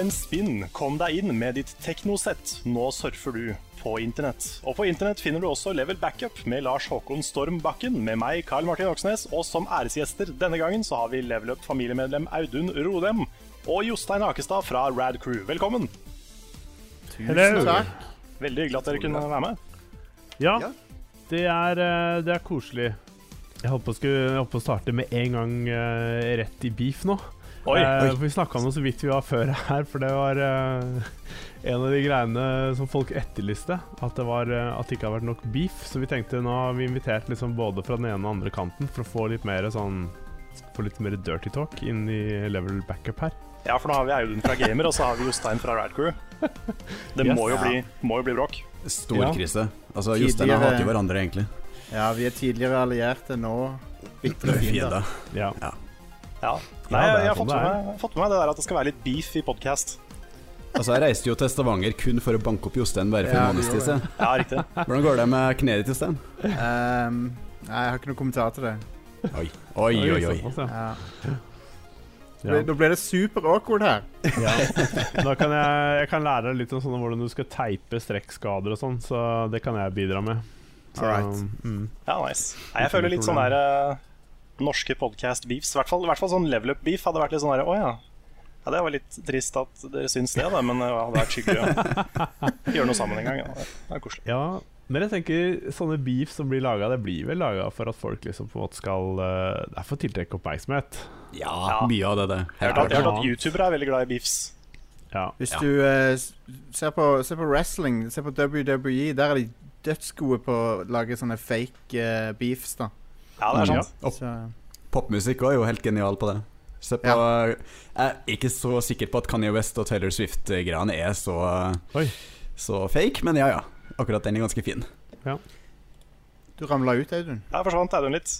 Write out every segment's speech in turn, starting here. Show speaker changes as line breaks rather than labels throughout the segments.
en spinn, kom deg inn med ditt teknosett. Nå surfer du på internett. Og på internett finner du også Level Backup med Lars Håkon Storm Bakken, med meg, Karl Martin Oksnes, og som æresgjester denne gangen så har vi Level Up familiemedlem Audun Rodem og Jostein Akestad fra Rad Crew. Velkommen!
Hello.
Takk.
Veldig hyggelig at dere kunne være med.
Ja,
Ja.
det er, eh, det er koselig. Jeg holdt på å skulle- jeg holdt på å starte med en gang eh, rett i beef nå.
Oi,
Eh, for vi snakka om det så vidt vi var før her, for det var eh, en av de greiene som folk etterlyste. At det, var, eh, at det ikke har vært nok beef. Så vi tenkte nå har vi invitert liksom både fra den ene og den andre kanten for å få litt mer sånn Få litt mer dirty talk inn i level backup her.
Ja, for nå har vi Audun fra Gamer, og så har vi Jostein fra Rad Crew. Det
Yes.
må, jo
Ja.
bli, må jo bli bråk.
Stor
Ja.
krise. Altså,
Tidligere-
Jostein og jeg hater jo hverandre, egentlig.
Ja, vi er tidligere allierte nå. Bitre fiender.
Fiende.
Ja.
Ja. Nei,
det er
jeg, har
sånn
fått
det
med,
er.
meg- jeg har fått med meg det der at det skal være litt beef i podkast.
Altså, jeg reiste jo til Stavanger kun for å banke opp Jostein bare for
Ja,
en
det
måneds tid
gjorde
siden.
Ja, riktig.
Hvordan går det med kneet ditt, Jostein?
Ehm, nei, jeg har ikke noen kommentar til det.
Oi, oi, oi. oi.
såpass, ja.
Ja.
Ja.
Nå ble det super awkward her.
Da kan jeg, jeg kan lære deg litt om sånn hvordan du skal teipe strekkskader og sånn, så det kan jeg bidra med. Så,
Alright.
mm.
Ja, nice. Nei, jeg føler litt sånn
problem.
der eh, norske podcast-beefs. I hvert, fall- i hvert fall sånn level up-beef hadde vært litt sånn der Å ja. Ja, Det var litt trist at dere syns det, da, men det hadde vært hyggelig å gjøre noe sammen en gang. Ja. Det er koselig.
Ja, men jeg tenker sånne beef som blir laga, det blir vel laga for at folk liksom på en måte skal eh, Det er for å tiltrekke oppmerksomhet.
Ja, mye av det, det.
Jeg
Helt
har hørt at- jeg
klart.
har hørt at youtubere er veldig glad i beefs.
Ja.
Hvis
Ja.
du eh, s- ser, på, ser på wrestling, ser på WWE, der er de dødsgode på å lage sånne fake eh, beefs, da.
Ja, det er sant.
Ja.
Så,
Popmusikk også er jo helt genial på det. Se på, Jeg er ikke så sikker på at Kanye West og Taylor Swift-greiene er så,
Oi.
så fake, men ja ja. Akkurat den er ganske fin.
du ramla ut, Audun.
Der forsvant Audun litt.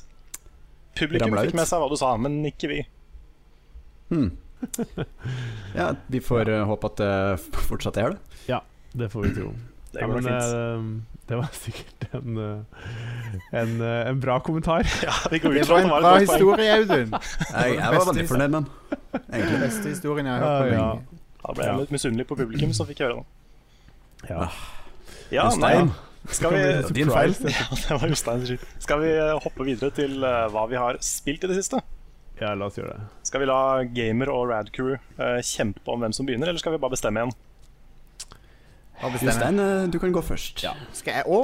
Publikum
Ramla
fikk
ut.
med seg hva du sa, men ikke vi.
Hmm. Ja, vi får eh, håpe at det fortsatt er det.
Det får vi tro.
Det går nok
men,
fint.
eh, det var sikkert en, eh, en, eh, en bra kommentar.
Ja, vi går
Det
ut fra
var
at
en
det var
bra
et godt poeng.
historie, Audun.
Jeg, jeg var veldig fornøyd med den.
Den
Egentlig.
beste historien jeg har hørt på
Ja, ja.
lenge.
Da ble jeg litt misunnelig på publikum som fikk høre det.
Ja.
Ja, nei,
Jostein,
skal vi
bli din feil.
Surprise.
Ja, det var Josteins skyld. Skal vi hoppe videre til eh, hva vi har spilt i det siste?
Ja, la oss gjøre det.
Skal vi la gamer og rad crew eh, kjempe om hvem som begynner, eller skal vi bare bestemme igjen?
Bare bestemme.
Jostein, eh, du kan gå først.
Skal jeg Å,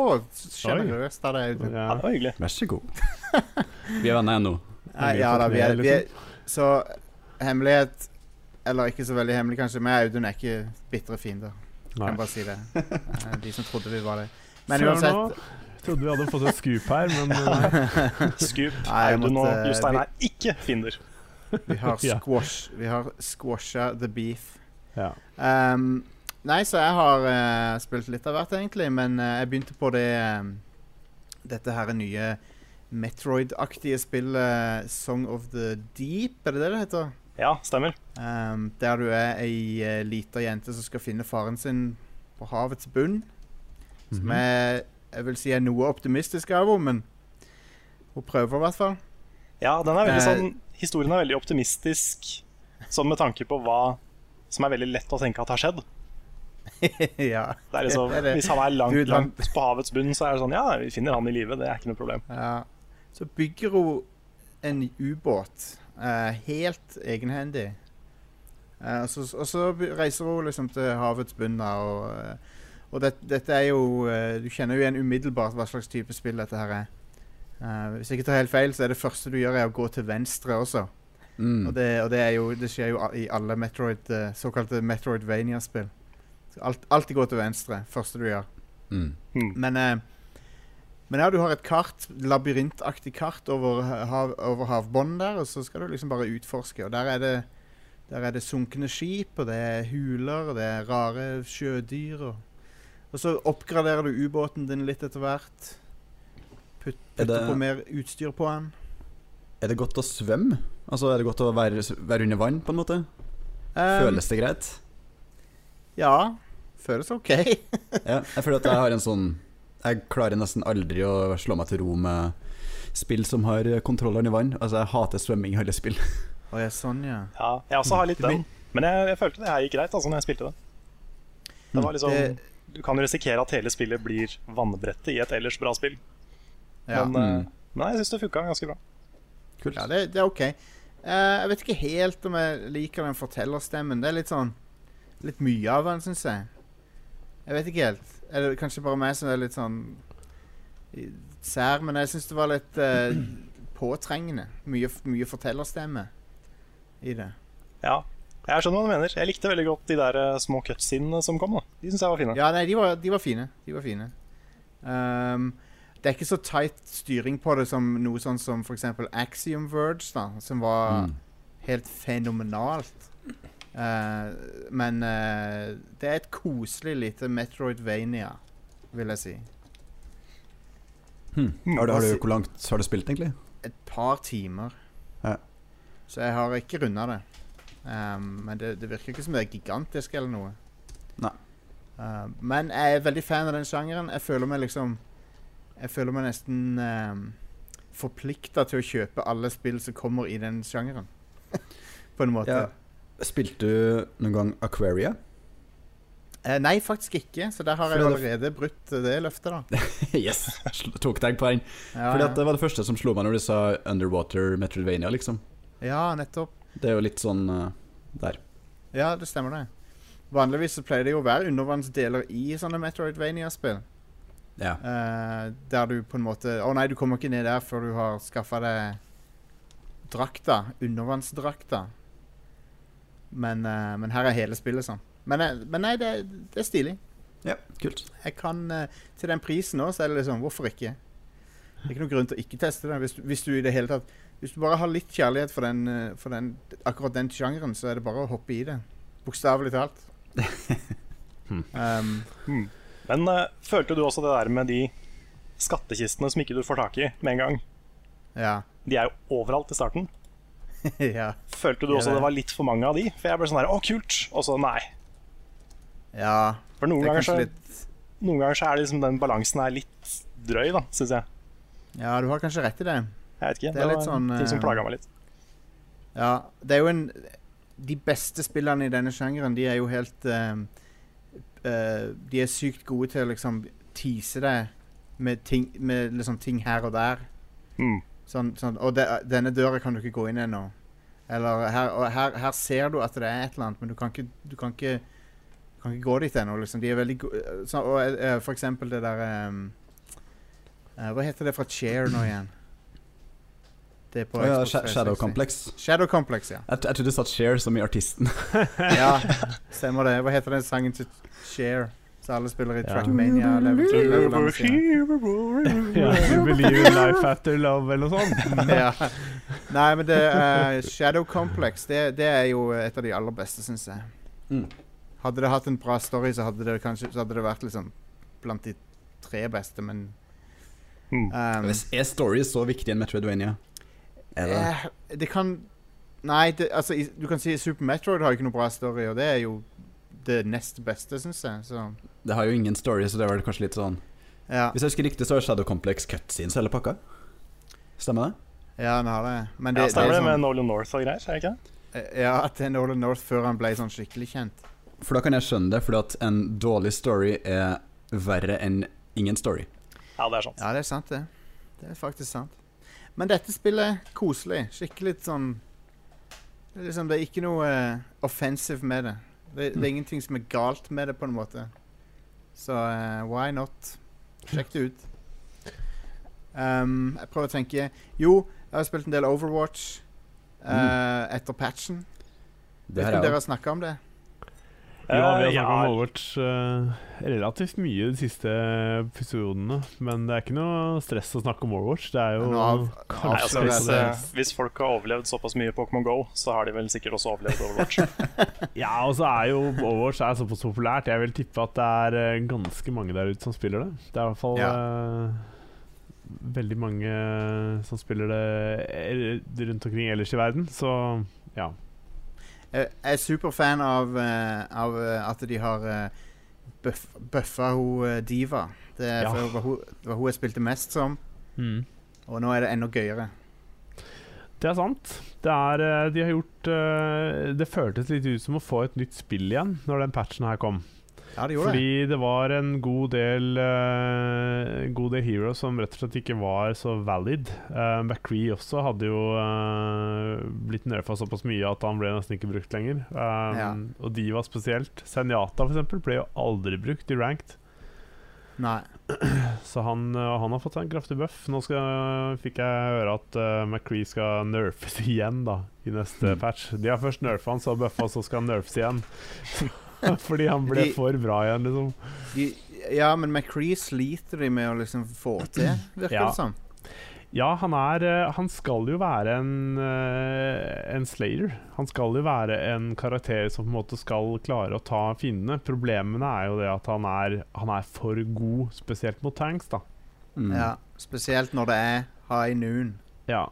sjenerøst av deg, Audun.
Ja, det var hyggelig.
Vær så god. Vi er venner igjen nå.
Nei, ja da, vi er, vi er
liksom?
Så hemmelighet Eller ikke så veldig hemmelig, kanskje, men Audun er ikke bitre fiender. Kan
Nei.
bare si det. Eh, De som trodde vi var det. Men
Søren
uansett
nå trodde vi hadde fått et scoop her, men eh,
Scoop,
Nei, jeg
Audun og
måtte-
Jostein
vi-
er ikke fiender.
Vi har
Ja.
squash Vi har squasha the beef.
ja.
Ehm, nei, så jeg har eh, spilt litt av hvert, egentlig. Men eh, jeg begynte på det ehm, Dette her nye Metroid-aktige spillet eh, Song of the Deep, er det det det heter?
Ja, stemmer.
Ehm, der du er ei eh, lita jente som skal finne faren sin på havets bunn. Som
Mhm.
jeg, jeg vil si er noe optimistisk av henne, men hun prøver i hvert fall.
Ja, den er veldig
Eh.
sånn Historien er veldig optimistisk, sånn med tanke på hva som er veldig lett å tenke at har skjedd.
ja.
Det er liksom,
Det er det.
hvis han er
Du,
langt,
den-
langt på havets bunn, så er det sånn Ja, vi finner han i live, det er ikke noe problem.
ja. Så bygger hun en ubåt eh, helt egenhendig. Eh, og, så, og så be- reiser hun liksom til havets bunn da, og, eh, og det, dette er jo eh, Du kjenner jo igjen umiddelbart hva slags type spill dette her er. Eh, hvis jeg ikke tar helt feil, så er det første du gjør, er å gå til venstre også.
Mm.
Og, det, og det, er jo, det skjer jo a- i alle Metroid, eh, såkalte Metroidvania-spill. Så Alt, alltid gå til venstre, første du gjør.
Mm.
Mm.
Men, eh, men ja, du har et kart, labyrintaktig kart over, ha- hav, over havbånden der, og så skal du liksom bare utforske. Og der er det, der er det sunkne skip, og det er huler, og det er rare sjødyr. Og, og så oppgraderer du ubåten din litt etter hvert. Putt,
Er
putter
det-
på mer utstyr på den.
Er det godt å svømme? Altså, er det godt å være, være under vann, på en måte?
Eh,
Føles det greit?
Ehm, Ja. Føles OK.
Ja, jeg føler at jeg har en sånn Jeg klarer nesten aldri å slå meg til ro med spill som har kontroll under vann. Altså, jeg hater svømming i alle spill.
Å ja, sånn, ja.
Ja, jeg også har litt
Det blir-
den. Men jeg, jeg følte det her gikk greit altså, når jeg spilte det. Det var liksom
Mm. Det-
Du kan jo risikere at hele spillet blir vannbrettet i et ellers bra spill.
Ja.
Men, eh,
Mm.
men jeg syns det funka ganske bra.
Ja, det, det er OK. Eh, jeg vet ikke helt om jeg liker den fortellerstemmen. Det er litt sånn Litt mye av den, syns jeg. Jeg vet ikke helt. Er det kanskje bare meg som er litt sånn i- sær, men jeg syns det var litt eh, påtrengende. Mye, f- mye fortellerstemme i det.
Ja, jeg skjønner hva du mener. Jeg likte veldig godt de der eh, små cutscenene som kom. da De syns jeg var fine.
Ja, nei, de var, de var fine. De var fine. Ehm, det er ikke så tight styring på det som noe sånn som f.eks. Axiom Verge, da, som var
Mm.
helt fenomenalt. Eh, men eh, det er et koselig lite Metroidvania, vil jeg si.
Hmm. Har du, har du, hvor langt har du spilt, egentlig?
Et par timer.
Ja.
Så jeg har ikke runda det. Ehm, men det, det virker ikke som det er gigantisk eller noe.
Nei.
Eh, men jeg er veldig fan av den sjangeren. Jeg føler meg liksom Jeg føler meg nesten um, forplikta til å kjøpe alle spill som kommer i den sjangeren. På en måte.
Ja. Spilte du noen gang Aquaria?
Eh, nei, faktisk ikke. Så der har jeg jo
Fordi
allerede brutt eh, det løftet, da.
yes! Sl- Tok deg på den.
Ja,
Fordi
ja.
at Det var det første som slo meg når du sa Underwater Metroidvania, liksom.
ja nettopp.
Det er jo litt sånn eh, der.
Ja, det stemmer det. Vanligvis så pleier det jo å være undervannsdeler i sånne Metroidvania-spill.
Ja.
eh, der du på en måte Å nei, du kommer ikke ned der før du har skaffa deg drakta. Undervannsdrakta. Men, eh, men her er hele spillet sånn. Men, eh, men nei, det, det er stilig.
ja, kult.
Jeg kan eh, Til den prisen nå, så er det liksom Hvorfor ikke? Det er ikke noen grunn til å ikke teste det. Hvis du, hvis du i det hele tatt Hvis du bare har litt kjærlighet for, den, eh, for den, akkurat den sjangeren, så er det bare å hoppe i det. Bokstavelig talt.
Hmm.
um,
Mm. Men eh, følte du også det der med de skattkistene som ikke du får tak i med en gang?
ja.
De er jo overalt i starten.
ja.
Følte du
Ja,
også
det-
det var litt for mange av de? For jeg ble sånn her, å kult! Og så nei.
Ja.
For noen
Det er
ganger, så,
kanskje litt
noen ganger så er det liksom den balansen her litt drøy, da, syns jeg.
Ja, du har kanskje rett i det.
Jeg vet ikke.
Det er litt
var
sånn,
ting som
eh,
plaga meg litt.
Ja, det er jo en De beste spillerne i denne sjangeren, de er jo helt ehm, eh, De er sykt gode til å liksom tease deg med ting, med liksom ting her og der.
Mm.
Sånn, sånn Og det, denne døra kan du ikke gå inn ennå. Eller her, og her, her ser du at det er et eller annet, men du kan ikke, du kan ikke, du kan ikke gå dit ennå. Liksom. De er veldig gode sånn, Og eh, for eksempel det der ehm, eh, Hva heter det fra Chair nå igjen? Det er på
Å ja,
Xbox
Sha- Shadow
360.
Complex.
Shadow Complex, ja.
Jeg, t- jeg trodde du satt Share som i artisten.
Ja, stemmer det. Hva heter den sangen til Share? Så alle spiller i
Ja.
Trackmania. Level 2, level 1 og sånn.
Ja, you believe in life after love, eller noe sånt.
ja. Nei, men det eh, Shadow Complex det, det er jo et av de aller beste, syns jeg.
Mm.
Hadde det hatt en bra story, så hadde det kanskje Så hadde det vært liksom blant de tre beste, men
Mm.
ehm,
Hvis Er story så viktig i en Metroidvania? Er det?
eh, Det kan Nei, det, altså i, du kan si Super Metroid har ikke noe bra story, og det er jo det nest beste, syns jeg. Så
det har jo ingen story, så det var kanskje litt sånn
ja.
Hvis jeg husker riktig, så er Shadow Complex cutscenes hele pakka. Stemmer det?
Ja, han har det. Men det,
Ja,
det
stemmer det
er
med
sånn,
Nolan North og greier? er det ikke det?
eh, ja, at det er Nolan North før han ble sånn skikkelig kjent.
For da kan jeg skjønne det, fordi at en dårlig story er verre enn ingen story.
Ja, det er sånn. sant.
Ja, det er sant, det. Det er faktisk sant. Men dette spillet er koselig. Skikkelig sånn det er liksom, Det er ikke noe eh, offensive med det. Det, det er ingenting som er galt med det, på en måte. Så eh, why not? Sjekk det ut. Um, jeg prøver å tenke Jo, jeg har spilt en del Overwatch eh, etter patchen.
Det
Vet
her
ikke om
er
dere
jo
har snakka om det?
Ja, vi har
Eh,
snakka om
ja,
Overwatch eh, relativt mye de siste episodene. Men det er ikke noe stress å snakke om Overwatch. Det er jo
Men nå av-
Nei,
kanskje
altså,
avslører
hvis,
litt
det.
eh,
stress.
hvis folk har overlevd såpass mye Pokémon GO, så har de vel sikkert også overlevd Overwatch.
Ja, og så er jo Overwatch er såpass populært. Jeg vil tippe at det er eh, ganske mange der ute som spiller det. Det er i hvert fall eh, veldig mange som spiller det eh, rundt omkring ellers i verden, så ja.
Jeg jeg er superfan av, eh, av eh, at de har eh, buff, buffa hun eh, Diva. Det er
Ja.
for- var hun, var hun jeg spilte mest som, og nå er det enda gøyere.
Det er sant. Det er, eh, de har gjort eh, Det føltes litt ut som å få et nytt spill igjen når den patchen her kom.
Ja, det gjorde
Fordi det var en god del eh, En god del heroes som rett og slett ikke var så valid. Uh, McCree også hadde jo eh, blitt nerfa såpass mye at han ble nesten ikke brukt lenger. Eh,
Ja.
Og de var spesielt. Senjata for eksempel ble jo aldri brukt i ranked.
det. Nei.
Så han, øh, han har fått seg en kraftig buff. Nå skal, fikk jeg høre at uh, McCree skal nerfes igjen da i neste
Mm.
patch. De har først nerfa han, så buffa, så skal han nerfes igjen. Fordi han ble
De-
for bra igjen, liksom.
De, ja, men McCree sliter de med å liksom få til, virker
Ja.
det som.
Ja, han er øh, Han skal jo være en, øh, en slayer. Han skal jo være en karakter som på en måte skal klare å ta fiendene. Problemene er jo det at han er, han er for god, spesielt mot tanks, da.
Mm.
Ja, spesielt når det er high noon.
Ja.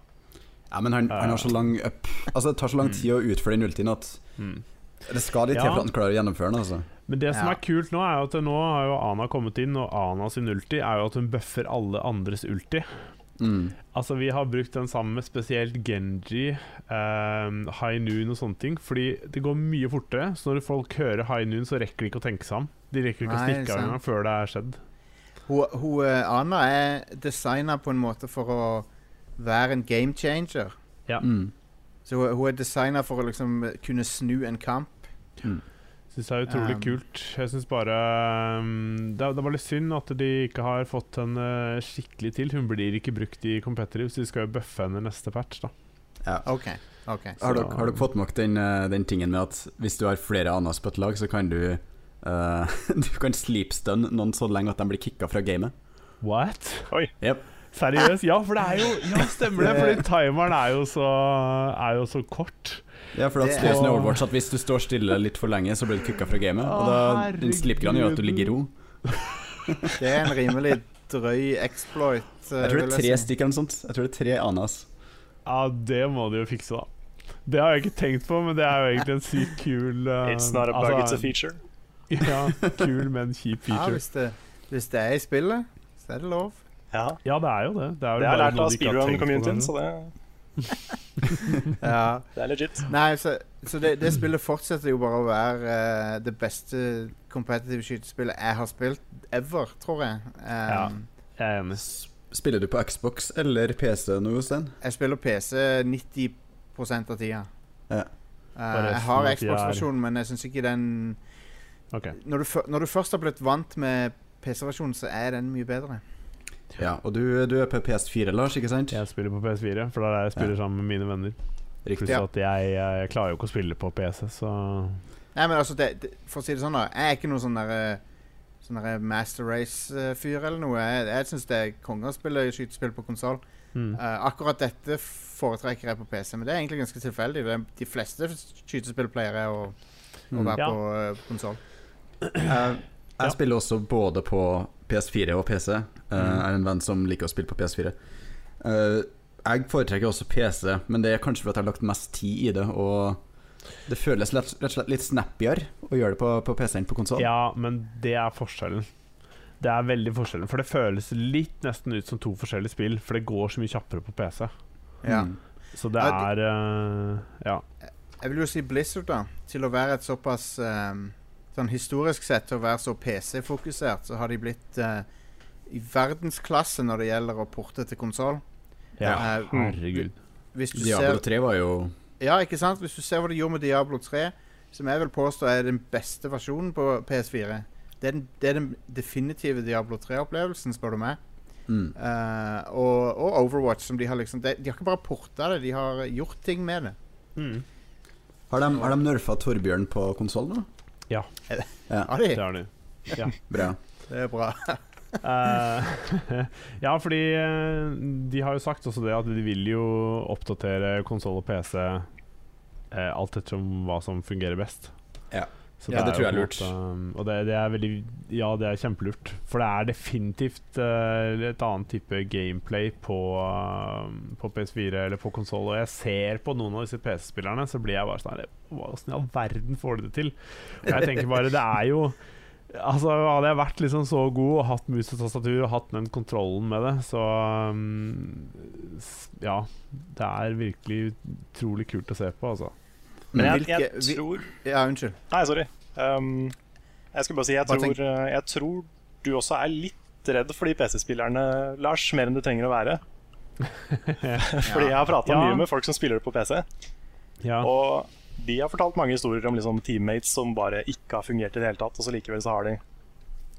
Ja, men han, han har så lang up Altså, det tar så lang tid å utføre den ultien at
Mm.
det skal litt til
Ja.
for at han klarer å gjennomføre den. altså
Men det som
Ja.
er kult nå, er jo at nå har jo Ana kommet inn, og Ana sin ulti er jo at hun bøffer alle andres ulti.
mm.
Altså, vi har brukt den sammen med spesielt Genji, ehm, High Noon og sånne ting, fordi det går mye fortere. Så når folk hører High Noon, så rekker de ikke å tenke seg om. De rekker ikke
Nei,
å stikke av
sant.
engang før det er skjedd.
Hun, hun, eh, Anna er designa på en måte for å være en game changer.
Ja.
Mm.
Så hun, hun er designa for å liksom kunne snu en kamp.
mm.
Syns det er utrolig
Um.
kult. Jeg syns bare um, det, er- det var litt synd at de ikke har fått henne skikkelig til. Hun blir ikke brukt i competitive, så de skal jo bøffe henne neste patch, da.
Ja.
OK. ok.
Så-
Har, dere, har dere fått med dere den, eh, den tingen med at hvis du har flere anas på et lag, så kan du eh, Du kan sleepstun noen så lenge at de blir kicka fra gamet.
What?
Oi.
Jep.
Seriøst? Ja, for det er jo Ja, stemmer det. Fordi timeren er jo så, er jo så kort.
Ja, for at
Det-
det er sånn i Overwatch at hvis du står stille litt for lenge, så blir du kicka fra gamet. Og da,
Å,
den sleepgraden gjør at du ligger i ro.
Det er en rimelig drøy exploit. eh,
Jeg tror det
vil
er tre
si.
stikk eller noe sånt. Jeg tror det er tre anas.
Ja, det må de jo fikse, da. Det har jeg ikke tenkt på, men det er jo egentlig en sykt kul eh,
It's not a bug,
altså,
it's a feature.
Ja, kul, men kjip
Ja,
feature.
hvis det, hvis det er i spillet, så er det lov.
Ja.
Ja, det er jo det. Det er jo
Det har jeg
bare
lært
noe
av
de ikke har tenkt på
speedrun-communityen,
kanskje.
så det,
Ja.
det er legit.
Mm.
Nei, så, så det, det spillet fortsetter jo bare å være eh, det beste competitive skytespillet jeg har spilt ever, tror jeg. Um,
Ja. Jeg er enig.
S- Spiller du på Xbox eller PC nå, Stein?
Jeg spiller PC 90 av tida.
Ja.
resten
Eh,
sånn
jeg
av
har
tida er-
Xbox-versjonen, men jeg syns ikke den
Ok.
når du, fø- når du først har blitt vant med PC-versjonen, så er den mye bedre.
Ja, og du, du er på PS4, Lars, ikke sant?
Jeg spiller på PS4, for det er der jeg spiller sammen med mine venner. Pluss
Riktig.
Ja.
at jeg, jeg klarer jo ikke å spille på PC, så
Nei, men altså, det, det, For å si det sånn, da. Jeg er ikke noen sånn derre Sånn derre Master Race-fyr eller noe. Jeg, jeg syns det er konge å spille skytespill på konsoll.
mm.
Eh, akkurat dette foretrekker jeg på PC, men det er egentlig ganske tilfeldig. Det er de fleste skytespill pleier jeg å, å
Mm.
være
Ja.
på uh, konsoll.
Jeg,
Ja.
jeg spiller også både på PS4 og PC. Jeg
Mm.
er en venn som liker å spille på PS4. Eh, jeg foretrekker også PC, men det er kanskje fordi jeg har lagt mest tid i det. Og det føles lett, rett og slett litt snappigere å gjøre det på, på PC enn på konsoll.
Ja, men det er forskjellen. Det er veldig forskjellen, for det føles litt nesten ut som to forskjellige spill, for det går så mye kjappere på PC.
Ja.
Mm.
Så det
Ja,
er eh, Ja.
Jeg vil jo si Blizzard, da. Til å være et såpass ehm, Sånn historisk sett til å være så PC-fokusert, så har de blitt eh, i verdensklasse når det gjelder å porte til konsoll.
ja.
Eh,
Herregud.
hvis du
Diablo
ser
3 var jo
Ja, ikke sant? Hvis du ser hva de gjorde med Diablo 3, som jeg vil påstå er den beste versjonen på PS4 Det er den, det er den definitive Diablo 3-opplevelsen, spør du meg.
mm.
Eh, og, og Overwatch, som de har liksom De, de har ikke bare porta det, de har gjort ting med det.
Mm.
Har de, har de nerfa Torbjørn på konsoll nå?
Har de?
Det har du.
Bra.
Det er bra.
Eh, ja, fordi eh, de har jo sagt også det at de vil jo oppdatere konsoll og PC eh, alt ettersom hva som fungerer best.
Ja.
Så
Ja, det tror
jo
jeg er
på en måte- og det, det er veldig Ja, det er kjempelurt. For det er definitivt eh, et annet type gameplay på, eh, på PS4 eller på konsoll. Og jeg ser på noen av disse PC-spillerne, så blir jeg bare sånn her, Åssen i all verden får de det til? Og jeg tenker bare, det er jo Altså, hadde jeg vært liksom så god og hatt mus og tastatur og hatt den kontrollen med det, så um, s- Ja. Det er virkelig utrolig kult å se på, altså.
Men jeg,
Hvilke-
jeg tror
vi, ja, unnskyld.
Nei, sorry. Um, jeg skulle bare si jeg
Bare
tror,
tenk.
eh, jeg tror du også er litt redd for de PC-spillerne, Lars, mer enn du trenger å være. Fordi jeg har prata
Ja.
mye med folk som spiller det på PC,
Ja.
og de har fortalt mange historier om liksom, teammates som bare ikke har fungert i det hele tatt, og så likevel så har de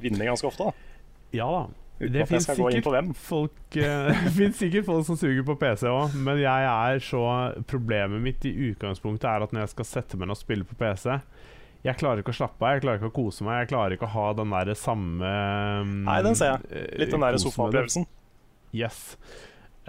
vunnet ganske ofte. da
ja da.
Uten at
Det
jeg
fins
skal gå inn
sikkert,
på hvem.
folk, eh, det finnes sikkert folk som suger på PC òg, men jeg er så Problemet mitt i utgangspunktet er at når jeg skal sette meg ned og spille på PC Jeg klarer ikke å slappe av, jeg klarer ikke å kose meg, jeg klarer ikke å ha den der samme um, eh,
Nei, den ser Litt den der sofaopplevelsen.
Yes.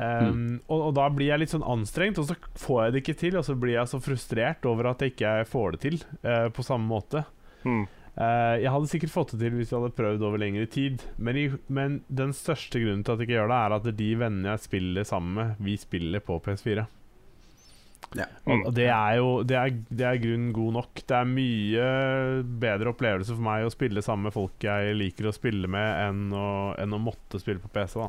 Ehm, og, og da blir jeg litt sånn anstrengt, og så får jeg det ikke til. Og så blir jeg så frustrert over at jeg ikke får det til eh, på samme måte.
Mm.
Eh, jeg hadde sikkert fått det til hvis jeg hadde prøvd over lengre tid, men, i, men den største grunnen til at jeg ikke gjør det, er at de vennene jeg spiller sammen med, vi spiller på PS4.
Ja.
Mm.
Og og det er jo det er, det er grunnen god nok. Det er mye bedre opplevelse for meg å spille sammen med folk jeg liker å spille med, enn å, enn å måtte spille på PC. da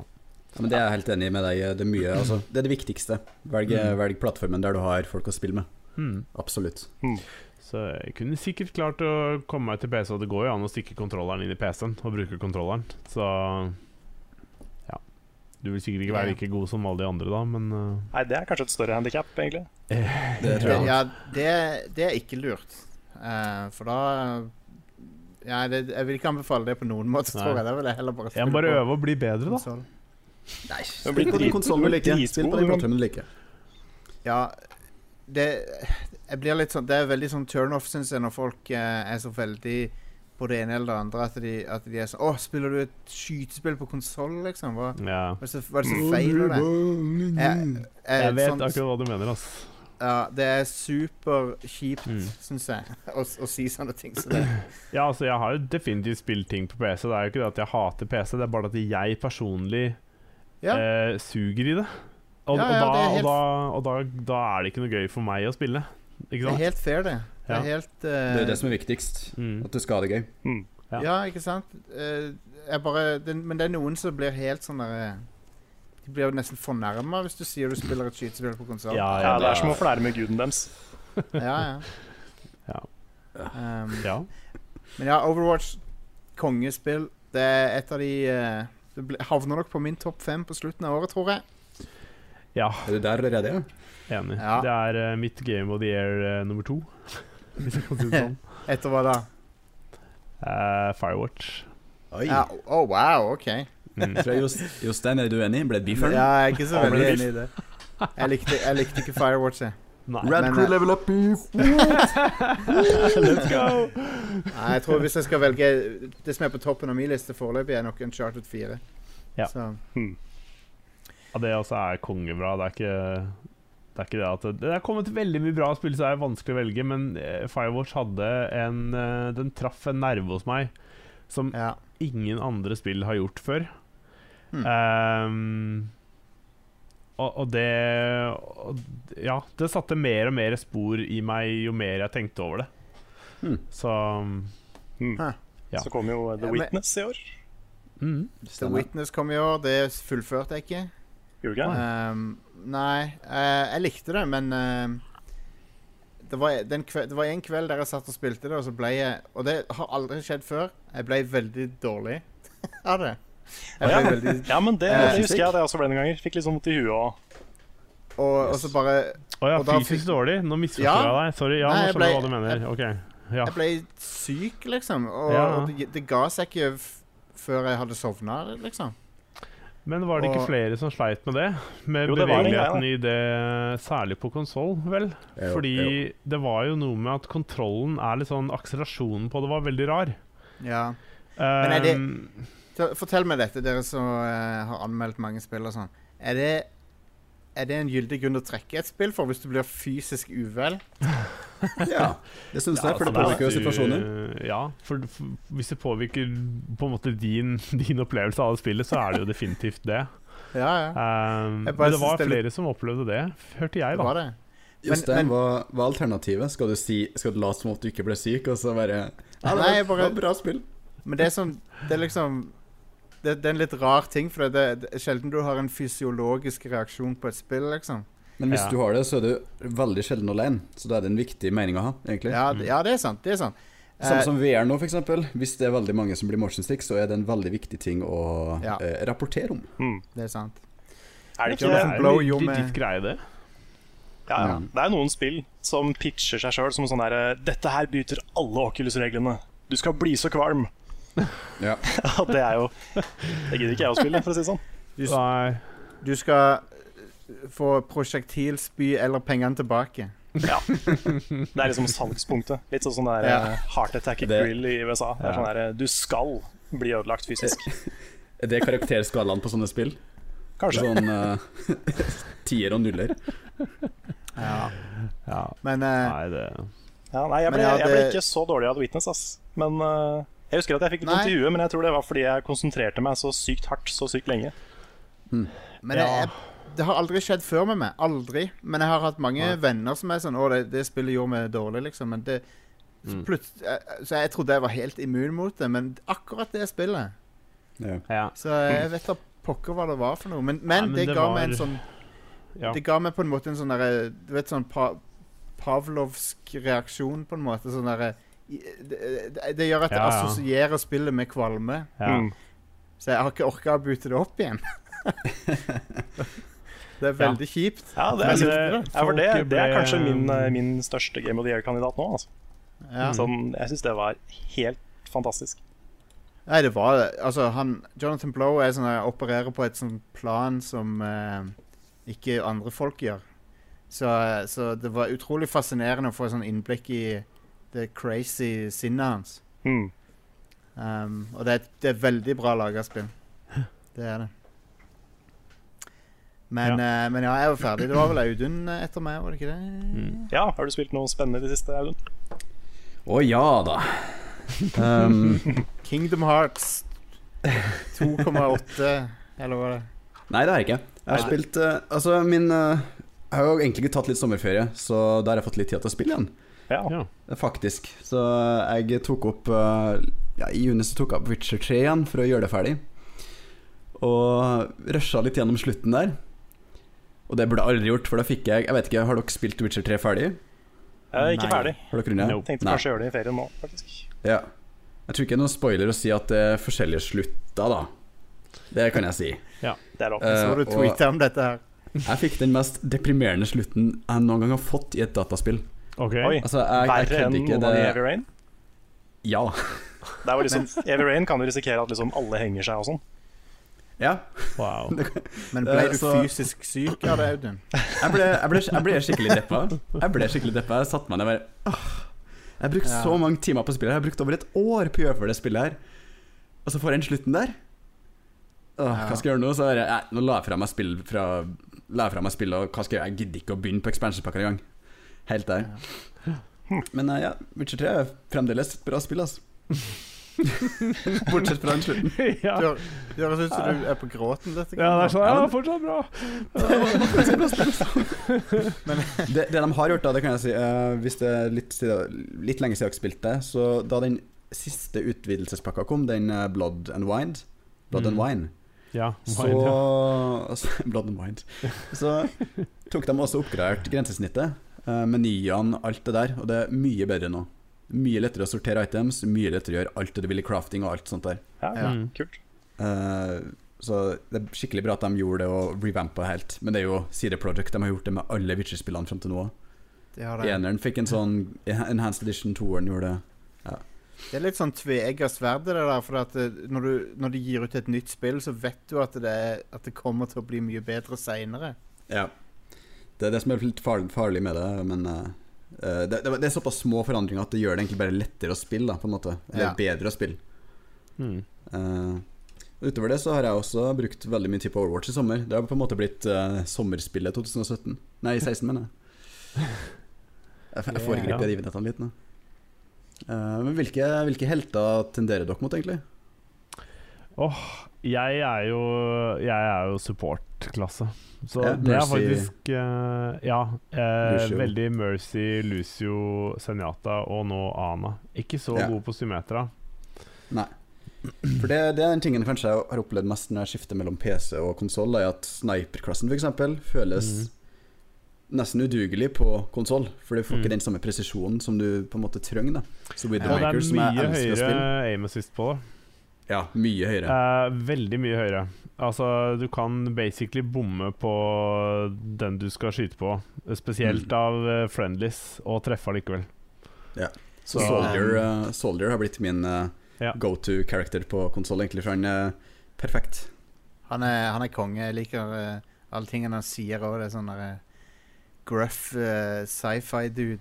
Ja, men Det er jeg helt enig med deg i. Det er mye, altså, det er det viktigste. Velg,
Mm.
velg plattformen der du har folk å spille med.
hmm.
Absolutt.
Så jeg kunne sikkert klart å komme meg til PC, og det går jo an å stikke kontrolleren inn i PC-en og bruke kontrolleren, så Ja. Du vil sikkert ikke være
Ja.
like god som alle de andre, da, men øh,
Nei, det er kanskje et større handikap, egentlig.
Det,
Det tror jeg.
ja, det, det er ikke lurt. Eh, for da ja, det, Jeg vil ikke anbefale det på noen måte,
Nei.
tror jeg. Da vil jeg heller bare
Jeg må bare øve og bli bedre, da.
konsoll.
Nei,
Det blir
spill på den
drit-
konsollen du
det blir
liker. Spill på
dritgod,
den plattformen du liker.
Ja, det Jeg blir litt sånn Det er veldig sånn turnoff, syns jeg, når folk eh, er så veldig på det ene eller det andre at de, at de er sånn Å, spiller du et skytespill på konsoll, liksom? Hva,
Ja.
hva er det som- hva er det som feiler deg? Jeg,
Jeg vet
sånn-
akkurat hva du mener, ass.
Ja, det er superkjipt,
Mm.
syns jeg, å, å si sånne ting som det.
Ja, altså, jeg har jo definitivt spilt ting på PC. Det er jo ikke det at jeg hater PC, det er bare at jeg personlig
Ja.
eh, suger i det. Og,
Ja, ja,
og, da,
det er helt-
og, da, og da, da er det ikke noe gøy for meg å spille. Ikke
Det er
sant?
helt fair, det. Det
Ja.
er helt eh,
Det er det som er viktigst.
Mm.
At du skal ha det gøy.
Mm.
ja.
Ja, ikke sant? Eh, jeg bare, det, men det er noen som blir helt sånn der eh, De blir jo nesten fornærma hvis du sier du spiller et skytespill på konsoll.
Ja,
Ja, Det
det
er som
er-
å flerme guden deres.
ja.
Ja.
Um,
ja.
men ja, Overwatch, kongespill, det er et av de eh, Det ble, havner nok på min topp fem på slutten av året, tror jeg.
ja.
Er du der allerede? ja?
Enig.
Ja.
Det er eh, mitt game of the year eh, nummer to. Hvis jeg kan si det sånn.
Etter hva da?
Eh, Firewatch.
Oi.
Ja, oh, wow, OK.
Mm.
Tror jeg Jost- Jostein, er du uenig? Ble det beef her?
Ja, jeg er ikke så
Aner
veldig
ikke.
enig i det. Jeg likte, jeg likte ikke Firewatch, jeg.
Nei.
Red
Men,
Crew
eh,
level up beef!
Let's go!
Nei, jeg tror hvis jeg skal velge Det som er på toppen av min liste foreløpig, er nok Uncharted 4.
Ja.
Så,
Mm.
Ja, det også er kongebra. Det er ikke det er ikke det at det- Det er kommet veldig mye bra spill, så det er vanskelig å velge, men eh, Firewatch hadde en eh, Den traff en nerve hos meg som
ja.
ingen andre spill har gjort før.
Hmm.
Ehm, og, og det og, d- Ja, det satte mer og mer spor i meg jo mer jeg tenkte over det.
Hmm.
Så
Mm.
Ja.
Så kom jo
Ja,
The
men-
Witness i år.
mm.
The
Stemmer.
Witness kom i år. Det fullførte jeg ikke.
Gjorde ikke det?
Um, nei, eh, jeg likte det, men eh, det, var, den kve, det var en kveld der jeg satt og spilte det, og så ble jeg Og det har aldri skjedd før. Jeg ble veldig dårlig av det. Jeg
Ja.
ble veldig
Ja, men det,
Eh,
det husker jeg det også ble noen ganger. Fikk litt sånn vondt i huet og
Og, og så bare
Å ja,
Og da
fysisk
fikk-
dårlig? Nå misforstår jeg
Ja.
deg. Sorry. Ja,
Nei,
nå
jeg
skjønner jeg hva
ble-
du mener. Ok. Ja.
Jeg ble syk, liksom. Og,
Ja.
og det, det ga seg ikke f før jeg hadde sovna, liksom.
Men var det ikke
Og-
flere som sleit med det? Med
Jo, det var det,
bevegeligheten i det, særlig på konsoll, vel?
Jo,
Fordi
jo.
det var jo noe med at kontrollen er litt sånn Akselerasjonen på det var veldig rar. Ehm,
Ja. er det- Så, fortell meg dette, dere som eh, har anmeldt mange spill og sånn. Er det, er det en gyldig grunn å trekke et spill for hvis du blir fysisk uvel?
Ja, altså, det
altså,
syns jeg, for det påvirker jo situasjoner.
eh, Ja, for, for hvis det påvirker på en måte din, din opplevelse av det spillet, så er det jo definitivt det.
Ja, ja.
Um,
Jeg
men
bare
det var
synes det er litt-
flere som opplevde det, hørte
Det
jeg, da.
var det. Men-
Jostein,
men-
hva, hva er alternativet? Skal du, si, skal du late som at du ikke ble syk, og så bare Ja, det var,
Nei, jeg bare-
det var bra spill.
Men det er sånn Det er liksom det, det er en litt rar ting, for det, det er sjelden du har en fysiologisk reaksjon på et spill, liksom.
Men hvis
Ja.
du har det, så er du veldig sjelden alene. Så da er det en viktig mening å ha, egentlig.
Ja,
Mm.
det- ja det er sant. Det er sant.
Samme
Eh,
som VR nå, f.eks. Hvis det er veldig mange som blir motion sick, så er det en veldig viktig ting å
Ja.
eh, rapportere om.
Mm.
det er sant.
Er det
Det
ikke
Jonathan
er
Blow
jo
gjorde
litt-
med-
litt greie, det.
Ja, ja. Det er noen spill som pitcher seg sjøl som sånn her Dette her bryter alle Oculus-reglene. Du skal bli så kvalm.
Ja.
Ja, det er jo Det gidder ikke jeg å spille, for å si det sånn.
Just-
Nei.
Du skal eh, få prosjektilspy eller pengene tilbake.
Ja. Det er liksom salgspunktet. Litt sånn sånn der
Ja.
eh, Heart Attack
Det-
Grill i USA. Det er
Ja.
sånn der, eh, Du skal bli ødelagt fysisk.
Er det karakterskalaen på sånne spill?
Kanskje.
Sånn uh, tier og nuller.
Ja.
Ja.
Men eh,
Nei, det
Ja, nei, jeg ble,
Men jeg
jeg ble
hadde-
ikke så dårlig av The Witness, ass. Men eh, jeg husker at jeg fikk litt vondt i
Nei.
huet, men jeg tror det var fordi jeg konsentrerte meg så sykt hardt så sykt lenge.
Men
Ja.
jeg, jeg, det har aldri skjedd før med meg. Aldri. Men jeg har hatt mange
Nei. venner
venner som er sånn Å, det, det spillet gjorde meg dårlig, liksom. Men det
Mm.
plut- jeg- Så jeg trodde jeg var helt immun mot det, men akkurat det spillet
Ja.
Ja.
Så jeg vet da pokker hva det var for noe. Men, men,
Nei, Mm. men
det,
det
ga
var-
meg en sånn
ja.
Det ga meg på en måte en sånn derre Du vet sånn pa Pavlovsk reaksjon, på en måte. Sånn derre i- det, det, det gjør at jeg
Ja, ja.
assosierer spillet med kvalme.
ja.
Mm.
Så jeg har ikke orka å bute det opp igjen. det er
Ja.
veldig kjipt.
Ja, det,
Men
altså,
det-
ja, for det,
folket
det er
eh, ble-
kanskje min, eh, min største Game of the Year-kandidat nå. Altså.
Mm.
Ja.
Sånn, jeg syns det var helt fantastisk.
Nei, det var det. Altså, han Jonathan Blow er sånn eh, opererer på et sånn plan som eh, ikke andre folk gjør. Så, eh, så det var utrolig fascinerende å få sånn innblikk i det crazy sinnet hans.
Mm.
Um, og det er, et, det er et veldig bra laga spill. Det er det. Men ja. men ja, jeg var ferdig. Det var vel Audun eh, etter meg, var det ikke det?
Mm.
Ja, har du spilt noe spennende i det siste, Audun?
Å ja da. Um,
Kingdom Hearts 2,8 Eller hva er det?
Nei, det har jeg ikke. Jeg har
Nei.
spilt eh, Altså, min eh, Jeg har jo egentlig ikke tatt litt sommerferie, så da har jeg fått litt tid til å spille igjen.
Ja.
Ja.
Eh, Faktisk. Så jeg tok opp eh, ja, I juni så tok jeg opp Witcher 3 igjen for å gjøre det ferdig. Og rusha litt gjennom slutten der. Og det burde jeg aldri gjort, for da fikk jeg Jeg vet ikke, har dere spilt Witcher 3 ferdig?
Jeg er ikke
Nei.
ferdig.
Har dere runda?
Nope.
Tenkte
Nei.
kanskje å gjøre det i ferien nå, faktisk.
Ja. Jeg tror ikke det er noen spoiler å si at det er forskjellige slutter, da. Det kan jeg si.
Det er lov.
Eh,
Så du
og-
tweeta om dette her.
Jeg fikk den mest deprimerende slutten jeg noen gang har fått i et dataspill.
OK.
Oi.
Altså, jeg, jeg
Verre enn
kødder ikke.
noen av de
Det,
Heavy Rain.
ja.
Det var liksom, Heavy Rain kan jo risikere at liksom alle henger seg og sånn.
ja.
Wow.
Men ble
Eh,
du
så-
fysisk syk av det, Audun?
Jeg ble, jeg ble, jeg ble skikkelig deppa. Jeg ble skikkelig deppa. Jeg satte meg ned og bare «Åh, Jeg har brukt
Ja.
så mange timer på spillet. her. Jeg har brukt over et år på å gjøre for det spillet her. Og så får jeg den slutten der. Åh,
Ja.
hva skal jeg gjøre nå? Så er jeg, nei, nå la jeg fra meg spill fra, la jeg fra meg spill, og hva skal jeg gjøre? Jeg gidder ikke å begynne på expansion-pakka engang. Helt der. Men eh, ja, Witcher 3 er fremdeles et bra spill, altså. Bortsett fra den slutten.
ja.
Du hø- du høres ut som du er på gråten. Dette,
ja, det er sånn.
Ja,
Ja,
men-
fortsatt bra.
det, det de har gjort, da, det kan jeg si eh, Hvis det er litt, siden, litt lenge siden jeg spilte, så da den siste utvidelsespakka kom, den eh, Blood and Wine Blood and
Mm.
Wine.
Ja.
Så
Wine,
altså, Blood and Wine. Så tok de også oppgradert grensesnittet. eh, Menyene, alt det der. Og det er mye bedre nå. Mye lettere å sortere items, mye lettere å gjøre alt det du vil i crafting og alt sånt der.
Ja,
ja. Mm.
Kult.
Eh, så det er skikkelig bra at de gjorde det og revampa helt. Men det er jo CD Projekt. De har gjort det med alle Witcher-spillene fram til nå. også.
Det, har det.
Eneren fikk en sånn Enhanced Edition 2-eren gjorde det.
det er litt sånn tveegga sverd, det der. For at eh, når, du, når de gir ut et nytt spill, så vet du at det, er, at det kommer til å bli mye bedre seinere.
Ja. Det er det som er litt far- farlig med det, men eh, eh, det, det, det er såpass små forandringer at det gjør det egentlig bare lettere å spille, da, på en måte. Eller
Ja.
bedre å spille.
Mm.
Eh, utover det så har jeg også brukt veldig mye tid på Overwatch i sommer. Det har på en måte blitt eh, sommerspillet 2017. Nei, 16, mener jeg. Jeg, f- jeg foregriper de idrettene litt nå. Eh, men hvilke, hvilke helter tenderer dere mot, egentlig?
Jeg er jo Jeg er jo support-klasse. Så
Ja,
det er
Mercy.
faktisk eh, Ja. eh,
Lucio.
veldig Mercy, Lucio, Senjata og nå Ana. Ikke så
Ja.
god på Symmetra.
Nei. For det, det er den tingen kanskje jeg har opplevd mest når jeg skifter mellom PC og konsoll, er at sniperklassen f.eks.
Mhm.
føles nesten udugelig på konsoll. For du får
Mhm.
ikke den samme presisjonen som du på en måte trenger. da Så
Og det
Widowmaker,
er
som jeg
mye
elsker å
høyere
spille
aim assist på det.
Ja, mye høyere.
Eh, veldig mye høyere. Altså, du kan basically bomme på den du skal skyte på. Spesielt
Mm.
av eh, friendlies, og treffe allikevel.
Så
Ja.
Soldier, eh, Soldier har blitt min
Ja.
go to character på konsoll, egentlig, for han er perfekt.
Han er, han er konge. Jeg liker eh, alle tingene han sier òg. Det er sånn der, eh, gruff eh, sci-fi dude.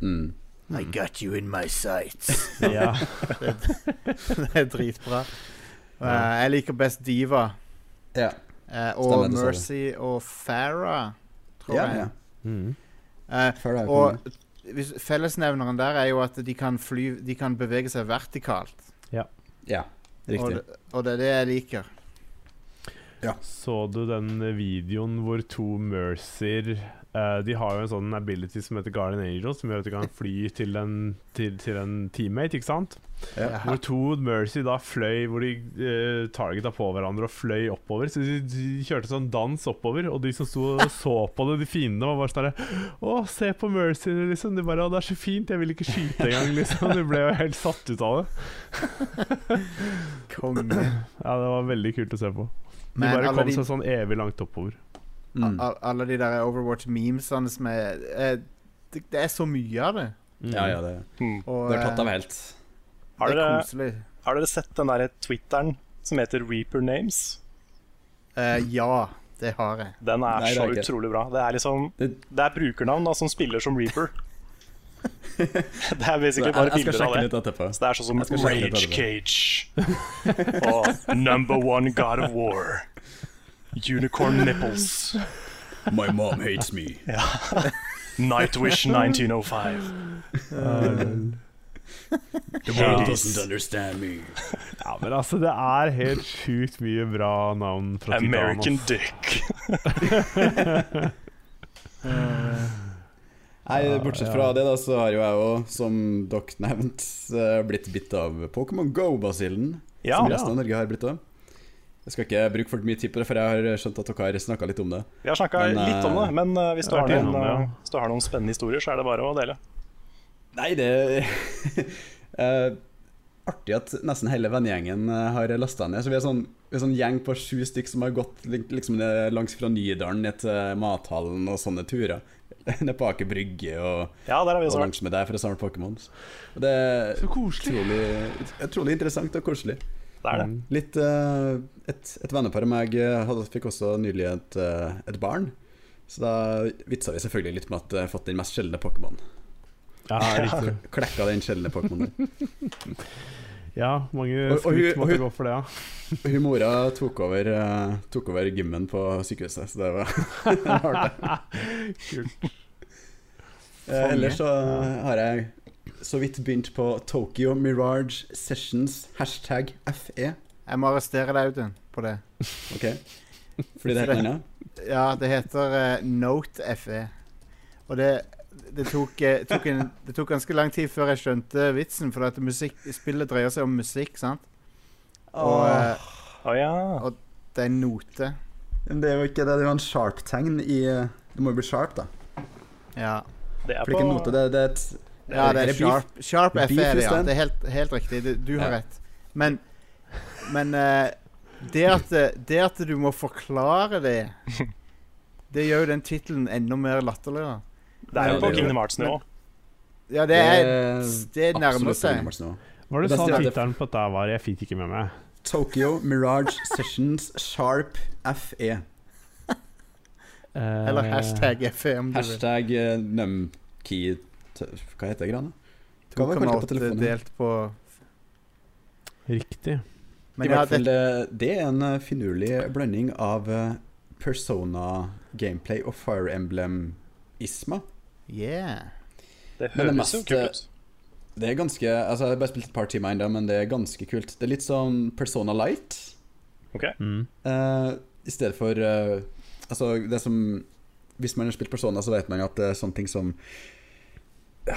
Mm.
I got you in my sights.
Ja.
det er dritbra. Og, eh,
Ja.
jeg liker best Diva.
Ja.
eh,
Stemmer,
og
det sa du.
Mercy og Farah, tror
Ja,
jeg.
ja.
Mm.
Eh,
Fair er
og
konge.
hvis, fellesnevneren der er jo at de kan, fly, de kan bevege seg vertikalt.
Ja,
Og,
riktig.
det- og det er det jeg liker.
Så du den videoen hvor to Mercer eh, De har jo en sånn ability som heter Guardian Angel, som gjør at de kan fly til en, til, til en teammate, ikke sant?
Ja.
Jaha.
Hvor to Mercy da fløy Hvor de eh, targeta på hverandre og fløy oppover. Så de, de kjørte sånn dans oppover, og de som sto og så på det, de fiendene, var bare sånn der, Å, se på Mercy, liksom. De bare Å, det er så fint, jeg vil ikke skyte engang, liksom. De ble jo helt satt ut av det.
Konge.
Ja, det var veldig kult å se på. De
Men
bare
alle
kom
de-
seg sånn evig langt oppover.
Mm.
Al- Alle de der Overwatch-memesene som er eh, det, det er så mye av det.
Ja, ja, det,
Hmm.
Og,
det er tatt av
eh,
helt.
Har
det er
dere,
koselig.
har dere sett den derre Twitteren som heter Reaper Names?
Eh, ja, det har jeg.
Den er
Nei, det
så
er ikke.
utrolig bra. Det er liksom
Det-
Det er brukernavn da som spiller som Reaper. det er
Så
basically
jeg,
bare
jeg skal
bilder av
sjekke
det.
litt etterpå.
Så det er sånn som
Jeg skal sjekke litt
Rage Cage og Number One God of War. Unicorn Nipples.
My mom hates me.
Nightwish 1905.
The
world doesn't
understand me.
Ja, men altså, det er helt sjukt mye bra navn fra Titan.
American
ass.
Dick.
Nei, bortsett fra det, da, så har jo jeg òg, som dere nevnte, eh, blitt bitt av Pokémon Go-basillen.
Ja,
Som resten av Norge har blitt av. Jeg skal ikke bruke for mye tid på det, for jeg har skjønt at dere har snakka litt om det.
vi har snakka
Men, eh,
litt om det, men eh, hvis du,
jeg
har
har vært
noen,
innom det, ja.
eh, hvis du har noen spennende historier, så er det bare å dele.
Nei, det er artig at nesten hele vennegjengen eh, har lasta ned. Så vi er sånn, vi er sånn gjeng på sju stykk som har gått lik- liksom ned langs fra Nydalen ned til mathallen og sånne turer. Ned på Aker Brygge og,
Ja, der har vi
og
også vært.
langs med der for å samle Pokémons. Og Det er
Så koselig.
utrolig, utrolig interessant og koselig.
Det er det.
Mm.
Litt eh, Et, et vennepar av meg eh, hadde, fikk også nylig et, eh, et barn. Så da vitsa vi selvfølgelig litt med at jeg har fått den mest sjeldne Pokémon.
Ja, riktig.
Klekka den sjeldne Pokémonen.
Ja, mange
Og- og
skryt
hun-
måtte
hun-
gå for det, ja.
Hun mora tok over, eh, tok over gymmen på sykehuset, så det var hardt.
Kult.
Eh, ellers så har jeg så vidt begynt på Tokyo Mirage Sessions hashtag FE.
Jeg må arrestere deg, Audun, på det.
Ok? Fordi det heter noe annet?
Ja, det heter eh, Note FE. Og det, det, tok, eh, tok en, det tok ganske lang tid før jeg skjønte vitsen, for at musikk, spillet dreier seg om musikk, sant? Og eh,
Å ja.
det er en note.
Men det er jo ikke det, det er jo en sharp-tegn i Det må jo bli sharp, da.
Ja,
Det er
For det er ikke en note,
på
det, det er et
ja det er
beef?
Sharp, sharp
Beef
FE, er det, ja.
isteden?
Det er helt, helt riktig. Du, du har
Ja.
rett. Men, men eh, det, at, eh, det at du må forklare det, det gjør jo den tittelen enda mer latterligere.
Det er jo
Ja,
på
det er
Kingdom Hearts-nivå.
Ja, det er Det
absolutt
nærmer seg.
nærmest nå.
Var det
Det
sånn
beste er at-
tittelen på dette var? Jeg fikk ikke med meg.
Tokyo Mirage Sessions Sharp E. FE.
Eh,
Eller hashtag FE, om du vil.
Hashtag eh, numkey t- Hva heter det greiene? Hva var det kalt på
2,8
telefonen?
delt på
Riktig.
Men
I
ja,
hvert fall,
det,
det, det er en eh, finurlig blanding av eh, Persona-gameplay og Fire Emblem-isma.
yeah.
Det
Men det eh,
høres jo
meste-
kult ut.
Det er ganske Altså, jeg har bare spilt et par timer ennå, men det er ganske kult. Det er litt sånn Persona Light.
Mm.
eh, I stedet for eh, Altså, det som Hvis man har spilt Persona, så vet man jo at det er sånne ting som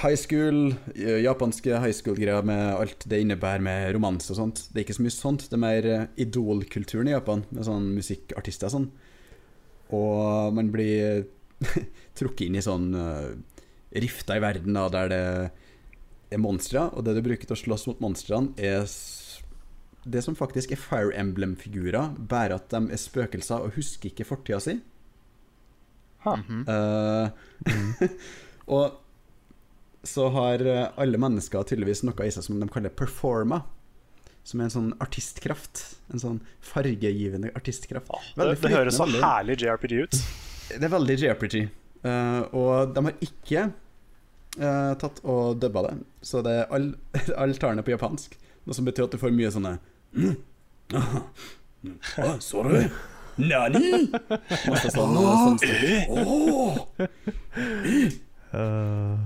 high school, eh, japanske high school-greier med alt det innebærer med romanse og sånt. Det er ikke så mye sånt. Det er mer eh, idolkulturen i Japan, med sånn musikkartister og sånn. Og man blir trukket inn i sånn eh, rifter i verden da, der det er monstre, og det du bruker til å slåss mot monstrene, er s- det som faktisk er Fire Emblem-figurer, bare at de er spøkelser og husker ikke fortida si.
Mhm.
Eh, og så har eh, alle mennesker tydeligvis noe i seg som de kaller performa. Som er en sånn artistkraft. En sånn fargegivende artistkraft.
Åh, det,
Veldig
det høres så
flytende, veldig-
herlig JRPG ut.
Det er veldig JRPG. eh, og de har ikke eh, tatt og dubba det. Så det er all- alle tallene på japansk. Noe som betyr at du får mye sånne «Hm? ah, Sorry. Nani? Masse sånn, sånn, sånn. Åh!
Eh,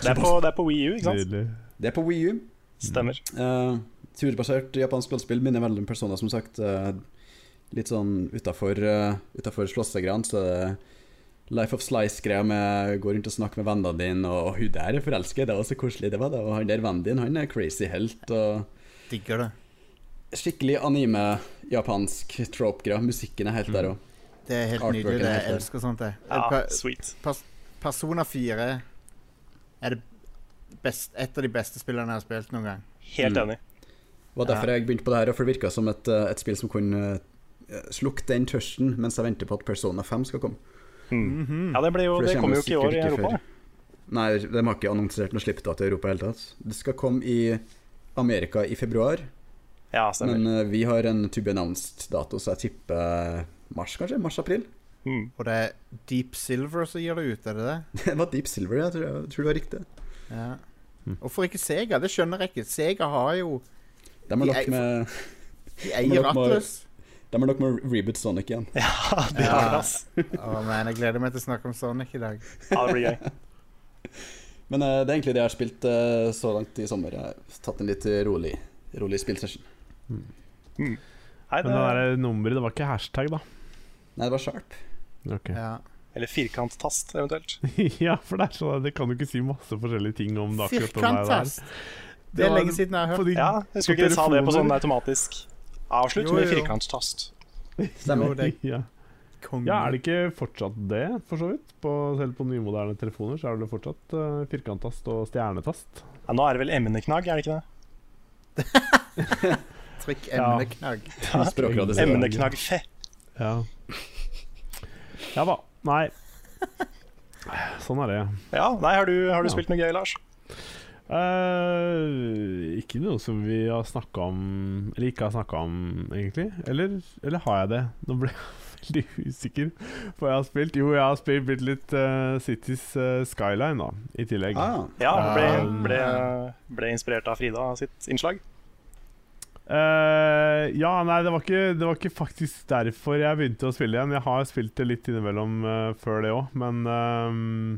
Det er på, det er på Wii U, ikke sant? Eh,
nydelig.
Det er på Wii U.
Stemmer.
Eh, turbasert japansk rollespill minner veldig om Persona, som sagt. Eh, litt sånn utafor uh, slåssegreiene, så er det Life of Slice-greia med gå rundt og snakke med vennene dine, og, hun der er forelsket, det var så koselig, det var det. Og han der vennen din, han er crazy helt, og
Digger det.
Skikkelig anime-japansk trope-greia. Musikken er helt der òg.
Det er helt
Artworken
nydelig.
er
det
helt
Jeg
der.
elsker sånt. det
Ja,
Pa-
sweet.
Persona 4 er det best, et av de beste spillene jeg har spilt noen gang.
Helt
Mm.
enig.
Det var derfor jeg begynte på det her, og for det virka som et, eh, et spill som kunne eh, slukke den tørsten mens jeg venter på at Persona 5 skal komme.
Mm.
Mhm.
Ja, det, ble jo,
For
det kommer jo ikke i
kommer
år i
sikkert
Europa.
Nei, de har ikke annonsert noe slippdato i Europa i hele tatt. Det skal komme i Amerika i februar,
Ja, stemmer.
men eh, vi har en to be announced-dato, så jeg tipper mars, kanskje? Mars-april?
Mm.
Og det er Deep Silver som gir det ut, er det det?
Det var Deep Silver, jeg tror, jeg tror det var riktig.
Ja.
Mm.
Hvorfor ikke Sega? Det skjønner jeg ikke. Sega har jo
De har nok
Jeg-
med,
De
Men
eier
dere må-
Atlus.
de har nok med å Reboot Sonic igjen.
Ja, det
Ja.
har det, ass.
Å, men jeg gleder meg til å snakke om Sonic i dag.
Ja, det blir gøy.
Men eh, det er egentlig det jeg har spilt eh, så langt i sommer. Jeg har tatt en litt rolig, rolig spillsession.
Nei,
Men
det,
det der nummeret, det var ikke hashtag, da.
Nei, det var Sharp.
Ok.
Ja.
eller firkanttast, eventuelt.
ja, for det er sånn Det kan du ikke si masse forskjellige ting om det akkurat den der.
Firkanttast! Det er
var
lenge siden jeg har
på
hørt.
de-
Ja, jeg skulle
på
ikke de sa det på
telefoner.
sånn automatisk. Avslutt
Jo,
med
jo.
firkanttast.
Stemmer.
Jo, det
ja.
konge.
ja, er det ikke fortsatt det, for så vidt? På, selv på nymoderne telefoner så er det fortsatt uh, firkanttast og stjernetast.
Ja, nå er det vel emneknagg, er det ikke det?
Trykk
Ja.
emneknagg.
Språkrådet sier det.
Emneknagg fe.
Ja. ja da. Nei. Sånn er det.
Ja, nei, har du, har du
Ja.
spilt noe gøy, Lars?
Eh, ikke noe som vi har snakka om Eller ikke har snakka om, egentlig. Eller, eller har jeg det? Nå ble jeg veldig usikker på hva jeg har spilt. Jo, jeg har spilt, spilt litt eh, Cities eh, Skyline da, i tillegg.
Ah,
Ja, ble,
Um,
ble, ble inspirert av Frida sitt innslag.
Eh, ja, nei, det var, ikke, det var ikke faktisk derfor jeg begynte å spille igjen. Jeg har spilt det litt innimellom eh, før det òg, men ehm,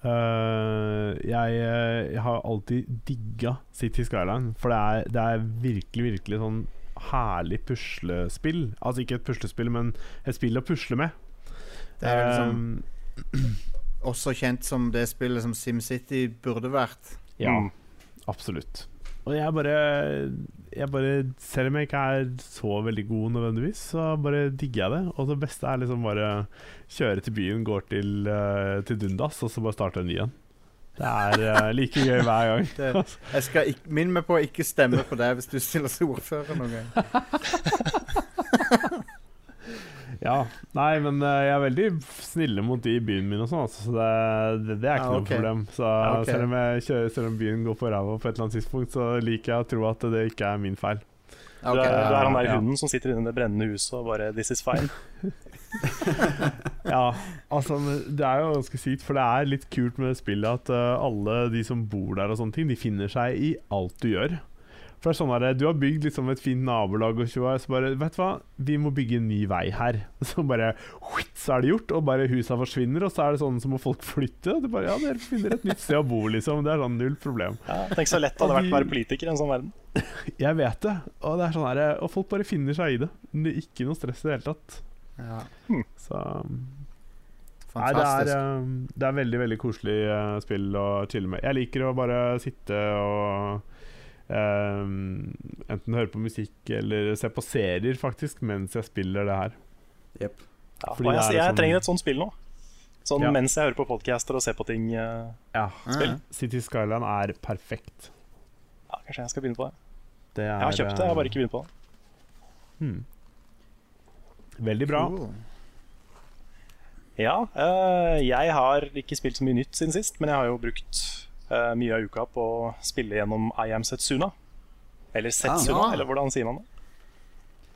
eh, jeg, eh, jeg har alltid digga City Skyline, for det er, det er virkelig, virkelig sånn herlig puslespill. Altså ikke et puslespill, men et spill å pusle med.
Det er vel liksom
Ehm,
også kjent som det spillet som SimCity burde vært.
ja.
Mm.
Absolutt. Og jeg bare, jeg bare Selv om jeg ikke er så veldig god nødvendigvis, så bare digger jeg det. Og det beste er liksom bare kjøre til byen, går til, eh, til Dundas, og så bare starte en ny en. Det er eh, like gøy hver gang.
Det, jeg skal ikk- Minn meg på å ikke stemme på deg hvis du stiller som ordfører noen gang.
Ja. Nei, men eh, jeg er veldig snille mot de i byen min og sånn, altså, så det, det, det er ikke
Ja, ok.
noe problem. Så
Ja, ok.
selv, om jeg kjører, selv om byen går på ræva på et eller annet tidspunkt, så liker jeg å tro at det ikke er min feil.
Ja,
Du, er,
ok.
du er han der
Ja.
hunden som sitter inne i det brennende huset og bare This is fine.
Ja, altså men det er jo ganske sykt, for det er litt kult med det spillet at eh, alle de som bor der og sånne ting, de finner seg i alt du gjør. For det er sånn der, Du har bygd liksom et fint nabolag, og tjoa, så bare Vet du hva, vi må bygge en ny vei her. Så bare whitt, Så er det gjort, og bare husa forsvinner, og så er det sånn så må folk flytte. Og det bare, ja, dere finner et nytt sted å bo, liksom. Det er sånn null problem.
Ja, tenk så lett det hadde vært å være politiker i en sånn verden.
Jeg vet det, og det er sånn her, og folk bare um, finner seg i det. Det er Ikke noe stress i det hele tatt.
Ja.
Så Nei, det er,
Fantastisk.
eh, det er veldig veldig koselig eh, spill å chille med. Jeg liker å bare sitte og eh, enten høre på musikk eller se på serier, faktisk, mens jeg spiller det her.
Jepp.
Ja,
Fordi
og jeg,
det er
jeg
sånn-
trenger et sånt spill nå. Sånn
Ja.
mens jeg hører på podcaster og ser på ting. eh,
Ja,
Ja, ja.
City Skyline er perfekt.
Ja, kanskje jeg skal begynne på det.
Det er,
Jeg har kjøpt det, jeg har bare ikke begynt på det.
hmm. eh, Veldig bra.
Cool.
Ja, eh, jeg har ikke spilt så mye nytt siden sist, men jeg har jo brukt eh, mye av uka på å spille gjennom I Am Setsuna. Eller Setsuna,
Ah.
eller hvordan sier man det?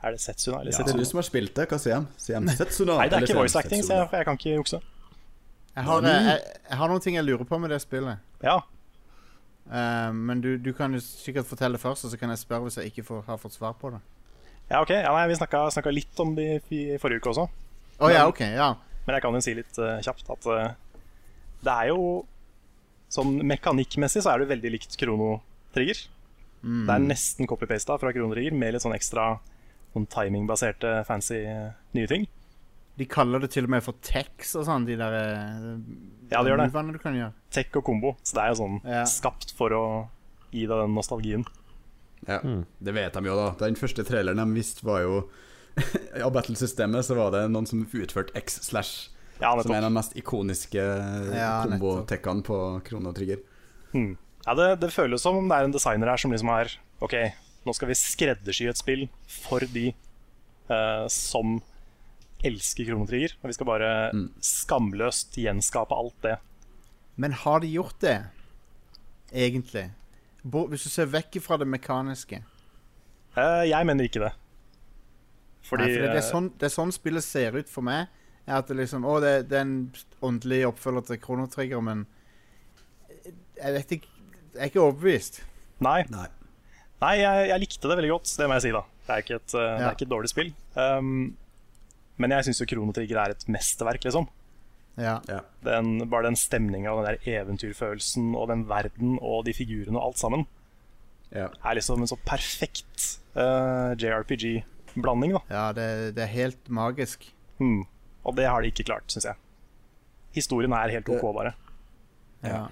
Er det Setsuna eller
Ja.
Det er du
Setsuna?
som har spilt det. Hva sier han? Sier han Setsuna?
Nei, det er
eller
ikke
sier han
voice acting, så jeg,
Setsuna?
jeg kan ikke jukse.
Jeg har,
Nei.
eh, jeg, jeg har noen ting jeg lurer på med det spillet.
Ja,
Eh, men du, du kan jo sikkert fortelle først, og så kan jeg spørre hvis jeg ikke får, har fått svar på det.
ja ok. Ja, nei, vi snakka, snakka litt om det i i forrige uke også.
Å ja, OK. Ja.
Men jeg kan jo si litt eh, kjapt at eh, det er jo Sånn mekanikkmessig så er det veldig likt kronotrigger.
Mm.
Det er nesten copy-pasta fra kronotrigger med litt sånn ekstra sånn timingbaserte fancy eh, nye ting.
De kaller det til og med for tex og sånn, de der eh,
Ja, de gjør det.
movene du kan gjøre.
Tech og kombo. Så det er jo sånn
Ja.
skapt for å gi deg den nostalgien.
Ja,
Mm.
Det vet de jo, da. Den første traileren de visste, var jo Av battlesystemet så var det noen som utførte X slash,
Ja,
som
nettopp.
er en av de mest ikoniske
Ja, nettopp.
kombotekkene på Krone og Trigger.
Mm. Ja, det, det føles som om det er en designer her som liksom har OK, nå skal vi skreddersy et spill for de eh, som elsker kronotrigger. Og vi skal bare
Mm.
skamløst gjenskape alt det.
Men har de gjort det, egentlig? Bo, hvis du ser vekk fra det mekaniske.
Eh, jeg mener ikke det. Fordi
Nei, for det, det, er
eh,
sånn, det er sånn spillet ser ut for meg. Er at det liksom, å, det, det er en åndelig oppfølger til Chrono Trigger, men jeg vet ikke Jeg er ikke overbevist.
Nei,
Nei.
nei jeg, jeg likte det veldig godt, det må jeg si, da. Det er ikke et, eh, det
Ja.
er ikke et dårlig spill. Um, men jeg syns jo Chrono Trigger er et mesterverk, liksom.
Ja.
Den, bare den stemninga og den der eventyrfølelsen og den verden og de figurene og alt sammen
Ja.
er liksom en så perfekt eh, JRPG-blanding, da.
Ja, det, det er helt magisk.
Mm. Og det har de ikke klart, syns jeg. Historien er helt OK, bare.
Ja.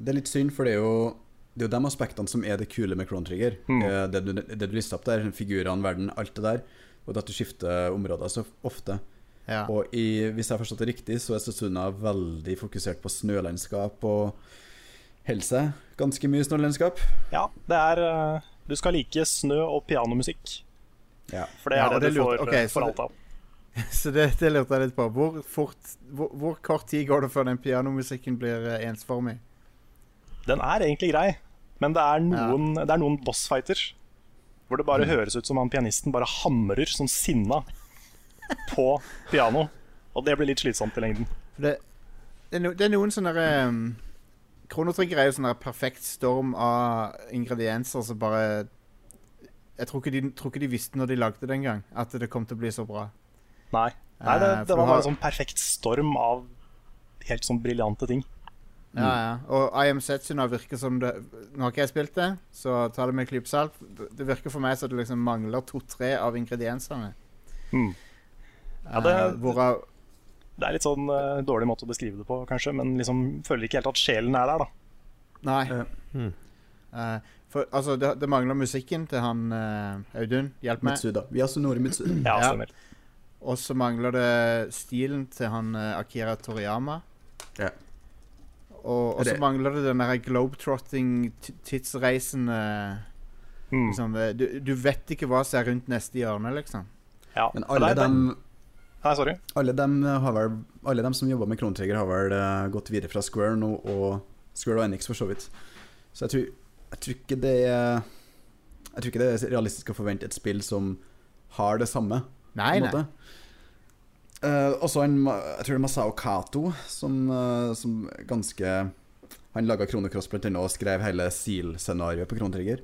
Det er litt synd, for det er jo det er jo de aspektene som er det kule med Chrono Trigger.
Mm.
Eh, Det, du, det du lister opp der, figurene, verden, alt det der. Og det at du skifter områder så ofte.
ja.
Og i, hvis jeg har forstått det riktig, så er Setsuna veldig fokusert på snølandskap og helse. Ganske mye snølandskap.
Ja, det er eh, Du skal like snø og pianomusikk,
Ja.
for det
Ja,
er
og
det,
det
du
lurte-
får,
ok,
eh,
så
får
det-
alt av.
Så det, det lurte jeg litt på. Hvor, fort, hvor, hvor kort tid går det før den pianomusikken blir eh, ensformig?
Den er egentlig grei, men det er noen, det er noen bossfighter hvor det bare høres ut som han pianisten bare hamrer som sinna på piano. Og det blir litt slitsomt i lengden.
For det, det, er no, det er noen sånne um, Kronotrigger er jo sånn der perfekt storm av ingredienser som bare Jeg tror ikke, de, tror ikke de visste når de lagde det engang, at det kom til å bli så bra.
Nei, Nei det,
Eh, for
det
du
var
har-
bare en sånn perfekt storm av helt sånn briljante ting.
Ja, ja. Mm. Og I Am Setsuna virker som det Nå har ikke jeg spilt det, så ta det med en klype salt. Det det virker for meg som det liksom mangler to-tre av ingrediensene.
Mm. Ja,
Eh,
det-
hvorav
Det er litt sånn eh, dårlig måte å beskrive det på, kanskje, men liksom føler ikke helt at sjelen er der, da.
Nei.
Ja.
Mm.
Eh, for altså, det, det mangler musikken til han eh, Audun. Hjelp meg.
Mitsuda. Vi har Sonore Mitsuda.
Ja,
Ja.
stemmer.
Og så mangler det stilen til han eh, Akira Toriyama.
Ja.
Og og så
Det-
mangler det den der globetrotting-tidsreisen
Mm.
eh, liksom, eh, du, du vet ikke hva som er rundt neste hjørne, liksom.
Ja.
Men alle
Nei, det-
dem,
Nei, sorry.
alle dem, har vel, alle dem som jobber med Chrono Trigger, har vel eh, gått videre fra Square nå, og Square og NX for så vidt. Så jeg tror, jeg tror ikke det er Jeg tror ikke det er realistisk å forvente et spill som har det samme.
Nei,
på
nei.
en måte. Eh, også en, ma- jeg tror det er Masao Kato som, eh, som ganske Han laga Kronocross blant annet og skrev hele Seal-scenarioet på Kronetrigger.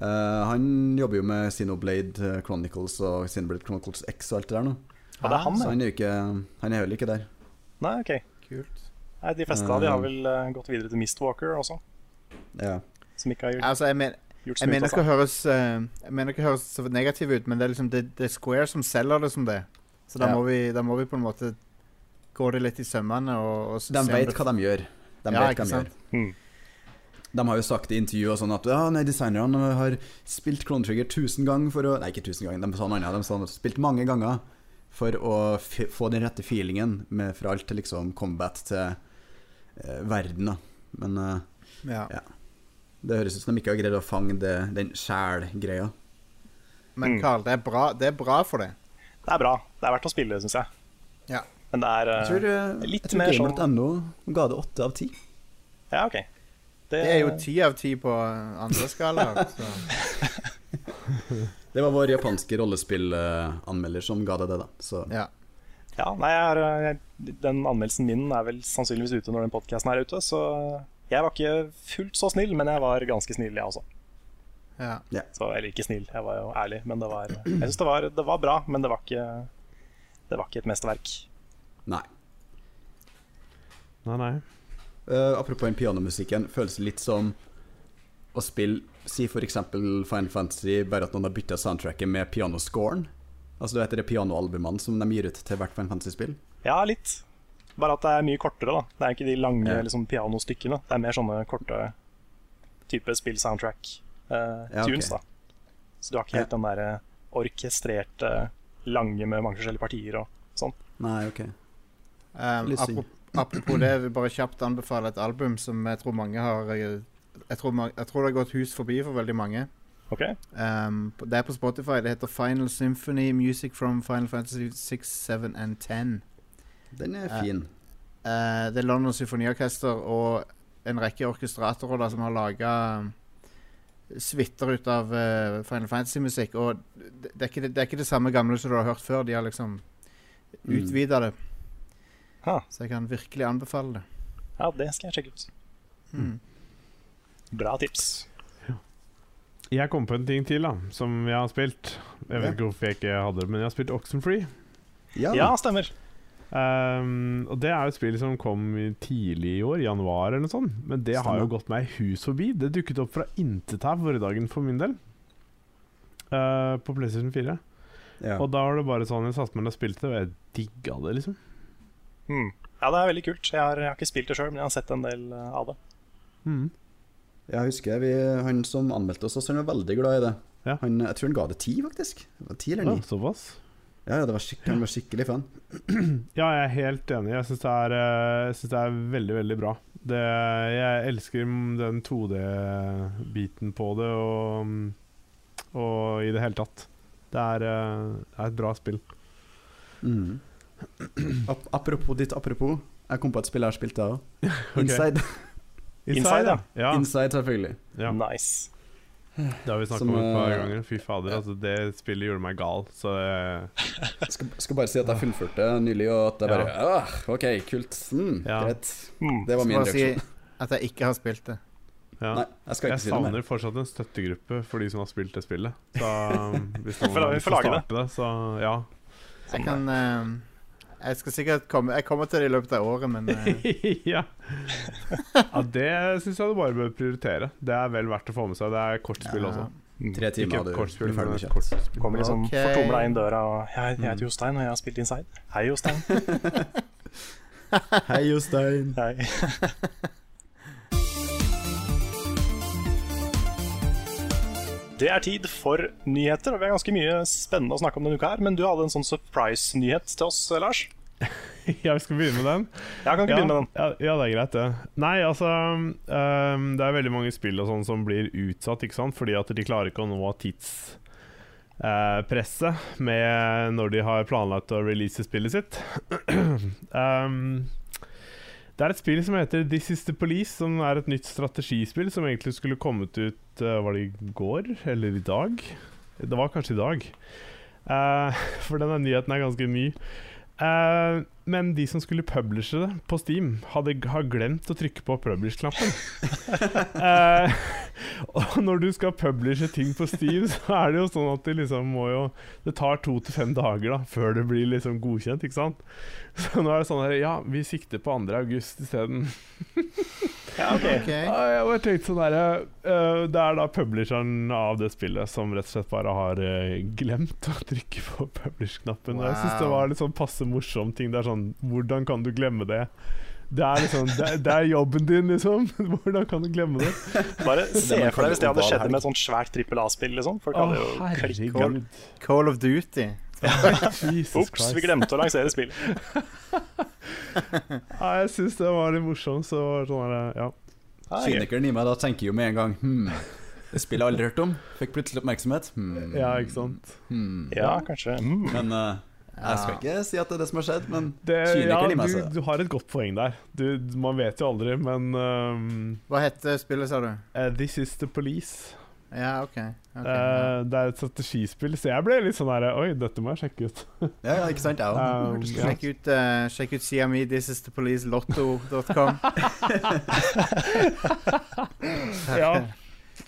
Eh, han jobber jo med Sinoblade Chronicles og Sinoblade Chronicles X og alt det der nå.
Ja, det er han,
Så
det.
han er jo ikke Han er heller ikke der.
Nei, OK.
Kult.
Nei, de fleste av de har vel eh, gått videre til Mistwalker også,
Ja.
som ikke har
Altså, jeg, men,
gjort så
jeg
mye ut
mener
av
ikke
seg.
å høres eh, Jeg mener ikke å høres så negativ ut, men det er liksom det, det er Square som selger det som det. Så da,
Ja.
må, vi, da må vi på en måte går det litt i sømmene. Og, og så
De
ser
vet
det-
hva de gjør.
Ja,
De vet
ikke
hva de
sant?
gjør.
Mm.
De har jo sagt i intervju og sånn at ja, nei, designerne har spilt Clone Trigger 1000 ganger for å Nei, ikke 1000 ganger, de sa noe annet. De sa de har spilt mange ganger for å f få den rette feelingen med, fra alt til liksom combat til eh, verden, da. Men eh,
Ja.
det høres ut som de ikke har greid å fange det, den sjæl-greia.
Men
Mm.
Carl, det er bra, det er bra for det.
Det er bra. Det er verdt å spille, syns jeg.
Ja.
Men det er eh,
Jeg tror, eh,
litt
jeg tror
mer sånn-
Gamer.no ga det åtte av ti.
Ja, OK.
Det er jo ti av ti på eh, andre skalaer. så-
Det var vår japanske rollespillanmelder som ga det det, da. Så
Ja.
Ja, nei, jeg har, jeg, den anmeldelsen min er vel sannsynligvis ute når den podkasten er ute, så jeg var ikke fullt så snill, men jeg var ganske snill, jeg også.
Ja.
Så, eller ikke snill, jeg var jo ærlig, men det var Jeg syns det, var- det var bra, men det var ikke Det var ikke et mesterverk.
nei.
Nei, nei.
Eh, apropos den pianomusikken, føles det litt som å spille Si for eksempel Final Fantasy, bare at noen har bytta soundtracket med pianoscoren. Altså du vet de pianoalbumene som de gir ut til hvert Final Fantasy-spill?
Ja, litt. Bare at det er mye kortere, da. Det er ikke de lange
Ja.
liksom, pianostykkene. Det er mer sånne korte type
Ja, ok.
spill-soundtrack-tunes, da. Så du har ikke helt den derre orkestrerte, lange med mange forskjellige partier og sånn.
Nei, ok.
Um,
Litt synd.
apropos, apropos det, jeg vil bare kjapt anbefale et album som jeg tror mange har eh, Jeg tror, ma- jeg tror det har gått hus forbi for veldig mange.
OK?
Um, på- det er på Spotify. Det heter Final Symphony Music from Final Fantasy 6, 7 and 10.
Den er
Ja.
fin.
Eh, det er London Symfoniorkester og en rekke orkestratorer da, som har laga suiter ut av eh, Final Fantasy-musikk. Og det, det, er ikke, det, det er ikke det samme gamle som du har hørt før. De har liksom
Mm.
utvida det.
Ha,
Så jeg kan virkelig anbefale det.
ja, det skal jeg sjekke ut.
Mm.
Bra tips.
Jeg kom på en ting til da, som jeg har spilt. Jeg
Ja.
vet ikke hvorfor jeg ikke hadde det, men jeg har spilt Oxenfree.
Ja.
Ja, stemmer.
Ehm, og Det er jo et spill som kom i- tidlig i år, i januar eller noe sånt. Men det har jo
Stemmer.
gått meg hus forbi. Det dukket opp fra intet her vårdagen for min del. Eh, på PlayStation 4.
ja.
Og da var det bare sånn jeg satte meg ned og spilte, og jeg digga det, liksom.
Hmm. Ja, det er veldig kult. Jeg har, jeg har ikke spilt det sjøl, men jeg har sett en del eh, av det.
Mm.
Jeg husker vi, han som anmeldte oss, han var veldig glad i det.
Ja.
Han, jeg tror han ga det ti, faktisk. Det var Ti eller
Ja,
ni.
såpass.
Ja, ja, det var skikk- han var skikkelig fan.
Ja, jeg er helt enig. Jeg syns det, er, eh, jeg synes det er veldig, veldig bra. Det, jeg elsker m- den 2D-biten på det, og, og i det hele tatt. Det er, eh, det er et bra spill.
Mm. Ap apropos ditt apropos, jeg kom på et spill jeg har spilt, jeg òg. Inside.
Inside, ja.
ja.
Inside, selvfølgelig.
ja.
Nice.
Det har vi snakket
Som,
om et par
eh,
ganger. Fy fader, altså, det spillet gjorde meg gal. Så eh,
skal, skal bare si at jeg fullførte nylig, og at jeg bare «Åh, OK, kult. Mm,
Ja.
Greit.
Hmm.
Det var
Skal
min
bare si
reaksjon.
at jeg ikke har spilt det.
ja.
Nei, jeg skal ikke
Jeg
si noe mer.
savner fortsatt en støttegruppe for de som har spilt det spillet. Så um, hvis
Får
noen
vi
vil
får lage det.
starte det, så ja.
Jeg kan eh, Jeg skal sikkert komme Jeg kommer til det i løpet av året, men eh,
ja. ja, det syns jeg du bare bør prioritere. Det er vel verdt å få med seg. Det er kortspill
Ja.
også.
Tre timer,
Ikke
og du
kortspill,
blir
men
ferdig med kjøtt.
kortspill.
hmm. Kommer liksom
Ok. Hmm.
fortumla inn døra og Jeg, jeg heter Jostein, og jeg har spilt Inside. Hei, Jostein.
Hei, Jostein.
Hei. Det er tid for nyheter, og vi har ganske mye spennende å snakke om denne uka her. Men du hadde en sånn surprise-nyhet til oss, Lars.
Ja, vi skal begynne med den.
Jeg kan ikke
Ja,
begynne med den.
ja, ja, det er greit, det. Nei, altså um, Det er veldig mange spill og sånn som blir utsatt, ikke sant? Fordi at de klarer ikke å nå tidspresset med når de har planlagt å release spillet sitt. um, det er et spill som heter This Is The Police, som er et nytt strategispill som egentlig skulle kommet ut eh, Var det i går? Eller i dag? Det var kanskje i dag. Eh, for denne nyheten er ganske ny. Eh, men de som skulle publishe det på Steam, hadde g- har glemt å trykke på publish-knappen. Eh, og når du skal publishe ting på Steam, så er det jo sånn at det liksom må jo Det tar to til fem dager da før det blir liksom godkjent, ikke sant? Så nå er det sånn her Ja, vi sikter på 2. august isteden.
Ja, ok.
Ok.
Ja, jeg bare tenkte sånn der, eh, Det er da publisheren av det spillet som rett og slett bare har eh, glemt å trykke på publish-knappen. Og Jeg syns det
Wow.
var litt sånn passe morsom ting. Det er sånn Hvordan kan du glemme det? Det er liksom Det, det er jobben din, liksom. Hvordan kan du glemme det?
Bare se
man
for deg hvis det hadde
kaller oval
skjedd
helg.
med et sånt svært trippel A-spill. Liksom. Folk
Å,
hadde jo klikket
herregud.
Call of Duty.
Jesus
Ops, vi
Christ.
glemte å lansere spill.
Ja, jeg syns det var litt morsomt. Så var det sånn der, ja.
Ah, gøy.
Kynikeren i meg da tenker jo med en gang Hm, det spillet jeg aldri hørt om. Fikk plutselig oppmerksomhet. Hmm,
ja, ikke sant.
hmm.
Ja, kanskje. Mm.
Men eh, jeg skal ikke si at det er det som har skjedd, men
Det, ja,
kynikeren i meg
du,
sier det.
du har et godt poeng der. Du, man vet jo aldri, men ehm,
Hva heter spillet, sa du?
eh, This is the police.
Ja, OK. ok, ja.
Eh, det er et strategispill, så jeg ble litt sånn her Oi, dette må jeg sjekke ut.
Ja, ja, ikke sant? Jeg
Um,
òg.
ja.
Sjekk ut, uh, sjekk ut sida mi thisisthepolicelotto.com.
ja.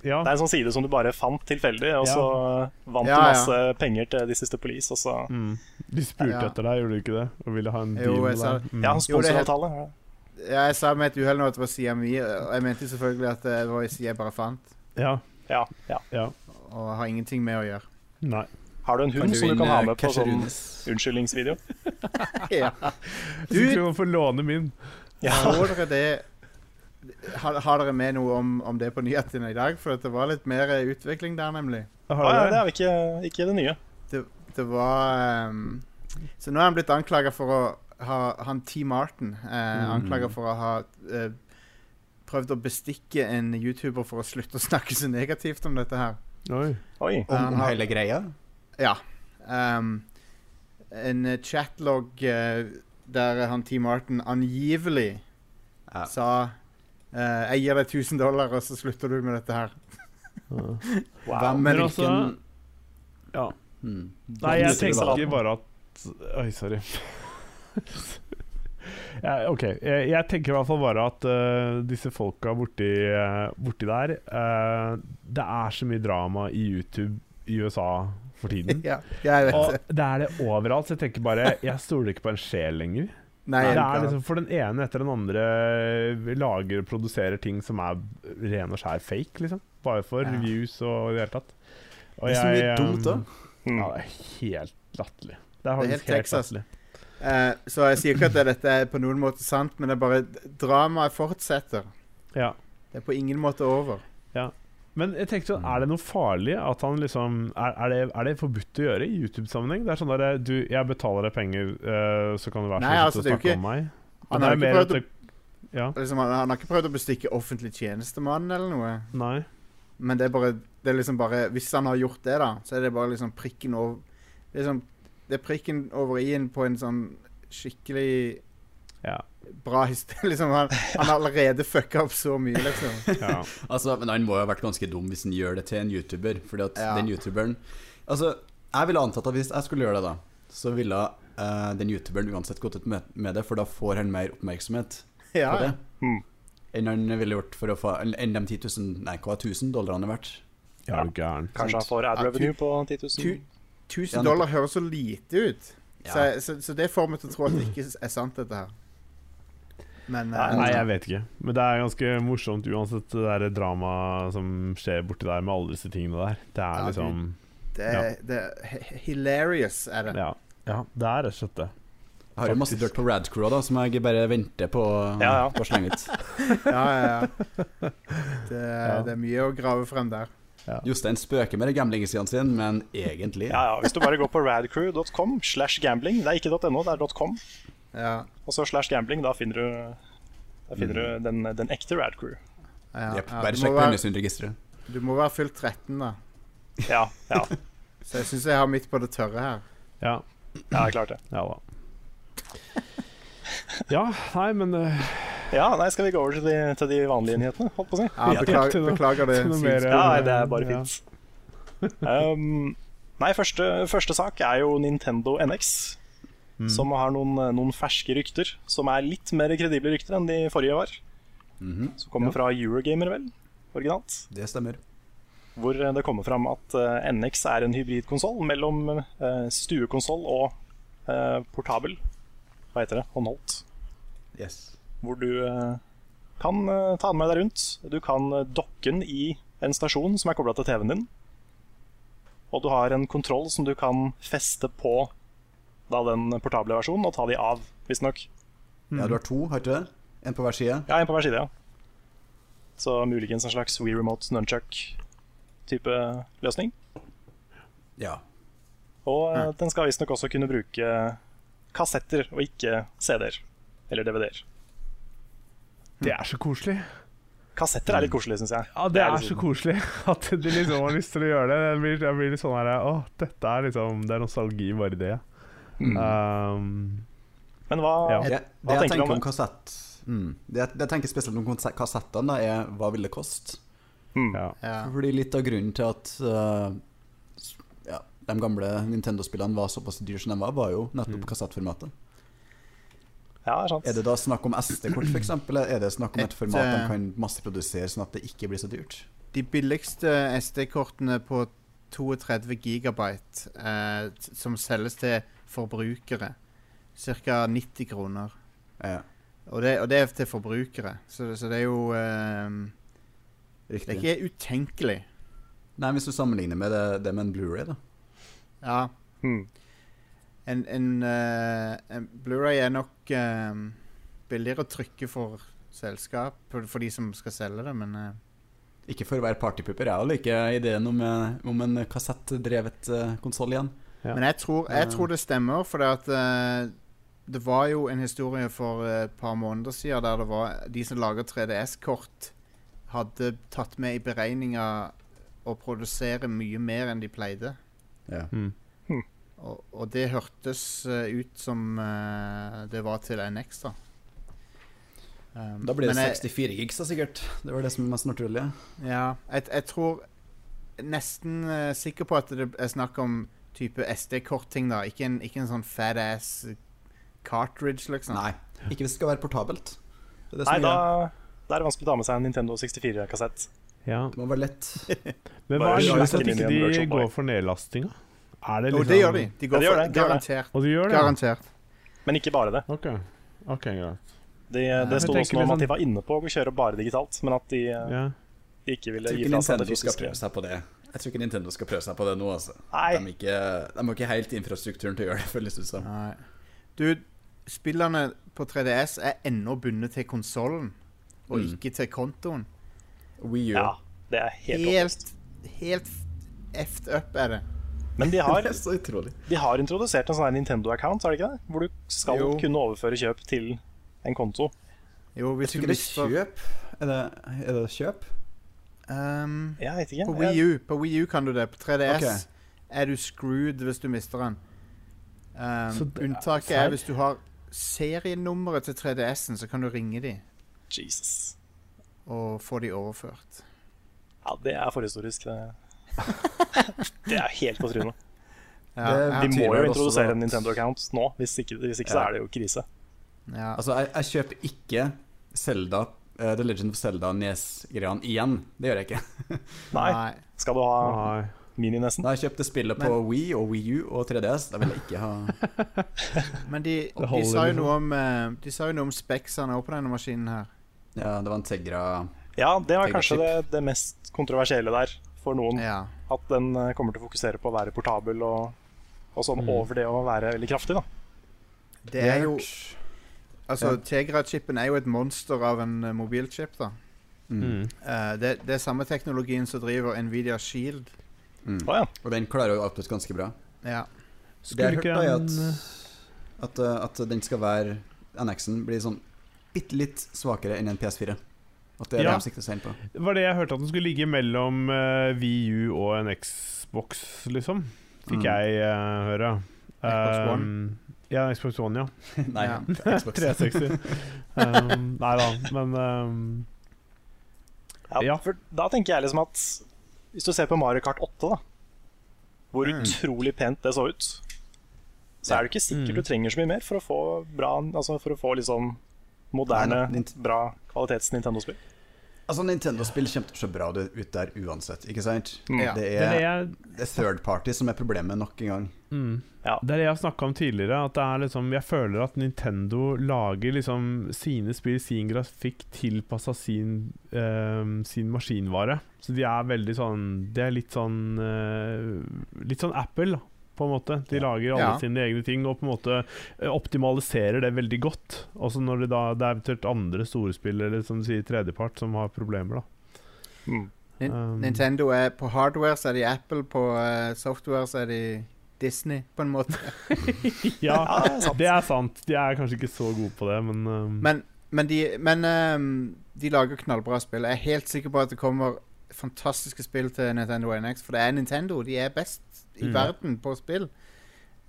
ja.
Det er en sånn side som du bare fant tilfeldig, og
Ja.
så vant du
Ja, ja.
masse penger til de siste police, og så
Mm. De spurte
Ja.
etter deg, gjorde de ikke det? Og ville ha en
Jo,
deal
jeg
med
sa-
deg? Mm.
Ja,
Jo, det er helt-
sponsoravtale. ja.
Ja, jeg sa med et uhell nå at det var sida mi, og jeg mente jo selvfølgelig at eh, det var ei side jeg bare fant.
ja.
Ja, ja.
ja.
Og har ingenting med å gjøre.
Nei.
Har du en hund som du kan ha med på sånn
Casherunes?
unnskyldningsvideo?
Ja.
Jeg
Du-
skulle jo få låne min.
Ja.
Så dere det har, har dere med noe om, om det på nyhetene i dag? For at det var litt mer eh, utvikling der, nemlig.
Ah, ja,
Har du
det
det?
er jo ikke, ikke det nye.
Det var ehm, Så nå er han blitt anklaga for å ha Han T. Martin eh,
Mm.
anklaga for å ha eh, prøvd å bestikke en YouTuber for å slutte å snakke så negativt om dette her.
Oi.
Oi.
Om,
Um,
om hele greia?
Ja. ehm, en eh, chatlog eh, der han T. Martin angivelig
Ja.
sa eh, 'Jeg gir deg 1000 dollar, og så slutter du med dette her'.
Ja.
Wow.
Hvem,
Men
hvilken
altså- Ja.
Hmm.
Nei, jeg
Hvilken salaten?
tenker bare at Oi, sorry. Ja, OK. Jeg, jeg tenker i hvert fall bare at øh, disse folka borti, øh, borti der øh, Det er så mye drama i YouTube i USA for
Mm.
tiden.
ja, jeg vet
Og
det.
det er det overalt, så jeg tenker bare Jeg stoler ikke på en sjel lenger.
Nei,
Det
jeg
er
vet ikke.
liksom For den ene etter den andre eh, lager og produserer ting som er ren og skjær fake, liksom. Bare for
Ja.
views og i det hele tatt. Og
Det er så mye
jeg,
dumt
um,
òg.
Mm.
Ja, det er helt latterlig. Det er
helt
faktisk helt,
Texas.
latterlig.
Eh, så jeg sier ikke at dette er på noen måte sant, men det er bare dramaet fortsetter.
Ja.
Det er på ingen måte over.
Men jeg tenkte
Mm.
sånn, er det noe farlig at han liksom Er, er, det, er det forbudt å gjøre i YouTube-sammenheng? Det er sånn derre Du, jeg betaler deg penger, eh, så kan du være
Nei,
så
altså,
snill å
det er jo
snakke
ikke-
om meg. Men
Han
det
har,
er
ikke
mer at
prøvd,
det Ja.
å, liksom, han, han har ikke prøvd å bestikke offentlig tjenestemann eller noe.
Nei.
Men det er bare, det er liksom bare Hvis han har gjort det, da, så er det bare liksom prikken over liksom, Det er prikken over i-en på en sånn skikkelig
Ja.
bra historie. Liksom, han, han har allerede fucka opp så mye, liksom.
ja.
Altså, men han må jo ha vært ganske dum hvis han gjør det til en YouTuber. Fordi at
Ja.
den YouTuberen Altså, jeg ville antatt at hvis jeg skulle gjøre det, da, så ville eh, den YouTuberen uansett gått ut med, med det, for da får han mer oppmerksomhet
Ja,
på det.
Mm.
Enn han ville gjort for å få Enn de 10 000 Nei, hva er 1000 dollar han er verdt?
Ja, er du gæren.
Kanskje han får ad
Ja, tu-
revenue på 10 000?
tu- 1000 dollar høres så lite ut. Så, jeg- så, så det får meg til å tro at det ikke er sant, dette her. Men eh,
Nei, jeg vet ikke. Men det er ganske morsomt uansett, det der dramaet som skjer borti der med alle disse tingene der. Det er
Ja,
liksom
det, er, det er hi- hilarious, er det.
Ja. ja det er rett og slett det.
Jeg har jo masse
Faktisk.
dirt på Radcrow, da, som jeg bare venter på eh,
Ja, ja.
på å slenge ut.
Ja, ja, ja. Det,
Ja.
det er mye å grave frem der.
Jostein spøker med det gamblingsidene sine, men egentlig
Ja, ja. Hvis du bare går på radcrew.com slash gambling, det er ikke .no, det er .com,
Ja,
og så slash gambling, da finner du da finner du den, den ekte Radcrew.
ja,
Jep,
ja.
Bare
Du, må
sjekk
være,
Brønnøysundregisteret.
du må være fylt 13, da.
Ja, ja,
Så jeg syns jeg har midt på det tørre her.
Ja.
ja, klart det.
Ja da. Ja, nei, men eh,
Ja, nei, skal vi gå over til de, til de vanlige nyhetene, holdt på å si?
Ja,
Ja, til
beklager,
noe-
beklager det.
til noe
svinsk-
mer.
Ja, nei, det er bare
Ja.
fint. Um, nei, første, første sak er jo Nintendo NX, som har noen, noen ferske rykter. Som er litt mer kredible rykter enn de forrige var.
Mhm,
Som kommer fra Eurogamer, vel? Originalt.
Det stemmer.
Hvor det kommer fram at eh, NX er en hybridkonsoll mellom uh, stuekonsoll og eh, portabel. Hva heter det? Håndholdt.
Yes.
Hvor du eh, Kan eh, ta den med deg rundt. Du kan eh, dokke den i en stasjon som er kobla til TV-en din. Og du har en kontroll som du kan feste på da, den portable versjonen, og ta de av, visstnok. Hmm.
Ja, du har to, har du ikke det? En på hver side.
Ja, en på hver side, ja. Så muligens en slags We Remote Nunchuck-type løsning.
Ja.
Og eh, den skal visstnok også kunne bruke kassetter og ikke CD-er eller DVD-er.
Det er så koselig.
Kassetter er litt koselig, syns jeg.
Ja, det er så koselig at de liksom har lyst til å gjøre det. Jeg blir, jeg blir litt sånn her Å, dette er liksom Det er nostalgi bare i det. Um,
sånn. Men hva
Ja.
Det,
Hva
det jeg
tenker du om
tenker om
det?
kassett mm. det, jeg- det jeg tenker spesielt om konse- kassettene, da, er hva vil det koste?
mm.
ja.
Ja.
Fordi litt av grunnen til at eh, s- ja, de gamle Nintendo-spillene var såpass dyre som de var, var jo nettopp kassettformatet.
Ja, det er sant.
Er det da snakk om SD-kort, f.eks.? Er det snakk om et
Et,
format de
eh,
kan masseprodusere, sånn at det ikke blir så dyrt?
De billigste SD-kortene på 32 gigabyte eh, t- som selges til forbrukere, ca. 90 kroner.
Ja,
Og det, og det er til forbrukere, så, det- så det er jo eh, Det
riktig.
er ikke utenkelig.
Nei, hvis du sammenligner med det, det med en Blu-ray, da.
Ja,
Hmm.
en, en, eh, en Blu-ray er nok eh, billigere å trykke for selskap, for, for de som skal selge det, men eh,
Ikke for å være partypupper, jeg liker ideen om, eh, om en kassettdrevet uh, konsoll igjen.
Ja.
Men jeg tror,
Ja.
jeg tror det stemmer, for det, at, eh, det var jo en historie for eh, et par måneder siden der det var de som lager 3DS-kort, hadde tatt med i beregninga å produsere mye mer enn de pleide.
Ja.
Mm.
Og, og det hørtes eh, ut som eh, det var til NX, da. Um,
Da blir det
men jeg-
64 gigs, da, sikkert. Det var det som er mest naturlig.
Ja, jeg, jeg tror Nesten eh, sikker på at det er snakk om type SD-kortting, da. Ikke en, ikke en sånn fat ass cartridge, liksom.
Nei, ikke hvis det skal være portabelt. Det, er det som
Nei,
er
da
greia.
det er vanskelig å ta med seg en Nintendo 64-kassett.
ja.
Det må være lett.
Men hva
Bare
er
slenge
grunnen til at
den inn i
ikke
en
de
workshop,
går
bare.
for nedlastinga? Er det
Jo,
liksom
det gjør de. De
Ja,
går
de gjør
for
det, de gjør det.
Garantert.
Og du gjør det?
Garantert.
Men ikke bare det.
Ok, ok, greit.
De,
jeg
det sto
tenker
også noe om
liksom-
at de var inne på å kjøre bare digitalt, men at de, eh,
Ja.
de ikke ville gi fra seg
Jeg tror ikke
det
Nintendo skal
fysiske.
prøve seg på det. Jeg tror ikke Nintendo skal prøve seg på det nå, altså. De,
Nei,
er ikke, de har ikke helt infrastrukturen til å gjøre det, føles det som.
Nei. Du, spillene på 3DS er ennå bundet til konsollen, og
Mm.
ikke til kontoen.
Wii U.
ja, det er helt oppløst.
Helt, helt effed up er det.
Men de har,
Det er så utrolig.
de har introdusert en sånn her Nintendo-account, har de ikke det? Hvor du skal
Jo.
kunne overføre kjøp til en konto.
Jo,
Jeg
hvis
tror
du
ikke det
mister
er kjøp. Er det, er det kjøp?
um,
Jeg vet ikke.
På
jeg-
Wii U, på Wii U kan du det. På 3DS
Ok.
er du screwed hvis du mister den. Um,
Så det er
unntaket
feil.
er hvis du har serienummeret til 3DS-en, så kan du ringe de
Jesus.
og få de overført.
Ja, det er forhistorisk. Det, det er helt på trynet.
Ja,
Det-
ja,
De må
tyder
jo
det også
introdusere
da.
en Nintendo-account nå, hvis ikke, hvis ikke så
Ja.
er det jo krise.
ja.
Altså, jeg, jeg kjøper ikke Zelda, eh, The Legend of Zelda Nes-greiene igjen. Det gjør jeg ikke.
Nei,
Nei.
skal du ha
Nei.
mini nesten?
Da jeg kjøpte spillet på Wii og Wii U og 3DS, da vil jeg ikke ha
Men de,
Det
de,
holder
sa jo
liksom.
noe om, eh, de sa jo noe om speksene også på denne maskinen her.
Ja, det var en Tegra
Ja, det var
Mega
kanskje det, det mest kontroversielle der for noen.
Ja.
At den eh, kommer til å fokusere på å være portabel og, og sånn over det å være veldig kraftig, da.
Det er jo Altså,
Ja.
Tegra-chipen er jo et monster av en eh, mobilchip, da.
Mm.
Mm.
Eh, det, det er samme teknologien som driver Nvidia Shield.
Mm.
Å ja.
Og den klarer jo output ganske bra.
Ja.
Det jeg
Skulle
har hørt,
ikke
da, er
en
at, at, eh, at den skal være NX-en blir sånn bitte litt svakere enn en PS4. At det er
Ja.
det de sikter seg inn på.
Det eh, var det jeg hørte at den skulle ligge mellom uh, VU og en Xbox, liksom. Fikk
Mm.
jeg eh, høre.
Xbox One?
Um, ja, en Xbox One, ja.
Nei,
Ja.
Xbox.
360. um, nei da, men um,
Ja,
Ja.
For da tenker jeg liksom at hvis du ser på Mario Kart 8, da, hvor
Mm.
utrolig pent det så ut, så
Ja.
er det ikke sikkert
Mm.
du trenger så mye mer for å få bra Altså for å få liksom moderne,
Nei, nei, Nint-
bra kvalitets-Nintendo-spill.
Altså, Nintendo-spill kommer til å se bra ut der uansett, ikke sant?
Mm.
Ja.
Det
Det er det
er,
jeg
det er third party som er problemet nok en gang.
Mm.
Ja.
Det er det jeg har snakka om tidligere. At det er liksom, jeg føler at Nintendo lager liksom sine spill, sin grafikk, tilpassa sin, eh, sin maskinvare. Så de er veldig sånn Det er litt sånn eh, Litt sånn Apple, da, på en måte. De lager alle
Ja.
sine egne ting og på en måte eh, optimaliserer det veldig godt. Også når det da det er eventuelt andre storspill eller som du sier tredjepart som har problemer, da.
Mm.
Nin-
Um,
Nintendo er på hardware, så er de Apple. På eh, software, så er de Disney, på en måte.
Mm.
ja,
Ja, det er sant.
det er sant. De er kanskje ikke så gode på det, men, um,
Men, men, de, men ehm, de lager knallbra spill. Jeg er helt sikker på at det kommer fantastiske spill til Nintendo NX, for det er Nintendo. De er best i
Mm.
verden på spill.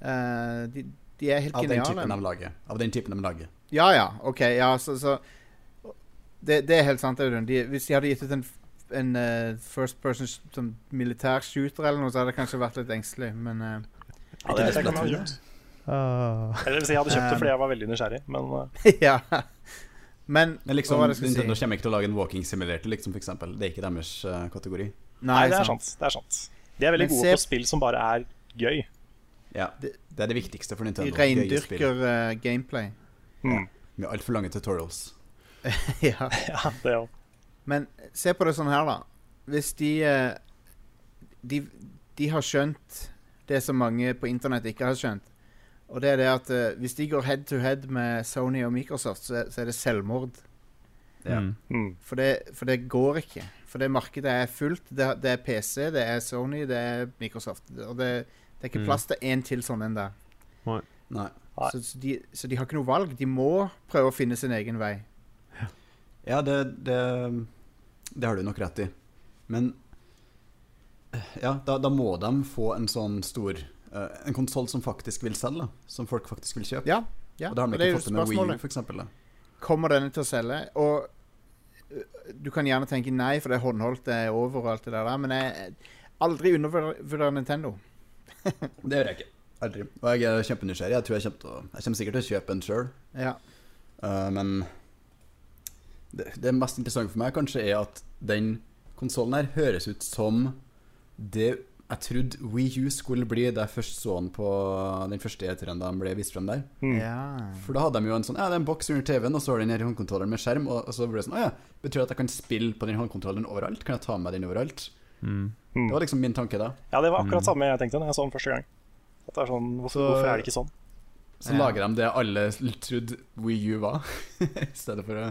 Eh, de, de er helt
Av den typen de
geniale.
lager. Av den typen de lager.
Ja, ja. OK. Ja, så, så det, det er helt sant, Audun. De, hvis de hadde gitt ut en, f- en eh, first person sh- som militær shooter eller noe, så hadde jeg kanskje vært litt engstelig, men eh,
Ja, det vet jeg ikke om jeg hadde gjort.
ah.
Eller hvis jeg hadde kjøpt det fordi jeg var veldig nysgjerrig, men eh,
Ja. Men
Men liksom,
Hva var det jeg skulle
Nintendo
si?
kommer ikke til å lage en walking simulator, liksom, for eksempel. Det er ikke deres eh, kategori.
Nei, det er sant. Det er sant. De er veldig
Men
gode
se-
på spill som bare er gøy.
Ja, Det er det viktigste for
De
Nintendo. Gøye spill.
reindyrker eh, gameplay.
Mm.
Med altfor lange tutorials.
ja.
Ja, det òg.
Men se på det sånn her, da. Hvis de eh, De, de har skjønt det som mange på internett ikke har skjønt. Og det er det at eh, hvis de går head to head med Sony og Microsoft, så, er- så er det selvmord.
Ja.
Mm.
Mm.
For det, for det går ikke. For det markedet er fullt. Det, det er PC, det er Sony, det er Microsoft. Og det, det er ikke
Mm.
plass til én til sånn en der.
Nei.
Nei.
Så, så, de, så de har ikke noe valg. De må prøve å finne sin egen vei.
Ja, det, det, det har du nok rett i. Men ja, da, da må de få en sånn stor eh, En konsoll som faktisk vil selge, da. Som folk faktisk vil kjøpe.
Ja, ja.
Og det har
og
de
det er
ikke
jo
fått til med Wii U,
spørsmålet.
for eksempel. Da.
Kommer denne til å selge? Og øh, du kan gjerne tenke nei, for det er håndholdt, det er over og alt det der, men jeg eh, aldri undervurder Nintendo.
Det gjør jeg ikke. Aldri. Og jeg er kjempenysgjerrig. Jeg tror jeg kommer, til å, jeg kommer sikkert til å kjøpe en sjøl.
Ja.
Eh, men det, det mest interessante for meg kanskje er at den konsollen her høres ut som det jeg trodde Wii U skulle bli da jeg først så den på den første E3-en da den ble vist frem der.
Mm.
ja.
For da hadde de jo en sånn Ja, det er en boks under TV-en, og så har du den her håndkontrolleren med skjerm, og, og så ble det sånn Å ja, betyr det at jeg kan spille på den håndkontrolleren overalt? Kan jeg ta med den overalt?
Mm.
Mm.
Det var liksom min tanke da.
Ja, det var akkurat samme jeg tenkte da jeg så den første gang. At det er sånn, hvorfor,
Så-
hvorfor er det ikke sånn?
Så
Ja.
lager de det alle trodde Wii U var, i stedet for å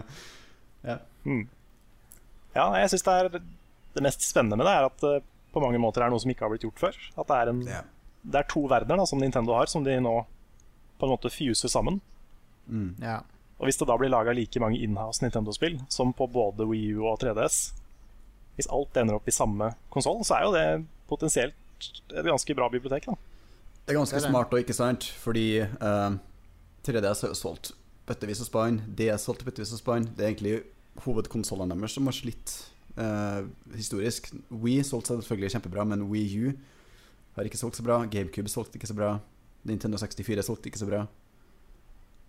Mm. Ja, nei, jeg syns det er det mest spennende med det, er at det på mange måter er noe som ikke har blitt gjort før. At det er, en,
Ja.
det er to verdener da, som Nintendo har, som de nå på en måte fuser sammen.
Mm.
ja.
Og hvis det da blir laga like mange inhouse Nintendo-spill som på både Wii U og 3DS Hvis alt ender opp i samme konsoll, så er jo det potensielt et ganske bra bibliotek, da.
Det er ganske
Det er det.
smart og ikke sant, fordi eh, 3DS har jo solgt bøttevis og spann. DS solgte bøttevis og spann. Det er egentlig hovedkonsollene deres som har slitt eh, historisk. We solgte seg selvfølgelig kjempebra, men Wii U har ikke solgt så bra. GameCube solgte ikke så bra. Nintendo 64 solgte ikke så bra.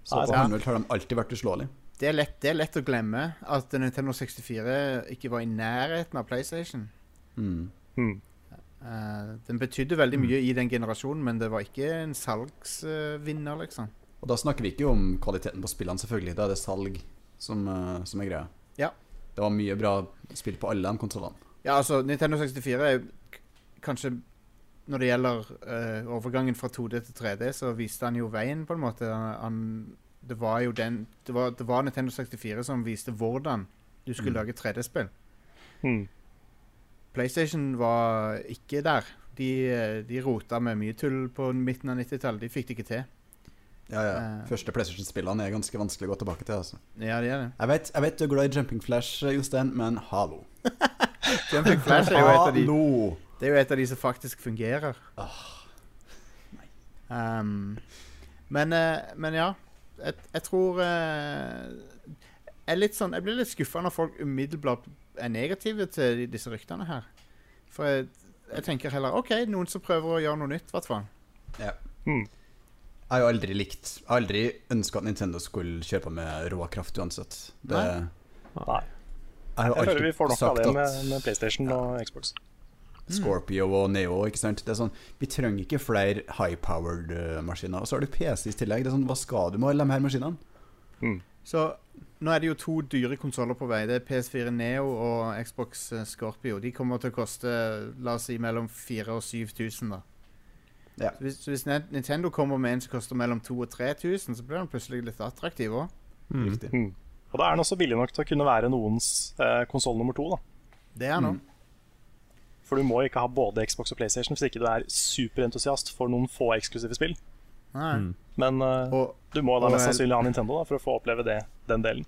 Så
Nei,
på
sant.
håndholdt har de alltid vært uslåelige.
Det, er lett, det er lett å glemme at Nintendo 64 ikke var i nærheten av PlayStation.
Mm.
Mm.
Eh, den betydde veldig mye i den generasjonen, men det var ikke en salgsvinner, liksom.
Og da snakker vi ikke om kvaliteten på spillene, selvfølgelig. Da er det salg som, eh, som er greia.
Ja.
Det var mye bra spill på alle de konsollene.
Ja, altså, Nintendo 64 er jo k- kanskje Når det gjelder eh, overgangen fra 2D til 3D, så viste han jo veien, på en måte. Han, han, det var jo den det var, det var Nintendo 64 som viste hvordan du skulle
Mm.
lage 3D-spill.
Mm.
PlayStation var ikke der. De, eh, de rota med mye tull på midten av 90-tallet. De fikk det ikke til.
Ja, ja.
Eh.
Første PlayStation-spillene er ganske vanskelig å gå tilbake til. altså.
Ja, de er det.
Jeg vet, jeg vet du er glad i Jumping Flash, Jostein, men hallo.
Jumping Flash er jo et av de
Hallo!
Det er jo et av de som faktisk fungerer. Um, men, eh, men ja. Jeg, jeg tror eh, jeg, er litt sånn, jeg blir litt skuffa når folk umiddelbart er negative til de- disse ryktene her. For jeg, jeg tenker heller OK, noen som prøver å gjøre noe nytt, i hvert fall.
Jeg har jo aldri likt Jeg har aldri ønska at Nintendo skulle kjøre på med rå kraft uansett. Det,
Nei.
har jo
Jeg føler
alltid
vi får nok av
sagt
det
at Mm.
med, med PlayStation og Xbox.
Scorpio og Neo, ikke sant. Det er sånn, vi trenger ikke flere high-powered eh, maskiner. Og så har du PC i tillegg. Det er sånn, Hva skal du med alle de her maskinene?
Så nå er det jo to dyre konsoller på vei. Det er PS4 Neo og Xbox eh, Scorpio. De kommer til å koste la oss si, mellom 4000 og 7000. da.
Ja.
Så hvis, så hvis Nin- Nintendo kommer med en som koster mellom 2000 og 3000, så blir den plutselig litt attraktiv òg.
Mm.
Riktig.
Mm. Og da er den også billig nok til å kunne være noens eh, konsoll nummer to. da
Det er nå.
Mm.
For du må ikke ha både Xbox og PlayStation hvis ikke du er superentusiast for noen få eksklusive spill.
Nei.
Men eh,
Og,
du må da
og-
mest sannsynlig ha Nintendo da for å få oppleve det, den delen.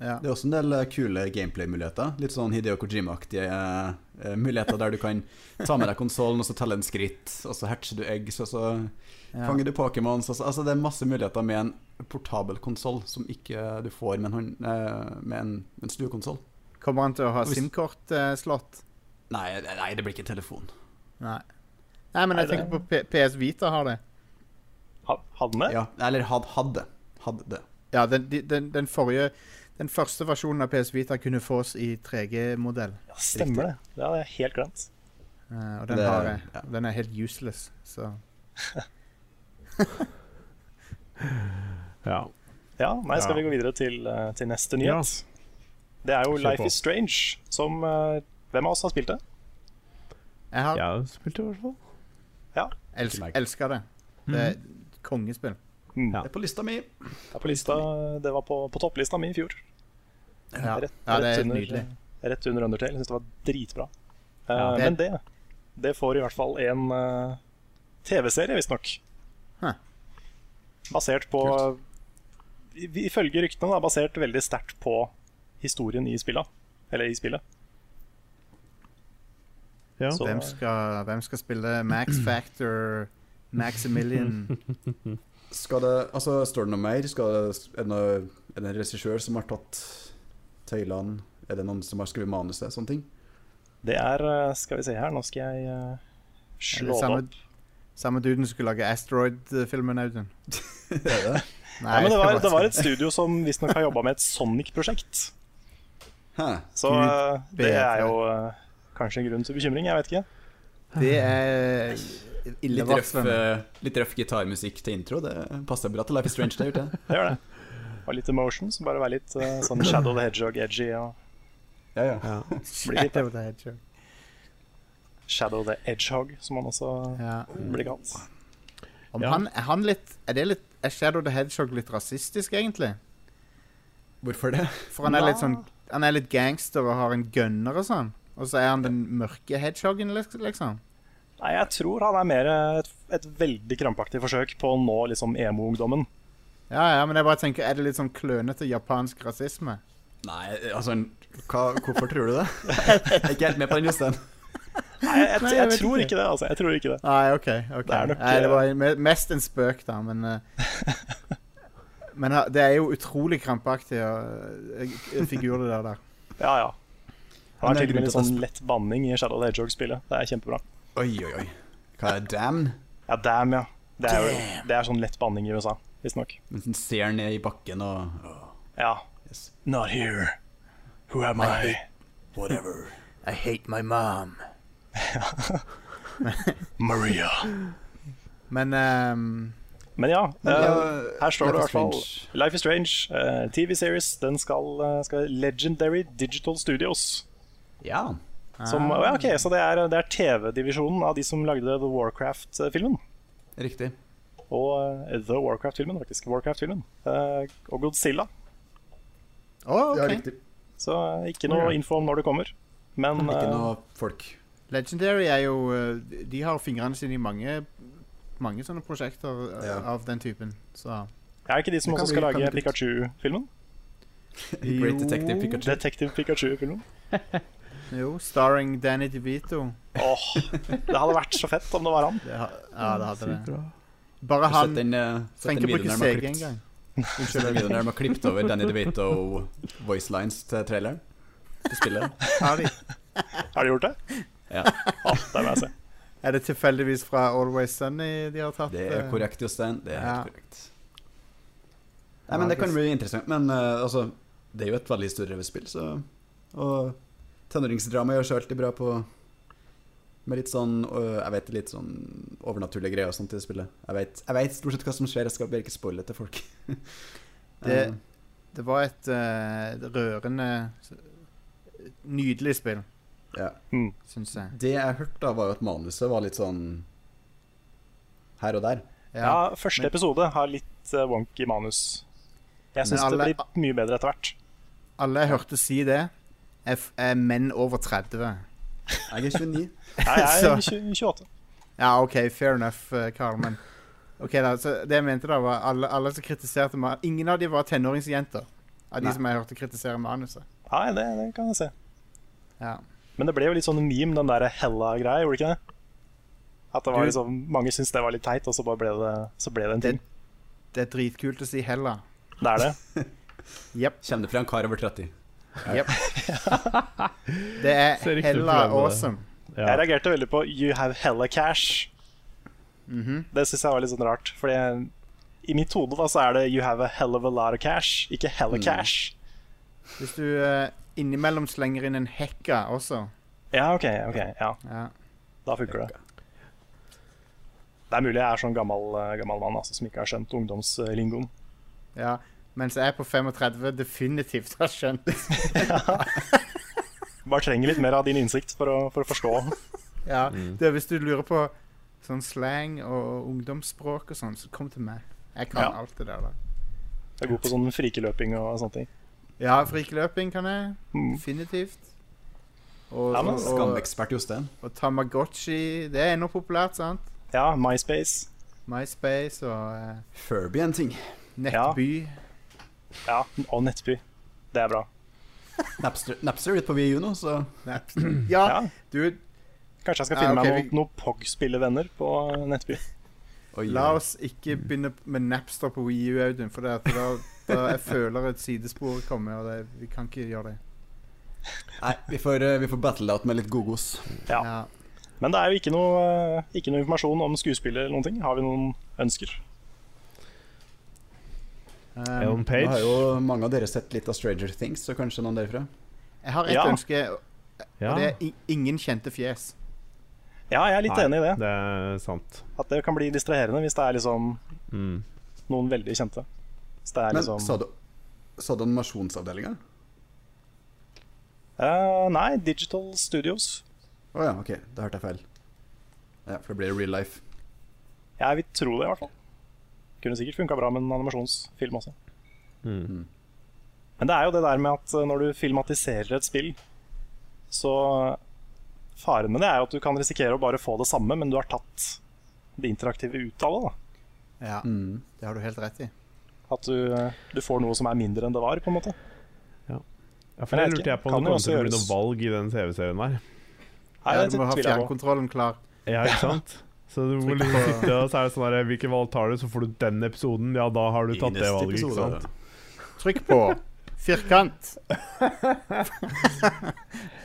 ja.
Det er også en del eh, kule gameplay-muligheter. Litt sånn Hideo Kojima-aktige eh, eh, muligheter der du kan ta med deg konsollen og så telle en skritt, og så hatcher du eggs, og så
Ja.
fanger du Pokémons. Altså, altså, det er masse muligheter med en portabel konsoll som ikke eh, du får med en, hånd- eh, med en, en stuekonsoll.
Kommer han til å ha eh,
Og hvis-
SIM-kort-slott?
Nei, nei, det blir ikke en telefon.
Nei. Nei, men
Nei, det-
jeg tenker på P PS Vita har det.
Ha- Hadde den det?
Ja, eller had, hadde. Hadde det.
Ja, den, de- den, den forrige Den første versjonen av PS Vita kunne fås i 3G-modell.
Ja, stemmer det. Det hadde jeg helt glemt.
Eh, og den
Det-
har jeg.
ja.
Den er helt useless, så
Ja.
Ja, nei, skal
Ja.
vi gå videre til, eh, til neste nyhet? Det er jo
Kjør på.
Life is Strange, som eh, Hvem av oss har spilt det?
Jeg har
Jeg har spilt det, i hvert fall.
elsk,
meg.
elska det. Det er et kongespill.
Ja.
Det er på lista mi.
Det, er på lista, det var på, på topplista mi i fjor.
Ja,
Rett,
ja det
rett
er
under,
nydelig.
Rett under Undertale. Jeg syns det var dritbra. Eh,
Ja.
Men det, det får i hvert fall en eh, TV-serie, visstnok.
Hæ.
Basert på i- Ifølge ryktene da, basert veldig sterkt på historien i spillet. Eller i spillet.
Ja.
Så-
Hvem skal, hvem skal spille Max Factor, Maximilian
Skal det, altså, står det noe mer? Skal det, er, det noe, er det en regissør som har tatt tøylene? Er det noen som har skrevet manuset? Sånne ting.
Det er eh, Skal vi se her, nå skal jeg eh,
Er
slå
det
det
samme,
opp.
samme duden som skulle lage Asteroid-filmen, Audun?
Er det?
Ja,
Nei,
men det, var,
bare
det var et studio som visstnok har jobba med et Sonic-prosjekt.
Hæ.
Så
Gud
eh, det er
bedre.
jo eh, kanskje en grunn til bekymring. Jeg vet ikke.
Det er
Litt røff,
illevarslende.
eh, litt røff gitarmusikk til intro. Det passer bra til Life is Strange. Det, har gjort det.
Det gjør det. Og litt emotion, så bare være litt eh, sånn Shadow the Hedgehog edgy. Og
Ja, ja.
Ja.
bli litt
Shadow the Hedgehog.
Shadow the Edgehog, som han også
Ja.
blir kalt.
Om
Ja.
han, er han litt Er det litt Er Shadow the Hedgehog litt rasistisk, egentlig?
Hvorfor det?
For han er litt
Ja.
sånn Han er litt gangster og har en gunner og sånn. Og så er han den mørke hedgehoggen, liks- liksom.
Nei, jeg tror han er mer eh, et, et veldig krampaktig forsøk på å nå liksom emo-ungdommen.
Ja, ja, men jeg bare tenker Er det litt sånn klønete japansk rasisme?
Nei, altså hva, Hvorfor tror du det? Jeg er ikke helt med på den, Jostein.
Nei, jeg, jeg,
Nei,
jeg,
jeg vet
tror
ikke.
ikke det, altså. Jeg tror ikke det.
Nei, OK. ok
Det er nok, eh,
Nei, det var me- mest en spøk, da, men eh, Men ha- det er jo utrolig krampaktig eh, eh, figur, det der. der.
Ja, ja. Han har
Men det
til og
er
med
grunn
litt
til å
sånn lett banning i Shadow the Hedgehog-spillet. Det er kjempebra.
Oi, oi, oi. Hva er damn?
Ja, damn, ja. Det er, jo, det er sånn lett banning i USA, visstnok.
Mens den ser ned i bakken og åh,
Ja.
yes.
Not here. Who am I?
Whatever.
I hate my mom.
Maria.
Men ehm,
Men ja, eh,
ja,
her står det i
Life
hvert
is
fall
Strange.
Life is Strange, eh, TV-series, den skal, eh, skal Legendary Digital Studios.
Ja.
Som,
Ah.
ja, ok, Så det er, det er TV-divisjonen av de som lagde The Warcraft-filmen.
Riktig.
Og eh, The Warcraft-filmen, faktisk. Warcraft-filmen eh, Og Godzilla.
Å,
Ja,
OK.
riktig.
Så eh, ikke noe
Ja.
info om når det kommer. Men
Ikke
eh,
noe folk.
Legendary er jo eh, De har fingrene sine i mange mange sånne prosjekter eh,
Ja.
av den typen. Så
er ikke de som
Det kan
også skal
bli- kan
lage
bli kult.
Pikachu-filmen?
Great Detective
Jo.
Pikachu.
Detektiv Pikachu-filmen?
Jo, starring Danny DeVito.
Åh, Det hadde vært så fett om det var han.
Det ha, ja, det hadde
Sykt
det.
bra.
Bare
Sett
han
den, eh, sett den
trenger ikke bruke
videoen der de har
CG
klippet-
engang.
Unnskyld, den videoen der de har klippet over Danny DeVito voice lines til traileren. Til spillet.
Har de?
Har de gjort det?
Ja.
Ah, det må jeg se.
Er det tilfeldigvis fra Always Sunny de har tatt?
Det er
eh?
korrekt, Jostein. Det er
Ja.
helt korrekt. Nei, men Det kan bli interessant. Men eh, altså, det er jo et veldig stort revyspill, så Og tenåringsdrama gjør seg alltid bra på Med litt sånn øh, Jeg vet litt sånn overnaturlige greier og sånt i det spillet. Jeg vet, jeg vet stort sett hva som skjer, jeg skal bare ikke spoile til folk.
Det-
Eh,
Det var et eh, rørende Nydelig spill,
ja.
Mm.
syns jeg.
Det jeg hørte da, var jo at manuset var litt sånn her og der.
Ja, første episode har litt eh, wonky manus. Jeg
Men
syns
alle-
det blir mye bedre etter hvert.
Alle jeg hørte si det, er, f er menn over 30.
Jeg er 29.
Nei, jeg er
Så-
20 28.
Ja, OK, fair enough, eh, Karl, men OK, da. Så det jeg mente, da, var alle, alle som kritiserte meg Ingen av de var tenåringsjenter. Av de
Nei.
som jeg hørte kritisere manuset.
Nei, det, det kan jeg se.
Ja.
Men det ble jo litt sånn meme, den der Hella-greia, gjorde det ikke det? At det var
Du-
liksom, Mange syntes det var litt teit, og så, bare ble, det, så ble det en ting.
Det er dritkult å si Hella.
Det er det.
Jepp.
Kjenner det fra en kar over 30.
Jepp. Det
Ser
er
riktig ut
Hella
for det.
awesome.
Ja.
Jeg reagerte veldig på 'You have hella cash'.
Mhm.
Det syns jeg var litt sånn rart. Fordi i mitt hode da så er det 'you have a hell of a lot of cash', ikke 'hella
Mm.
cash'.
Hvis du eh, innimellom slenger inn en hekka også.
Ja, OK. ok, ja,
Ja.
Da funker det. Det er mulig jeg er sånn gammel, eh, gammel mann altså, som ikke har skjønt ungdomslingoen.
ja. Mens jeg på 35 definitivt har skjønt
Bare trenger litt mer av din innsikt for å, for å forstå.
Ja,
Mm.
det er hvis du lurer på sånn slang og ungdomsspråk og sånn, så kom til meg. Jeg kan
Ja.
alt det der. da.
Jeg er god på sånn frikeløping og sånne ting.
Ja, frikløping kan jeg.
Mm.
Definitivt. Og,
Ja, men
og,
Skamekspert Jostein.
og Tamagotchi. Det er ennå populært, sant?
Ja, MySpace.
MySpace og eh,
Furby er en ting.
Nettby.
Ja, og Nettby. Det er bra.
Napster, Napster er litt på VU nå, så
Napster. Ja,
Ja,
du,
Kanskje jeg skal
Ja,
finne
ok,
meg
vi-
noen, noen POG-spillevenner på Nettby.
Oi,
la
oi.
oss ikke begynne med Napster på Wii U, Audun, for det at da, da jeg føler et sidespor komme, og det, vi kan ikke gjøre det.
Nei, vi får, eh, vi får battle det out med litt godgos.
Ja. Men det er jo ikke noe, eh, ikke noe informasjon om skuespiller eller noen ting. Har vi noen ønsker?
Um,
Ellen
Nå har
Page.
jo mange av dere sett litt av Stranger Things, så kanskje noen derfra?
jeg har ett
Ja.
ønske,
Ja,
og det er i- ingen kjente fjes.
Ja, jeg er litt
Nei.
enig i det.
det er sant.
At det kan bli distraherende hvis det er liksom
Mm.
noen veldig kjente. Hvis det er
Men
liksom
sa du, sa du animasjonsavdelinga?
Eh, Nei, Digital Studios.
Å ja, ok, da hørte jeg feil. Ja, For det blir real life.
Jeg vil tro det, i hvert fall. Kunne sikkert funka bra med en animasjonsfilm også.
Mm.
Men det er jo det der med at eh, når du filmatiserer et spill, så Faren med det er jo at du kan risikere å bare få det samme, men du har tatt det interaktive ut av det. da
Ja,
Mm.
det har du helt rett i.
At du, du får noe som er mindre enn det var, på en måte.
Ja, for det
Jeg vet
lurte
ikke.
jeg på
Kan
om det
jo
kommer til å bli
også
noe valg i den TV-serien der.
Nei,
Ja,
det
du må ha
tviler jeg på.
fjernkontrollen klar.
Ja, ikke sant? Så du må
Trykk
liksom
på-
sitte og så er det sånn der, Hvilke valg tar du, så får du den episoden. Ja, da har du tatt det valget, ikke sant?
Trykk på firkant.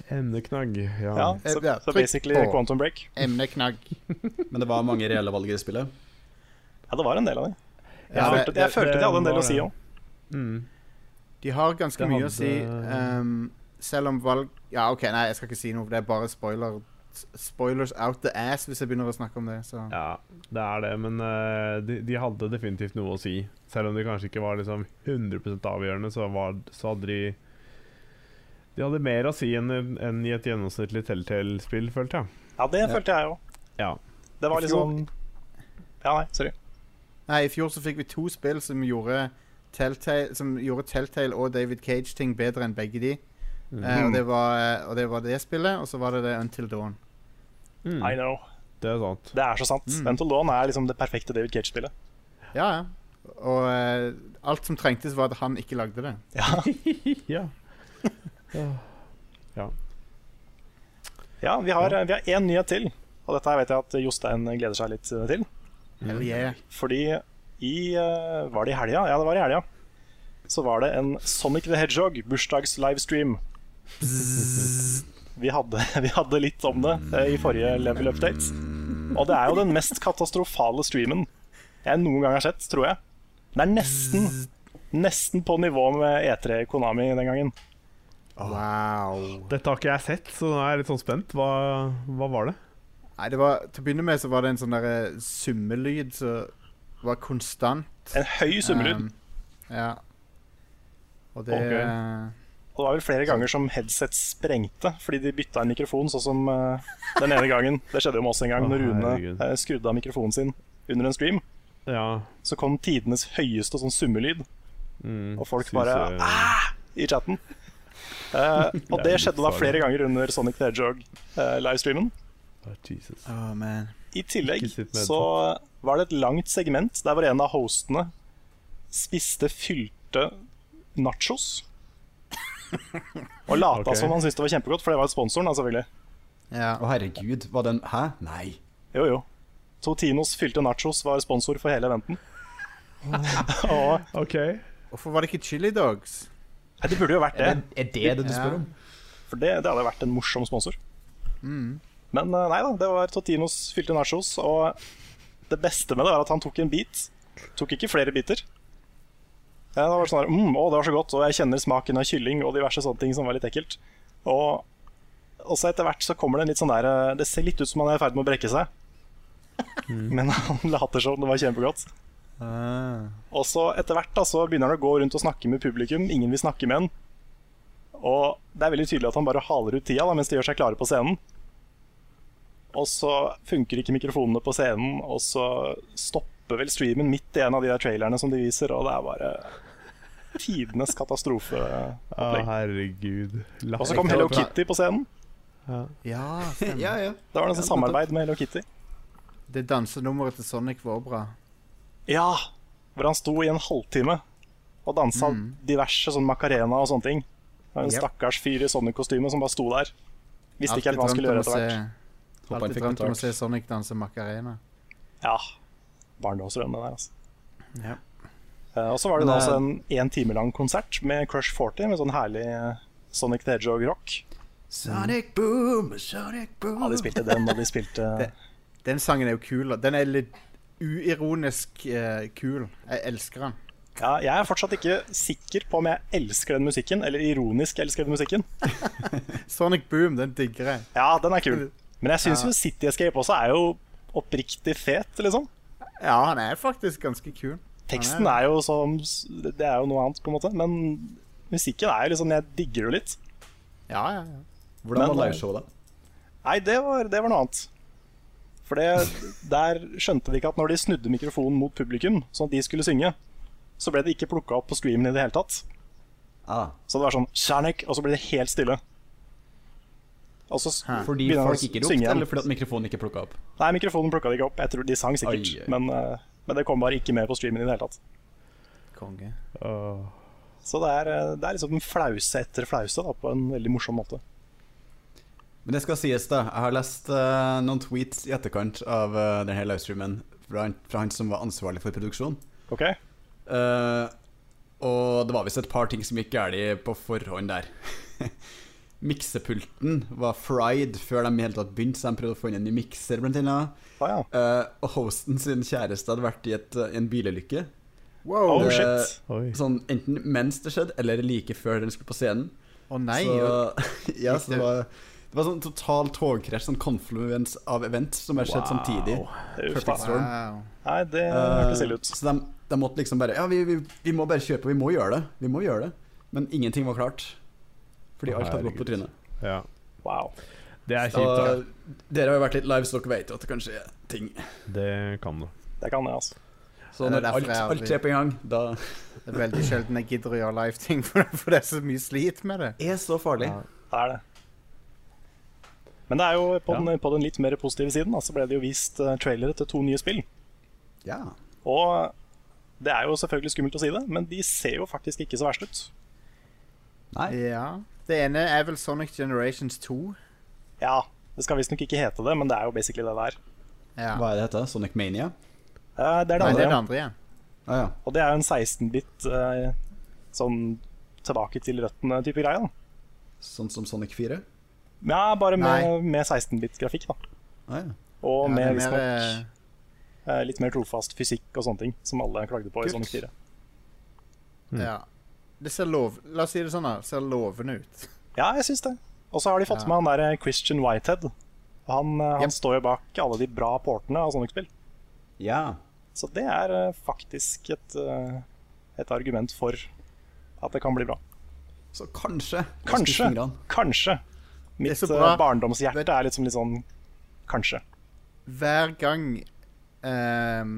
Emneknagg. Ja.
Ja, så,
Ja,
så
trykk
basically
på.
Quantum Break.
Emneknagg.
Men det var mange reelle valg i det spillet.
Ja, det var en del av det. Jeg,
Ja,
følte,
det,
jeg
det-
følte
det
de hadde en del
var
å si
det.
òg.
Mm.
de har ganske
det
mye å
hadde-
si, ehm, selv om valg Ja, OK, nei, jeg skal ikke si noe, for det er bare spoiler. s- Spoilers out the ass hvis jeg begynner å snakke om det. Så.
ja, det er det. Men eh, de, de hadde definitivt noe å si. Selv om de kanskje ikke var liksom 100 avgjørende, så, var, så hadde de De hadde mer å si enn enn i et gjennomsnittlig Telltale-spill, følte jeg.
Ja, det
Ja.
følte jeg òg.
Ja.
Det var
I
liksom Ja, nei, sorry.
Nei, I fjor så fikk vi to spill som gjorde Telltale, som gjorde Telltale og David Cage-ting bedre enn begge de.
Mm.
Eh, og, det var, eh, og det var det spillet, og så var det det Until Dawn.
Mm.
I know.
Det er sant.
Det er så sant.
Mm.
Mental Dawn er liksom det perfekte David Cage-spillet.
Ja, ja. Og eh, alt som trengtes, var at han ikke lagde det.
Ja.
ja.
ja, vi har vi har én nyhet til, og dette her vet jeg at Jostein gleder seg litt til.
Hell yeah.
Fordi i eh, Var det i helga? Ja, det var i helga. Så var det en Sonic the Hedgehog bursdags-livestream. Vi hadde, vi hadde litt om det eh, i forrige level update. Og det er jo den mest katastrofale streamen jeg noen gang har sett, tror jeg. E Det er nesten Nesten på nivå med E3 Konami den gangen.
Wow.
Dette har ikke jeg sett, så nå er jeg litt sånn spent. Hva, hva var det?
Nei, det var, til å begynne med så var det en sånn der eh, summelyd som var konstant.
En høy summelyd.
Um, ja. Og det
Ok.
eh,
Og det var vel flere ganger som headset sprengte fordi de bytta en mikrofon, sånn som eh, den ene gangen. Det skjedde jo med oss en gang
Å,
når Rune
herregud.
eh, skrudde av mikrofonen sin under en stream.
Ja.
Så kom tidenes høyeste sånn summelyd,
Mm,
og folk
synes
bare
jeg-
ah! i chatten. Eh, og
Det
det
er litt
skjedde da
farlig.
flere ganger under Sonic the eh, Hedgehog-livestreamen.
Ah, Jesus.
Oh, man.
I tillegg
Ikke sitt med
så var det et langt segment der hvor en av hostene spiste fylte nachos. Og lata
Ok.
som han syntes det var kjempegodt, for det var sponsoren. da, selvfølgelig
Ja.
Å, herregud. Var den Hæ? Nei.
Jo, jo. Totinos fylte nachos var sponsor for hele eventen. og
OK.
Hvorfor var det ikke chili dogs?
Nei, Det burde jo vært det,
Er det er det, det du spør om?
for det, det hadde vært en morsom sponsor. Men eh, nei da, det var Totinos fylte nachos, og det beste med det var at han tok en bit. Tok ikke flere biter. Ja, det var sånn der, mm, å, det var så godt, og jeg kjenner smaken av kylling og diverse sånne ting som var litt ekkelt. Og og så etter hvert så kommer det en litt sånn der eh, Det ser litt ut som han er i ferd med å brekke seg, men han later som det var kjempegodt.
Ah.
Og så etter hvert da, så begynner han å gå rundt og snakke med publikum. Ingen vil snakke med han. Og det er veldig tydelig at han bare haler ut tida da, mens de gjør seg klare på scenen. Og så funker ikke mikrofonene på scenen, og så stopper vel streamen midt i en av de der trailerne som de viser, og det er bare tidenes
Å,
katastrofeopplegg.
Ah, herregud.
Og så kom Hello Kitty på scenen.
Ja, stemmer.
Ja, ja.
Det var nesten samarbeid med Hello Kitty.
Det dansenummeret til Sonic var bra.
Ja, hvor han sto i en halvtime og dansa diverse sånn macarena og sånne ting. Det var En
Yep.
stakkars fyr i Sonic-kostyme som bare sto der. Visste ikke helt hva han skulle gjøre etter hvert.
Håper han
Alltid
fikk
drømt om å
kontakt.
se Sonic danse Macarena.
Ja, barndomsdrømmen der, altså.
Ja.
Eh, Og så var det
Men,
da også
eh,
en én time lang konsert med Crush 40, med sånn herlig eh, Sonic the Hedgehog-rock.
Sonic boom, sonic boom.
Ja, de spilte den, og de spilte
Det- Den sangen er jo kul. da. Den er litt uironisk eh, kul. Jeg elsker den.
ja, Jeg er fortsatt ikke sikker på om jeg elsker den musikken, eller ironisk elsker den musikken.
Sonic Boom, den digger jeg.
Ja, den er kul. Men jeg syns jo City Escape også er jo oppriktig fet, liksom.
Ja, han er faktisk ganske kul.
Teksten er jo som Det er jo noe annet, på en måte. Men musikken er jo liksom Jeg digger det jo litt.
Ja, ja, ja.
Hvordan
Men,
var liveshowet, da?
Nei, det var, det var noe annet. For det, der skjønte de ikke at når de snudde mikrofonen mot publikum, sånn at de skulle synge, så ble det ikke plukka opp på streamen i det hele tatt.
Ah,
Så det var sånn Sjanek, og så ble det helt stille. Og så s-
Hæ.
fordi
begynner han å
folk ikke
synge
ropte,
igjen.
eller fordi at mikrofonen ikke plukka opp?
Nei, mikrofonen plukka de ikke opp. Jeg tror de sang sikkert,
Ai, ai.
Men, eh, men det kom bare ikke med på streamen i det hele tatt.
Konge.
Åh.
Så det er, eh, det er liksom flause etter flause, da, på en veldig morsom måte.
Men det skal sies, da. Jeg har lest eh, noen tweets i etterkant av eh, denne livestreamen fra han, fra han som var ansvarlig for produksjon.
OK?
Eh, og det var visst et par ting som gikk galt på forhånd der. Miksepulten var fried før de i hele tatt begynte, så de prøvde å få inn en ny mikser, blant annet.
Å Ah, ja.
Eh, og hosten sin kjæreste hadde vært i et, eh, en bilulykke.
Wow.
Oh
Eh,
shit.
Oi.
Sånn enten mens det skjedde, eller like før den skulle på scenen.
Å nei. og-
så, ja, så det var, det var sånn total togkrasj, sånn confluence av event som har skjedd samtidig.
Uff,
Perfect
da.
storm.
Wow.
Nei, det
Eh,
hørtes ille ut.
Så de, de måtte liksom bare Ja, vi, vi, vi må bare kjøpe, vi må gjøre det. Vi må gjøre det. Men ingenting var klart. Fordi
Å,
alt hadde gått på
herregud.
trynet.
Ja.
Wow.
Det er kjipt. da.
Og dere har jo vært litt live, så dere vet jo at det kan skje ting.
Det kan du.
Det kan jeg, altså.
Det
Så
er
når
derfor
alt,
jeg aldri-
alt skjer på en gang, da
Det er veldig sjelden jeg gidder å gjøre live-ting, for, for det er så mye slit med det.
er så farlig.
Ja.
Det er det. Men det er jo på,
Ja.
den, på den litt mer positive siden da, så ble det jo vist eh, trailere til to nye spill.
Ja.
Og det er jo selvfølgelig skummelt å si det, men de ser jo faktisk ikke så verst ut.
Nei.
Ja. Det ene er vel Sonic Generations 2.
Ja, det skal visstnok ikke hete det, men det er jo basically det der.
Ja.
Hva er det heter? Sonic Mania?
Eh, det er det
Nei, det er det
andre.
andre igjen.
Ah, ja.
Og det er jo en 16-bit eh, sånn tilbake til røttene-type greie. da.
Sånn som Sonic 4?
Ja, bare med, med 16-bit-grafikk, da.
Ah, ja.
Og
Ja, det
med
er
visstnok
mer,
eh, litt mer trofast fysikk og sånne ting, som alle klagde på
Kult.
i Sonic 4.
eh, Ja. Det ser lov... La oss si det sånn, da. Ser lovende ut.
Ja, jeg syns det. Og så har de fått
Ja.
med han der eh, Christian Whitehead. Og Han, eh, han
Yep.
står jo bak alle de bra portene av sånne spill.
Ja.
Så det er eh, faktisk et, eh, et argument for at det kan bli bra.
Så kanskje. Jeg
Kanskje.
spiste fingrene.
Kanskje. Mitt
så
eh,
bra.
barndomshjerte er liksom litt sånn kanskje.
Hver gang ehm,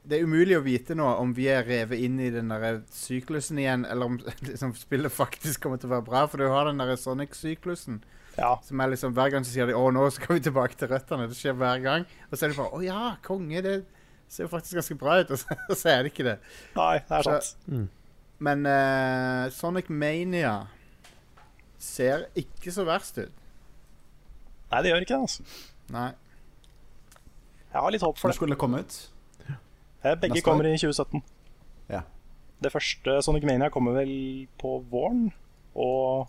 Det er umulig å vite nå om vi er revet inn i den der syklusen igjen, eller om liksom, spillet faktisk kommer til å være bra, for du har den der Sonic-syklusen.
Ja,
Som er liksom, Hver gang så sier de 'Å, nå skal vi tilbake til røttene'. Det skjer hver gang. Og så er det bare 'Å ja, konge, det ser jo faktisk ganske bra ut', og så, og så er det ikke det.
nei, det er
Så-
sant.
Men eh, Sonic Mania ser ikke så verst ut.
Nei, det gjør ikke det. altså
Nei.
Jeg har litt håp for
Når
det.
skulle det komme ut?
Eh, Begge
neste
kommer i 2017.
Ja.
Det første Sonic Mania kommer vel på våren. Og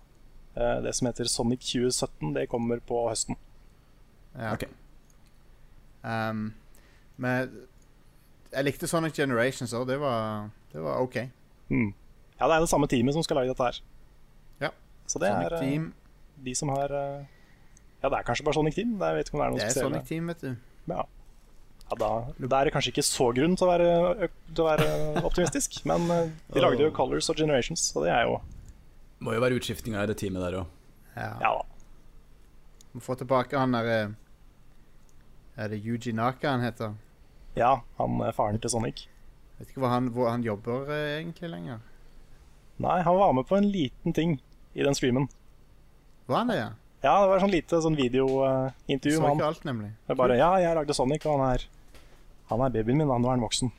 eh, det som heter Sonic 2017, det kommer på høsten.
Ja.
Ok.
Ehm, men jeg likte Sonic Generations òg. Det, var- det var OK.
Mm. Ja, det er det samme teamet som skal lage dette her.
Ja.
Så det
Sonic
er eh,
Team.
de som har eh, Ja, det er kanskje bare Sonic Team. Jeg vet ikke om det er noen
Det er
spesielle.
Sonic Team, vet du.
Ja. Ja, da, da er det kanskje ikke så grunn til å være, ø- til å være optimistisk, men eh, de lagde jo Colors og Generations, så det er jo
Må jo være utskiftinga i det teamet der òg.
Ja.
Ja da.
Må få tilbake han der eh, Er det Yuji Naka han heter?
Ja, han eh, faren til Sonic.
Vet ikke hvor han, hvor han jobber eh, egentlig lenger.
Nei, han var med på en liten ting i den streamen.
Var han det, ja?
Ja, det var sånn lite sånn
Du
videointervju
så
med
ikke
han.
alt, nemlig.
Det er bare Ja, jeg lagde Sonic, og han er Han er babyen min, han, nå er han voksen.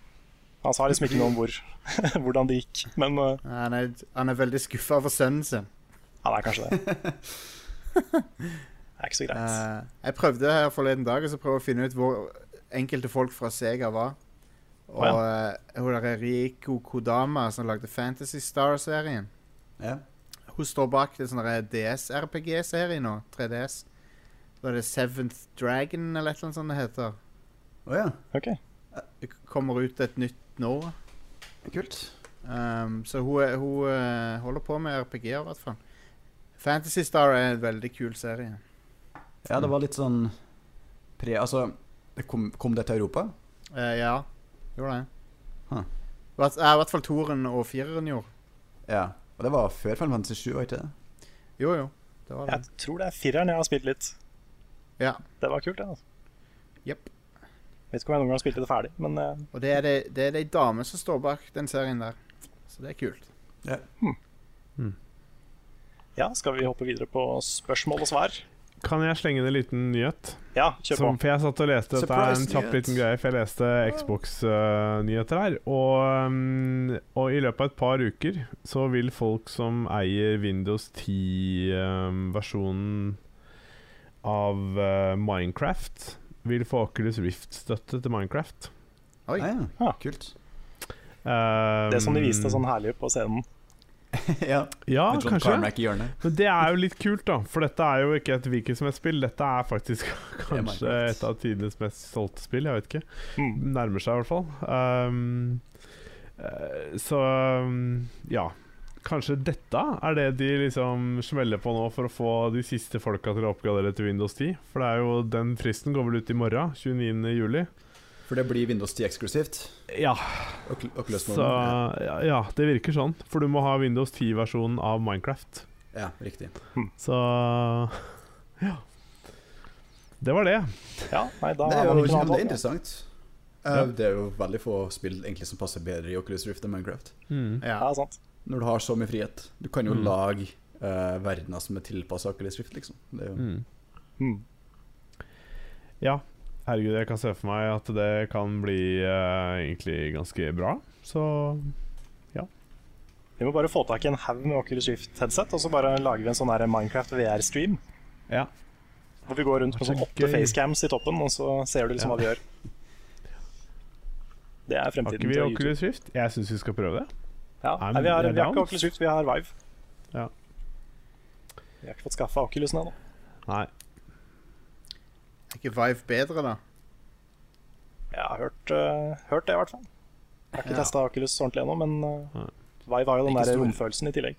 Han sa liksom ikke noe om hvor, hvordan det gikk, men eh,
Han er, han er veldig skuffa over sønnen sin.
han er kanskje det. Det er ikke så greit.
Eh, jeg prøvde her forleden dag og så prøvde jeg å finne ut hvor enkelte folk fra Sega var. Og
Å,
eh, hun der Riko Kodama, som lagde Fantasy Star-serien
Ja.
Hun står bak en sånn der DS-RPG-serie nå. 3DS. Da er det Seventh Dragon eller et eller annet sånt det heter.
Å ja.
Ok.
Det k- kommer ut et nytt nå.
Kult.
Um, så hun, er- hun eh, holder på med RPG-er, i hvert fall. Fantasy Star er en veldig kul serie.
Ja, det var litt sånn pre... Altså, det kom, kom det til Europa?
Eh, ja, gjorde det.
Huh.
Hvert- eh, I hvert fall toeren og fireren gjorde.
Ja. Og det var før Final Fantasy 7, var ikke det?
Jo, jo. Det var det.
Jeg tror det er fireren jeg har spilt litt.
Ja.
Det var kult, det. altså.
Jepp.
Vet ikke om jeg noen gang spilte det ferdig, men eh,
Og det er det, det er de dame som står bak den serien der. Så det er kult.
ja, skal vi hoppe videre på spørsmål og svar?
Kan jeg slenge inn en liten nyhet?
Ja, kjør på.
Som, for jeg satt og leste Dette er en kjapp
Surprise-nyhet.
liten greie, for jeg leste Xbox-nyheter her. Og, um, og i løpet av et par uker så vil folk som eier Windows 10-versjonen av eh, Minecraft, vil få Oculus Rift-støtte til Minecraft.
Oi.
Ah, ja.
Ah.
Kult.
Um,
Det som de viste sånn herlig på scenen.
ja.
Ja, Ah,
Med John
kanskje.
Carmack i hjørnet.
Men det er jo litt kult, da. For dette er jo ikke et hvilket som helst spill. Dette er faktisk kanskje
Minecraft.
et av tidenes mest solgte spill. Jeg vet ikke.
Mm.
Nærmer seg i hvert fall. Um, eh, så um, ja. Kanskje dette er det de liksom smeller på nå for å få de siste folka til å oppgradere til Windows 10. For det er jo den fristen går vel ut i morgen, 29. juli.
For det blir Windows 10 eksklusivt.
Ja,
Og, og
så ja, ja, det virker sånn. For du må ha Windows 10-versjonen av Minecraft.
Ja, riktig.
Så ja. Det var det.
Ja, nei, da
Det
har
er
man ikke noe
jo det er
annet valg.
interessant.
Ja.
Eh, Det er jo veldig få spill egentlig som passer bedre i Oculus Rift enn Minecraft.
Mm.
Ja,
Ja.
sant.
Når du har så mye frihet. Du kan jo
Mm.
lage eh, verdener som er tilpassa Oculus Rift, liksom. Det er jo
Mm.
Mm.
Ja. Herregud, jeg kan se for meg at det kan bli eh, egentlig ganske bra. Så
Vi må bare få tak i en haug med Oculus Rift-headset, og så bare lager vi en sånn her Minecraft VR-stream.
Ja.
Hvor vi går rundt med
Det er
sånn
så
åtte
gøy.
facecams i toppen, og så ser du liksom
Ja.
hva vi gjør. Det er
har
fremtiden
ikke vi
til YouTube.
Oculus Rift? Jeg syns vi skal prøve det.
Ja.
Nei,
Nei,
men
vi, har,
det er
vi har ikke
down.
Oculus Rift, vi har Vive.
Ja.
Vi har ikke fått skaffa Oculusen ennå.
Nei.
Er ikke Vive bedre, da?
Jeg har hørt, eh, hørt det, i hvert fall. Jeg har ikke
Ja.
testet Oculus ordentlig ennå, men eh,
Nei.
Vive har jo den
Ikke
der
stor.
romfølelsen i tillegg.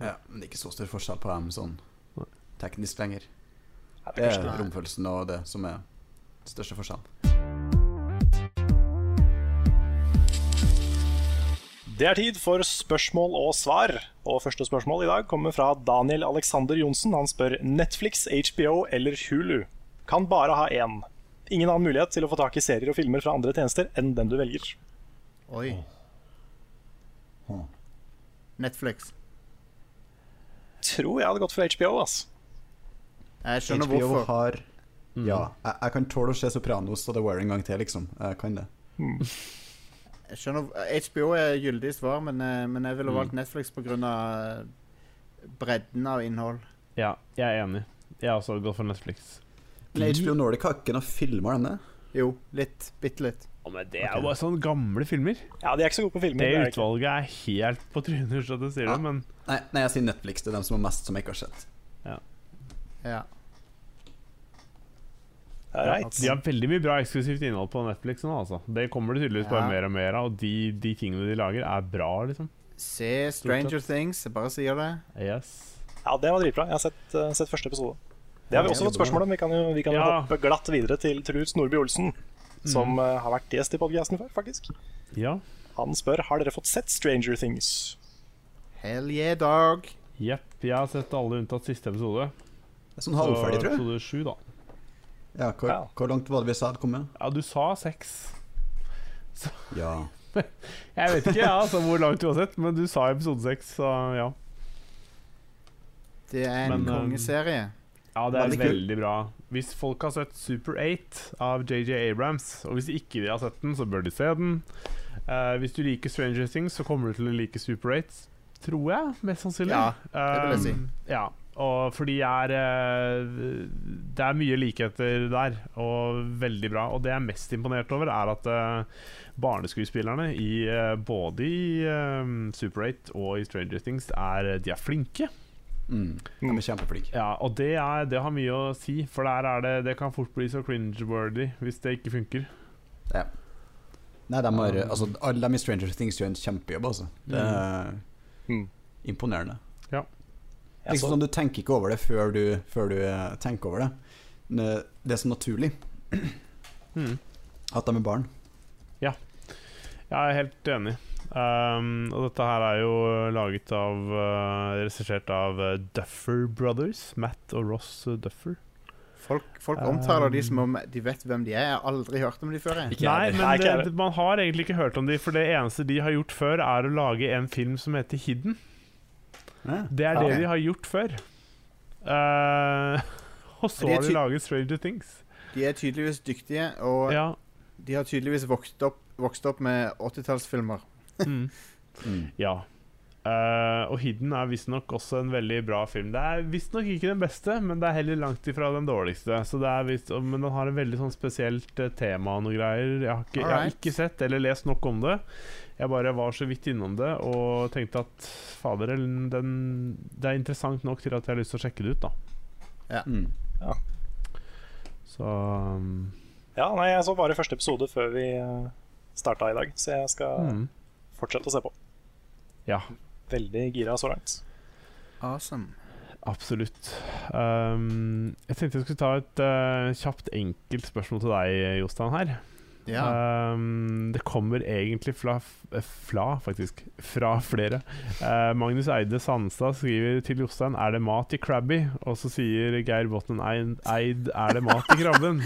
Ja, men det er ikke så stor forskjell på dem sånn
Nei.
teknisk lenger.
Ja,
Det er
Nei.
romfølelsen og det som er største forskjellen.
Det er tid for spørsmål og svar. Og første spørsmål i dag kommer fra Daniel Alexander Johnsen. Han spør Netflix, HBO eller Hulu. Kan bare ha én. Ingen annen mulighet til å få tak i serier og filmer fra andre tjenester enn den du velger.
Oi.
Hmm.
Netflix.
Tror jeg hadde gått for HBO, ass.
Jeg skjønner hvorfor.
har Ja, jeg, jeg kan tåle å se Sopranos og The Wire en gang til, liksom. Jeg kan det.
Jeg skjønner, HBO er gyldig svar, men, eh, men jeg ville
Mm.
valgt Netflix pga. eh, bredden av innhold.
Ja, jeg er enig. Jeg har også gått for Netflix.
Men HBO Nordic har ikke noen filmer, denne.
Jo, litt. Bitte litt.
men det
er
er jo
jo
bare sånne gamle filmer.
Ja, de er ikke så gode på filmer.
Det
det er de ikke.
utvalget er helt på trynet, unnskyld at jeg sier
Ja.
det, men
Nei, nei, jeg sier Netflix. Det er dem som har mest som jeg ikke har sett.
Ja.
Alright.
de har veldig mye bra eksklusivt innhold på Netflix nå, altså. Det kommer det tydeligvis bare
Ja.
mer og mer av, og de, de tingene de lager, er bra, liksom.
Se Stranger Things. Jeg bare sier det.
Yes.
Ja, det var dritbra. Jeg har sett, eh, sett første episode. Det har vi
Ja,
også
det
fått
er bra.
spørsmål om. Vi kan jo, vi kan jo
Ja.
hoppe glatt videre til Truls Nordby Olsen, som eh, har vært gjest i podkasten før, faktisk.
Ja.
Han spør har dere fått sett Stranger Things.
Hell yeah, dog.
Jepp. Jeg har sett alle unntatt siste episode.
Det er sånn halvferdig, tror jeg.
episode sju, da.
Ja, hvor,
Ja.
hvor langt var det vi sa det kom med?
Ja, du sa seks.
Ja.
Jeg vet ikke ja, altså, hvor langt du har sett, men du sa episode seks, så ja.
Det er en
Men, eh,
kongeserie.
Ja, det er
Veldig kul.
veldig bra. Hvis folk har sett Super 8 av JJ Abrams, og hvis ikke de har sett den, så bør de se den. Eh, hvis du liker Stranger Things, så kommer du til å like Super 8, tror jeg, mest sannsynlig.
Ja, det vil jeg
Um, Ja, og fordi jeg er eh, Det er mye likheter der, og veldig bra. Og det jeg er mest imponert over, er at eh, barneskuespillerne, i, eh, både i eh, Super 8 og i Stranger Things, er, eh, de er flinke.
Mm. De er kjempeflinke.
Ja, og det, er, det har mye å si, for der er det, det kan fort bli så cringe-worthy hvis det ikke funker.
Nei, de har Altså, alle dem i Stranger Things gjør en kjempejobb, altså. Det er
Mm.
imponerende.
Jeg
Liksom
så,
sånn, Du tenker ikke over det før du, før du eh, tenker over det. Det det er så naturlig at de er barn.
Jeg er helt enig. Um, og dette her er jo laget av uh, Regissert av uh, Duffer Brothers. Matt og Ross uh, Duffer.
Folk, folk
Um,
omtaler de som om de vet hvem de er. Jeg har aldri hørt om de før. jeg.
Ikke
Nei,
jeg.
Nei,
men
ikke
det,
jeg heller.
det- man har egentlig ikke hørt om de, for det eneste de har gjort før, er å lage en film som heter Hidden.
Ja.
Det er
Ok.
det de har gjort før. Uh, og så
De er
har
ty-
de laget Stranger Things.
De er tydeligvis dyktige, og
Ja.
de har tydeligvis vokst opp, vokst opp med 80-tallsfilmer.
Mm.
Mm.
Ja. Eh, og Hidden er visstnok også en veldig bra film. Det er visstnok ikke den beste, men det er heller langt ifra den dårligste. Så det er visst, og- men den har en veldig sånn spesielt eh, tema og noe greier. Jeg har, ikke, jeg har
Alright.
ikke sett eller lest nok om det. Jeg bare var så vidt innom det og tenkte at fader, den, den, det er interessant nok til at jeg har lyst til å sjekke det ut, da.
Mm.
Så um,
ja, nei, jeg så bare første episode før vi eh, starta i dag, så jeg skal
mm.
fortsette å se på.
Ja.
Veldig gira så langt.
Awesome.
Absolutt. Um, jeg tenkte jeg skulle ta et eh, kjapt, enkelt spørsmål til deg, Jostein, her.
Ja.
Ehm, det kommer egentlig fra, f- fra faktisk, fra flere. Eh, Magnus Eide Sandstad skriver til Jostein 'Er det mat i Krabby?' Og så sier Geir Botten Eid 'Er det mat i krabben?'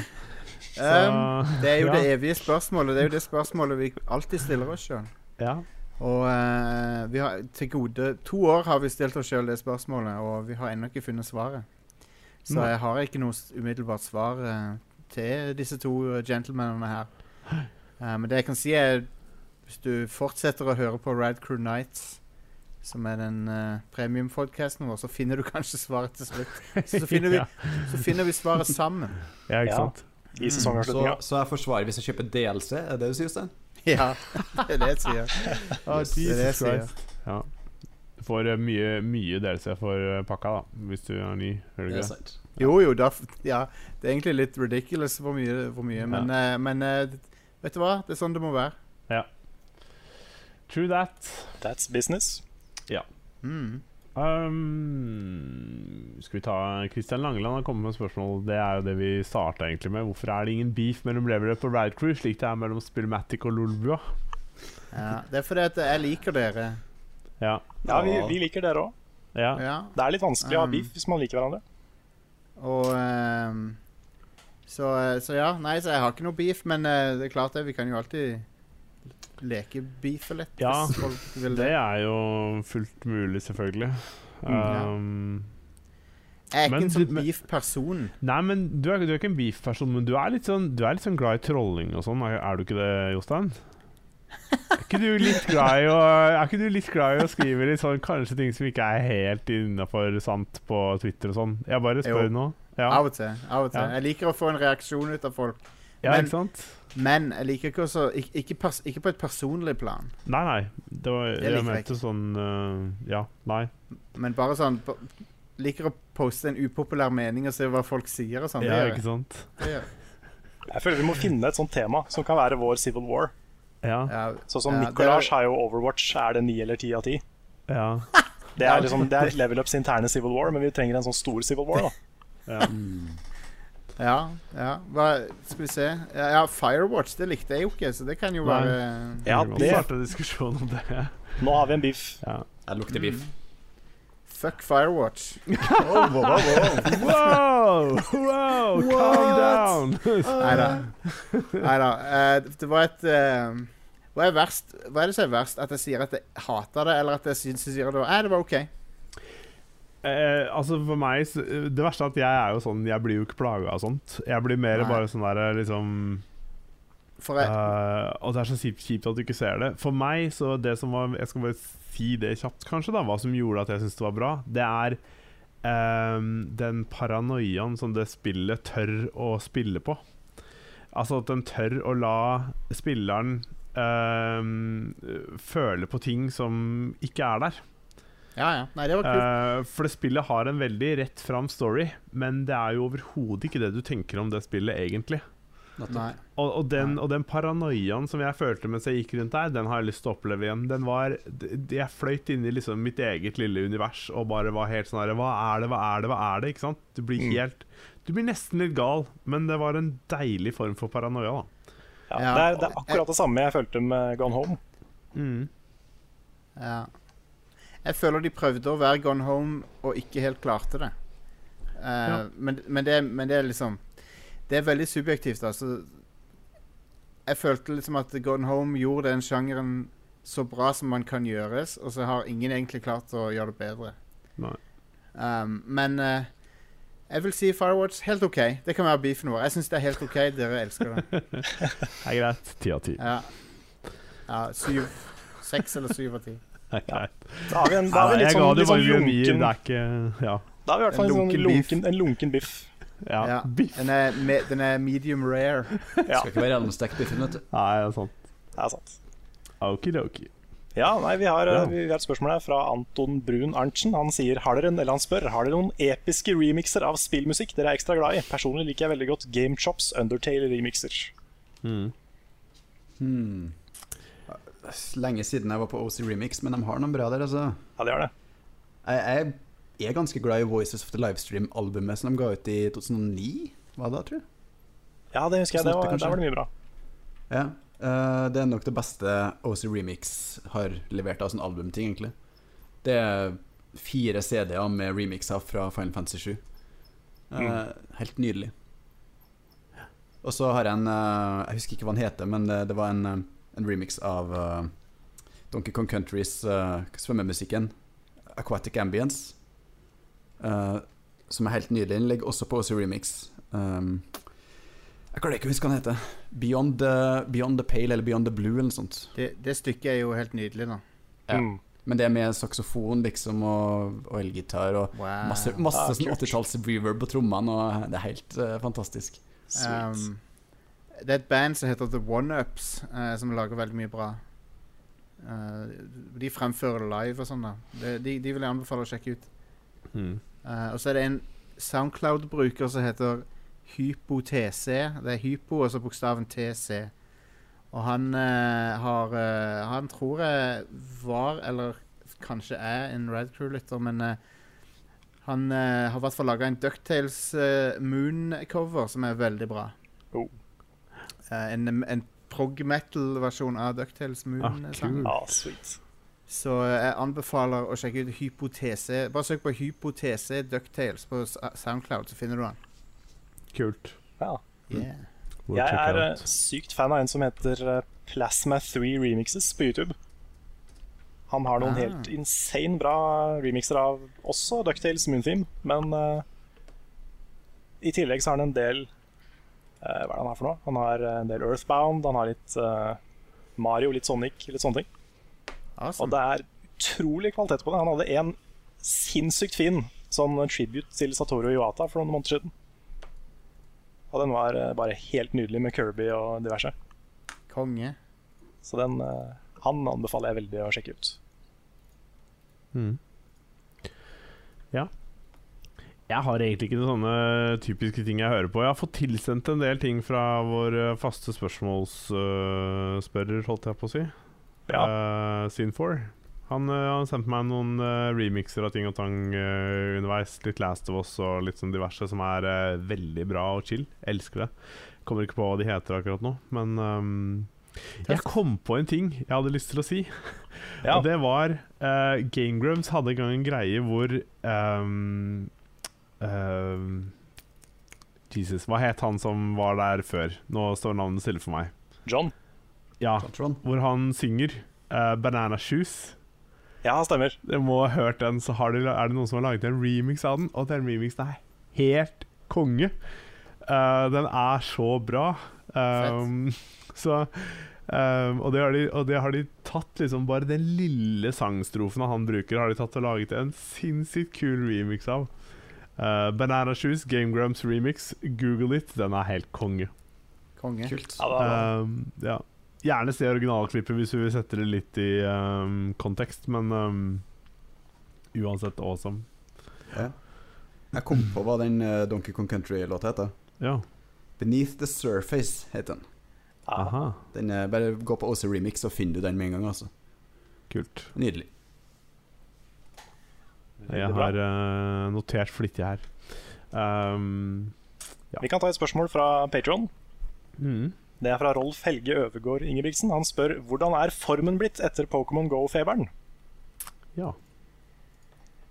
Um,
Så,
det er jo
ja,
det evige spørsmålet. Det er jo det spørsmålet vi alltid stiller oss sjøl.
ja.
Og eh, vi har til gode To år har vi stilt oss sjøl det spørsmålet, og vi har ennå ikke funnet svaret. Så
Nei.
jeg har ikke noe s- umiddelbart svar eh, til disse to eh, gentlemanene her. Eh, men det jeg kan si, er hvis du fortsetter å høre på Rad Crew Nights, som er den uh, premiumpodkasten vår, så finner du kanskje svaret til slutt. Så finner vi,
ja,
så finner vi svaret sammen.
ja, ikke
Ja.
sant?
I
Så,
sesongavslutninga.
så jeg forsvarer hvis jeg kjøper DLC, er det det du sier, Stein?
Ja, det er det jeg sier.
Ah,
Yes.
Det er det jeg
Jesus
sier.
Christ. Ja. Du får eh, mye, mye delelse for eh, pakka, da, hvis du er ny. Hører du ikke?
Det er
det?
sant.
Jo, jo, da, f- ja, det er egentlig litt ridiculous hvor mye, hvor mye men, eh, men eh, d- vet du hva? Det er sånn det må være.
True that.
That's business.
Mm.
Um, skal vi ta Kristian Langeland har kommet med et spørsmål. Det er jo det vi starta egentlig med. Hvorfor er det ingen beef mellom Leverup og Ride Crew, slik det er mellom Spillmatic og Lolbua?
Ja, det er fordi at jeg liker dere.
Ja.
Ja, vi, vi liker dere òg.
ja.
Ja.
Det er litt vanskelig å ha
Um.
beef hvis man liker hverandre.
Og ehm, så, eh, så ja. Nei, så jeg har ikke noe beef, men eh, det er klart det. Vi kan jo alltid leke beefe litt.
Ja,
hvis folk vil
Det er jo fullt mulig, selvfølgelig.
Mm, ja.
Um,
Jeg er
Men
ikke en sånn
du- men-
beef-person.
Nei, men du er, du er ikke en beef-person, men du er, litt sånn, du er litt sånn glad i trolling og sånn. Er, er du ikke det, Jostein? Er ikke, du litt glad i å, er ikke du litt glad i å skrive litt sånn kanskje ting som ikke er helt innafor sant på Twitter og sånn? Jeg bare spør
Jo.
nå. Ja,
Av og til. Av og til.
Ja.
Jeg liker å få en reaksjon ut av folk.
ja
men-
ikke sant?
Men jeg liker ikke også ikke, ikke, pers ikke på et personlig plan,
Nei, nei. Det var,
Det
jeg,
liker jeg
mente sånn øh, Ja, nei.
men bare sånn på- Liker å poste en upopulær mening og se hva folk sier og sånn.
Ja,
det gjør
ikke
jeg.
sant?
Det gjør jeg.
Jeg føler vi må finne et sånt tema som kan være vår Civil War.
Ja.
Ja,
Sånn som
Ja, det er-
Nicolaj har jo Overwatch. Er det ni eller ti av ti?
Ja.
Det er, liksom, det er Level Ups interne Civil War, men vi trenger en sånn stor Civil War. da
ja.
ja. ja. Hva, skal vi se Ja, ja, Firewatch det likte jeg jo ikke, så det kan jo
Nei.
være
Ja,
Vi må
det,
starte en diskusjon om det.
Nå har vi en beef.
Ja.
Jeg
Mm.
lukter biff.
Fuck Firewatch.
Wow! Wow! Calm down!
Nei da. Nei da. Eh, det var et eh, hva, er verst? hva er det som er verst? At jeg sier at jeg hater det, eller at jeg syns jeg sier det var Nei, det var OK.
Eh, altså for meg så- Det verste er at jeg er jo sånn Jeg blir jo ikke plaga av sånt. Jeg blir mer
Nei.
bare sånn der liksom
For jeg,
eh, Og det er så kjipt, kjipt at du ikke ser det. For meg, så det som var Jeg skal bare si det kjapt, kanskje, da hva som gjorde at jeg syntes det var bra, det er ehm, den paranoiaen som det spillet tør å spille på. Altså at den tør å la spilleren ehm, føle på ting som ikke er der.
ja, ja. Nei, det var kult.
Eh, for det spillet har en veldig rett fram story, men det er jo overhodet ikke det du tenker om det spillet, egentlig. Eh.
Nei.
Og, og, den, og den paranoiaen som jeg følte mens jeg gikk rundt der, den har jeg lyst til å oppleve igjen. Den var d- d- Jeg fløyt inn i liksom mitt eget lille univers og bare var helt sånn her Hva er det, hva er det, hva er det? Ikke sant? Du blir
Mm.
helt Du blir nesten litt gal, men det var en deilig form for paranoia, da.
Ja,
Ja.
det, er, det er akkurat det samme jeg følte med Gone Home.
Ja. Jeg føler de prøvde å være gone home og ikke helt klarte det. Eh,
Ja.
men, men, det men det er liksom Det er veldig subjektivt, altså. Jeg følte liksom at Gone Home gjorde den sjangeren så bra som man kan gjøres, og så har ingen egentlig klart å gjøre det bedre.
Nei.
Um, men eh, jeg vil si Firewatch helt OK. Det kan være beefen vår. Jeg syns det er helt OK. Dere elsker det.
Det er greit. Ti av ti.
Ja. ja syv. Seks eller syv av ti.
Det er greit.
Da har vi, en, da
Ja,
har vi litt
jeg ga
sånn,
det
litt sånn
bare en nier.
lunken
Det er ikke Ja.
Da har vi i hvert fall en,
En
sånn
lunken beef.
lunken, en lunken biff.
ja.
Ja.
Biff.
Den er, me den er medium rare.
Ja,
Skal ikke være gjennomstekt biffen, vet du.
Nei, det er sant.
det er sant.
Okidoki.
Ja, nei, vi har, eh,
Ja.
vi har et spørsmål her fra Anton Brun Arntzen. Han sier har dere, en- eller han spør, har dere noen episke remixer av spillmusikk dere er ekstra glad i? Personlig liker jeg veldig godt Game Chops Undertale-remixer.
Mm.
Hmm. Lenge siden jeg var på OC Remix, men de har noen bra der, altså.
Ja, det gjør det.
Jeg, jeg er ganske glad i Voices of the Livestream-albumet som de ga ut i sånn 2009. Hva da, tror du?
Ja, det husker jeg. Det
Snutte,
var,
Sånn kanskje?
der var det mye bra.
Ja. eh, det er nok det beste OC Remix har levert av sånn albumting, egentlig. Det er fire CD-er med remixer fra Final Fantasy 7. Eh,
Mm.
Helt nydelig. Og så har jeg en eh, Jeg husker ikke hva den heter, men det, det var en, eh, en remix av eh, Donkey Kong Countrys eh, svømmemusikken, Aquatic Ambience, eh, som er helt nydelig. Den ligger også på OC Remix. Um, jeg klarer ikke å huske hva den heter. Beyond the, Beyond the Pale eller Beyond the Blue eller noe sånt.
Det, det stykket er jo helt nydelig, da.
Ja.
Mm.
Men det er med saksofon liksom og, og elgitar og
Wow.
masse, masse
Ah,
sånn
kult.
80-talls reverb på trommene, og det er helt eh, fantastisk.
Sweet.
Um, det er et band som heter The OneUps, uh, som lager veldig mye bra. Eh, de fremfører det live og sånn. da de, de, de vil jeg anbefale å sjekke ut.
Mm.
Eh, og så er det en Soundcloud-bruker som heter HypoTC. Det er hypo og så bokstaven TC. Og han eh, har eh, Han tror jeg var, eller kanskje er en Rad Crew-lytter, men eh, han eh, har i hvert fall laga en Ducktales eh, Moon-cover som er veldig bra.
Oh.
Eh, en en prog metal-versjon av Ducktales
Ah,
Moon-sangen.
kult.
Ja, sweet.
Så jeg anbefaler å sjekke ut Hypotese. Bare søk på Hypotese Ducktales på S- Soundcloud, så finner du den.
Kult.
Ja.
Yeah.
We'll
Jeg
check
er
it
eh,
out.
sykt fan av en som heter eh, Plasma 3 Remixes på YouTube. Han har noen
Ah.
helt insane bra remixer av også Ducktales Moontheme, men eh, i tillegg så har han en del eh, Hva er det han har for noe? Han har eh, en del Earthbound, han har litt eh, Mario, litt Sonic, litt sånne ting. Og
Awesome.
det er utrolig kvalitet på det. Han hadde en sinnssykt fin sånn tribute til Satoru Iwata for noen måneder siden. Og den var eh, bare helt nydelig med Kirby og diverse.
Konge.
Så den eh, han anbefaler jeg veldig å sjekke ut.
Mm. Ja. Jeg har egentlig ikke noen sånne typiske ting jeg hører på. Jeg har fått tilsendt en del ting fra vår eh, faste spørsmålsspørrer, holdt jeg på å si.
Ja.
Eh, Sin4. Han, eh, han sendte meg noen eh, remixer av ting og tang eh, underveis. Litt Last of Us og litt sånn diverse, som er eh, veldig bra og chill. Elsker det. Kommer ikke på hva de heter akkurat nå, men ehm, Jeg kom på en ting jeg hadde lyst til å si.
Ja.
Og det var eh, Game Grumps hadde en gang en greie hvor ehm, ehm, Jesus, hva het han som var der før? Nå står navnet stille for meg.
John?
Ja,
Tron.
hvor han synger eh, 'Banana Shoes'.
Ja, stemmer.
Dere må ha hørt den, så har de, er det noen som har laget en remix av den. Og den remixen er helt konge. Eh, den er så bra. Um, så um, og, det har de, og det har de tatt liksom Bare den lille sangstrofen han bruker, har de tatt og laget en sinnssykt kul remix av. Eh, Banana Shoes, Game Grumps remix. Google it, den er helt konge.
Konge.
Kult.
Ja, det er,
Um, ja. Gjerne se originalklippet hvis du vil sette det litt i um, kontekst, men um, uansett awesome.
Ja. Jeg kom på hva den eh, Donkey Kong Country-låta heter.
Ja.
'Beneath The Surface' heter den.
ja.
Aha.
den er, bare gå på OC Remix, så finner du den med en gang. altså
Kult.
Nydelig.
Jeg
Veldig bra.
har eh, notert flittig her. Um,
Vi kan ta et spørsmål fra Patron.
mm.
Det er fra Rolf Helge Øvergård Ingebrigtsen. Han spør hvordan er formen blitt etter Pokémon GO-feberen?
Ja.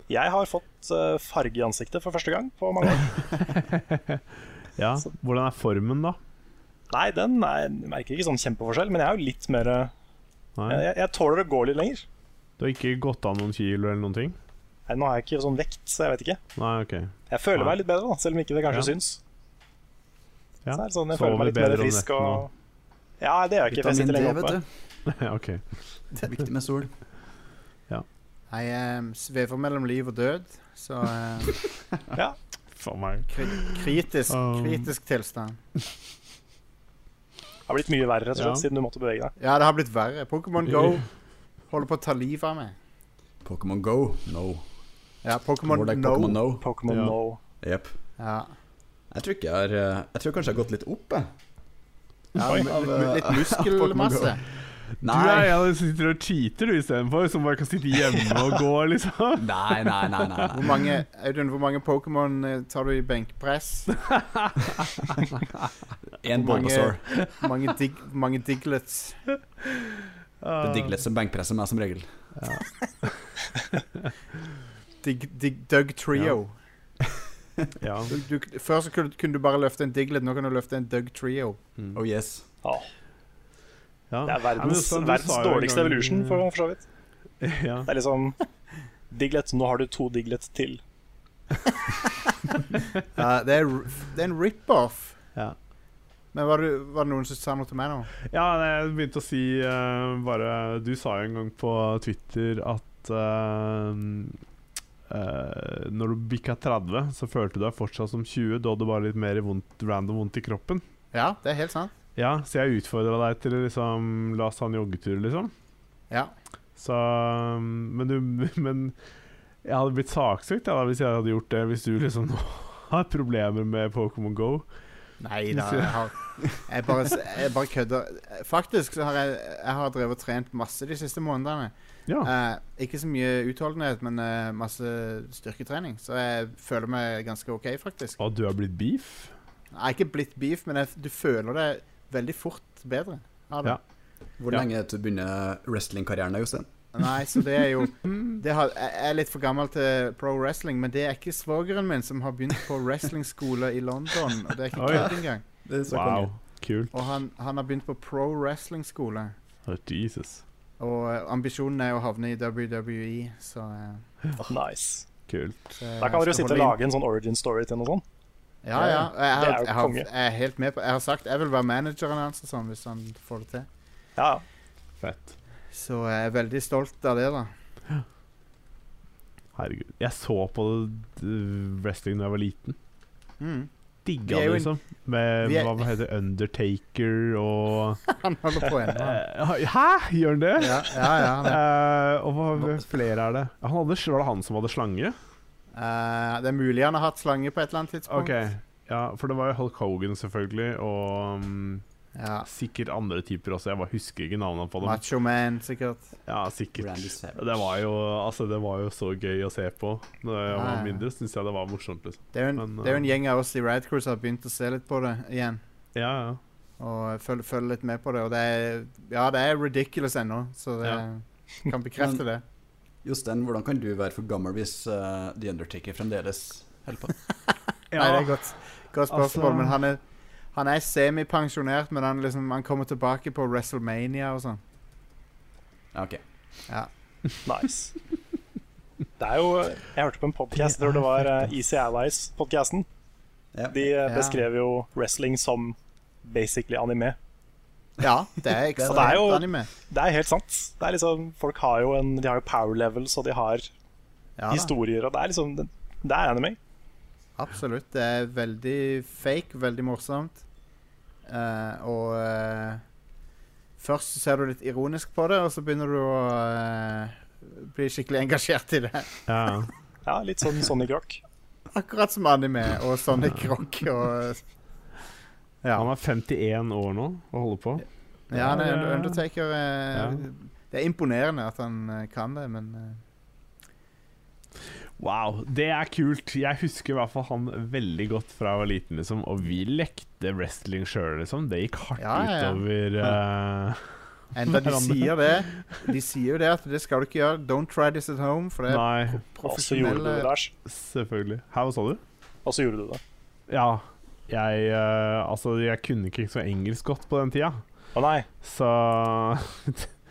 Jeg har fått eh, farge i ansiktet for første gang på mange år.
ja. Hvordan er formen, da?
Nei, den er, jeg merker ikke sånn kjempeforskjell, men jeg er jo litt mer eh,
Nei.
Jeg, jeg tåler å gå litt lenger.
Du har ikke gått av noen kilo eller noen ting?
Nei, Nå har jeg ikke sånn vekt, så jeg vet ikke.
Nei, OK.
Jeg føler
Nei.
meg litt bedre, da, selv om ikke det kanskje
Ja.
syns.
Ja.
Så er det sånn, jeg
Sover
føler meg litt
bedre
mer
om
frisk
netten
og Ja, det gjør jeg ikke. for Jeg
Vitamin
sitter
D,
lenge
vet
oppe.
du.
sånn.
OK.
Viktig med sol.
Jeg eh, svever mellom liv og død, så eh,
Faen meg.
kri kritisk,
Um.
kritisk tilstand.
Det har blitt mye verre rett og slett,
Ja.
siden du måtte bevege deg.
Ja, det har blitt verre. Pokémon Go holder på å ta livet av meg.
Pokémon Go, no.
Ja, Pokémon
More like
No.
Pokémon No.
Pokémon
Ja.
No.
Yep.
Ja.
Jeg tror ikke jeg har eh, Jeg tror kanskje jeg har gått litt opp, jeg.
Ja, eh,
Oi.
litt, litt, litt muskelmasse.
Du er en av de som sitter og cheater du istedenfor, som bare kan sitte hjemme og gå, liksom.
Nei, nei, nei. nei,
Hvor
nei.
mange, Audun, hvor mange Pokémon eh, tar du i benkpress? Hvor mange-
En Bulbasaur.
Mange, dig, mange diglets?
Ah.
Det digger litt som benkpresser meg som regel.
Dig, dig, Doug Trio.
Ja.
Du, du, før så kunne, kunne du bare løfte en Diglett, nå kan du løfte en Doug Trio.
Oh yes.
Åh,
Ja.
det er
Ja, men
verdens,
sånn, du
verdens
sa jo en
dårligste
gang-
evolution, for, for så vidt.
ja.
Det er liksom Diglett, nå har du to Diglett til.
Ja, det, er, r- det er en rip-off.
Ja.
Men var det, var det noen som sa noe til meg nå?
Ja, nei, jeg begynte å si eh, bare Du sa jo en gang på Twitter at eh, eh, når du bikka 30, så følte du deg fortsatt som 20. Da hadde du bare litt mer vondt, random vondt i kroppen.
Ja, det er helt sant.
Ja, Så jeg utfordra deg til å liksom La oss ta en joggetur, liksom.
Ja.
Så mm, Men du Men jeg hadde blitt saksøkt jeg, da, hvis jeg hadde gjort det, hvis du liksom nå har problemer med Pokémon GO.
Nei da, jeg, har, jeg, bare, s- jeg bare kødder. Faktisk så har jeg, jeg har drevet og trent masse de siste månedene.
Ja.
Eh, ikke så mye utholdenhet, men eh, masse styrketrening. Så jeg føler meg ganske OK, faktisk.
Og du har blitt beef?
Jeg er ikke blitt beef, men jeg, du føler det veldig fort bedre. av det.
Ja.
Hvor
Ja.
lenge er det til du begynner wrestlingkarrieren, da, Jostein?
Nei, så det er jo det har, Jeg jeg er litt for gammel til pro wrestling, men det er ikke svogeren min som har begynt på wrestlingskole i London. Og det er ikke
Oi.
kødd engang.
Det er så
Wow,
konge.
kult.
Og han, han har begynt på pro wrestling-skole.
Oh, Jesus.
Og eh, ambisjonen er å havne i WWE, så eh,
Nice.
Kult.
så
Da kan dere jo
jeg skal
sitte og
holde inn.
lage en sånn origin story til noe sånt.
Ja, ja. og Jeg,
Det
har,
er jo
jeg, har,
konge.
jeg er helt med på Jeg har sagt jeg vil være manageren hans og sånn, hvis han får det til.
Ja,
Fett.
Så jeg er veldig stolt av det, da.
Herregud. Jeg så på eh, wrestling da jeg var liten.
Mm. Vi
Digga
er
det,
jo en-
liksom. Med
vi er-
hva heter det, Undertaker og
Han holder på ennå.
eh, Hæ, gjør han det?
Ja, ja, ja, han er-
Eh, og hva hva flere er det? Han hadde, var det han som hadde slange?
Eh, det er mulig han har hatt slange på et eller annet tidspunkt.
Ok, ja, For det var jo Hulk Hogan, selvfølgelig, og mm,
Ja.
sikkert andre typer også. Jeg bare husker ikke navnene på dem.
Macho Man, sikkert.
Ja, sikkert
Randy Savage.
det var, jo, altså, det var jo så gøy å se på. Da jeg
Ja,
var
ja.
mindre, syntes jeg det var morsomt. liksom
Det er jo
Men,
en, det er jo en
eh,
gjeng av oss i Radcruise som har begynt å se litt på det igjen.
Ja, ja.
Og følge, følge litt med på det. Og det er, ja, det er ridiculous ennå, så det kan bekrefte det.
Jostein, hvordan kan du være for gammel hvis eh, The Undertaker fremdeles holder på?
ja.
Nei, det er et godt, godt spørsmål,
Altså-
men han er, han er semipensjonert, men han, liksom, han kommer tilbake på WrestleMania og sånn.
Ja, ok.
nice. Det er jo Jeg hørte på en podcast der det var eh, Easy Allies-podkasten.
Ja.
De eh,
Ja.
beskrev jo wrestling som basically anime.
Ja, det
Så
er
det er
ekstremt
jo-
anime.
Det er helt sant. Det er liksom, folk har jo en, de har jo power levels, og de har
Ja, da,
historier, og det er liksom Det, det er anime.
absolutt. Det er veldig fake, veldig morsomt. Eh, og eh, først så ser du litt ironisk på det, og så begynner du å eh, bli skikkelig engasjert i det.
ja, ja.
Ja, litt sånn Sonic Rock.
Akkurat som anime og Sonic Rock og Ja.
Han er 51 år nå og holder på.
Ja, han er
Ja, ja, ja.
under- Undertaker. eh,
Ja.
Det er imponerende at han eh, kan det, men eh,
Wow, det er kult. Jeg husker i hvert fall han veldig godt fra jeg var liten, liksom. Og vi lekte wrestling sjøl, liksom. Det gikk hardt
Ja, ja, ja.
utover eh,
enda de
Han-
sier det. De sier jo det at det skal du ikke gjøre. Don't try this at home, for det er
Nei,
Og så altså, gjorde du det,
profesjonelle
Lars.
selvfølgelig. Hæ, hva sa du?
Og så gjorde du det.
Ja, jeg eh, Altså, jeg kunne ikke så engelsk godt på den tida,
Å nei.
så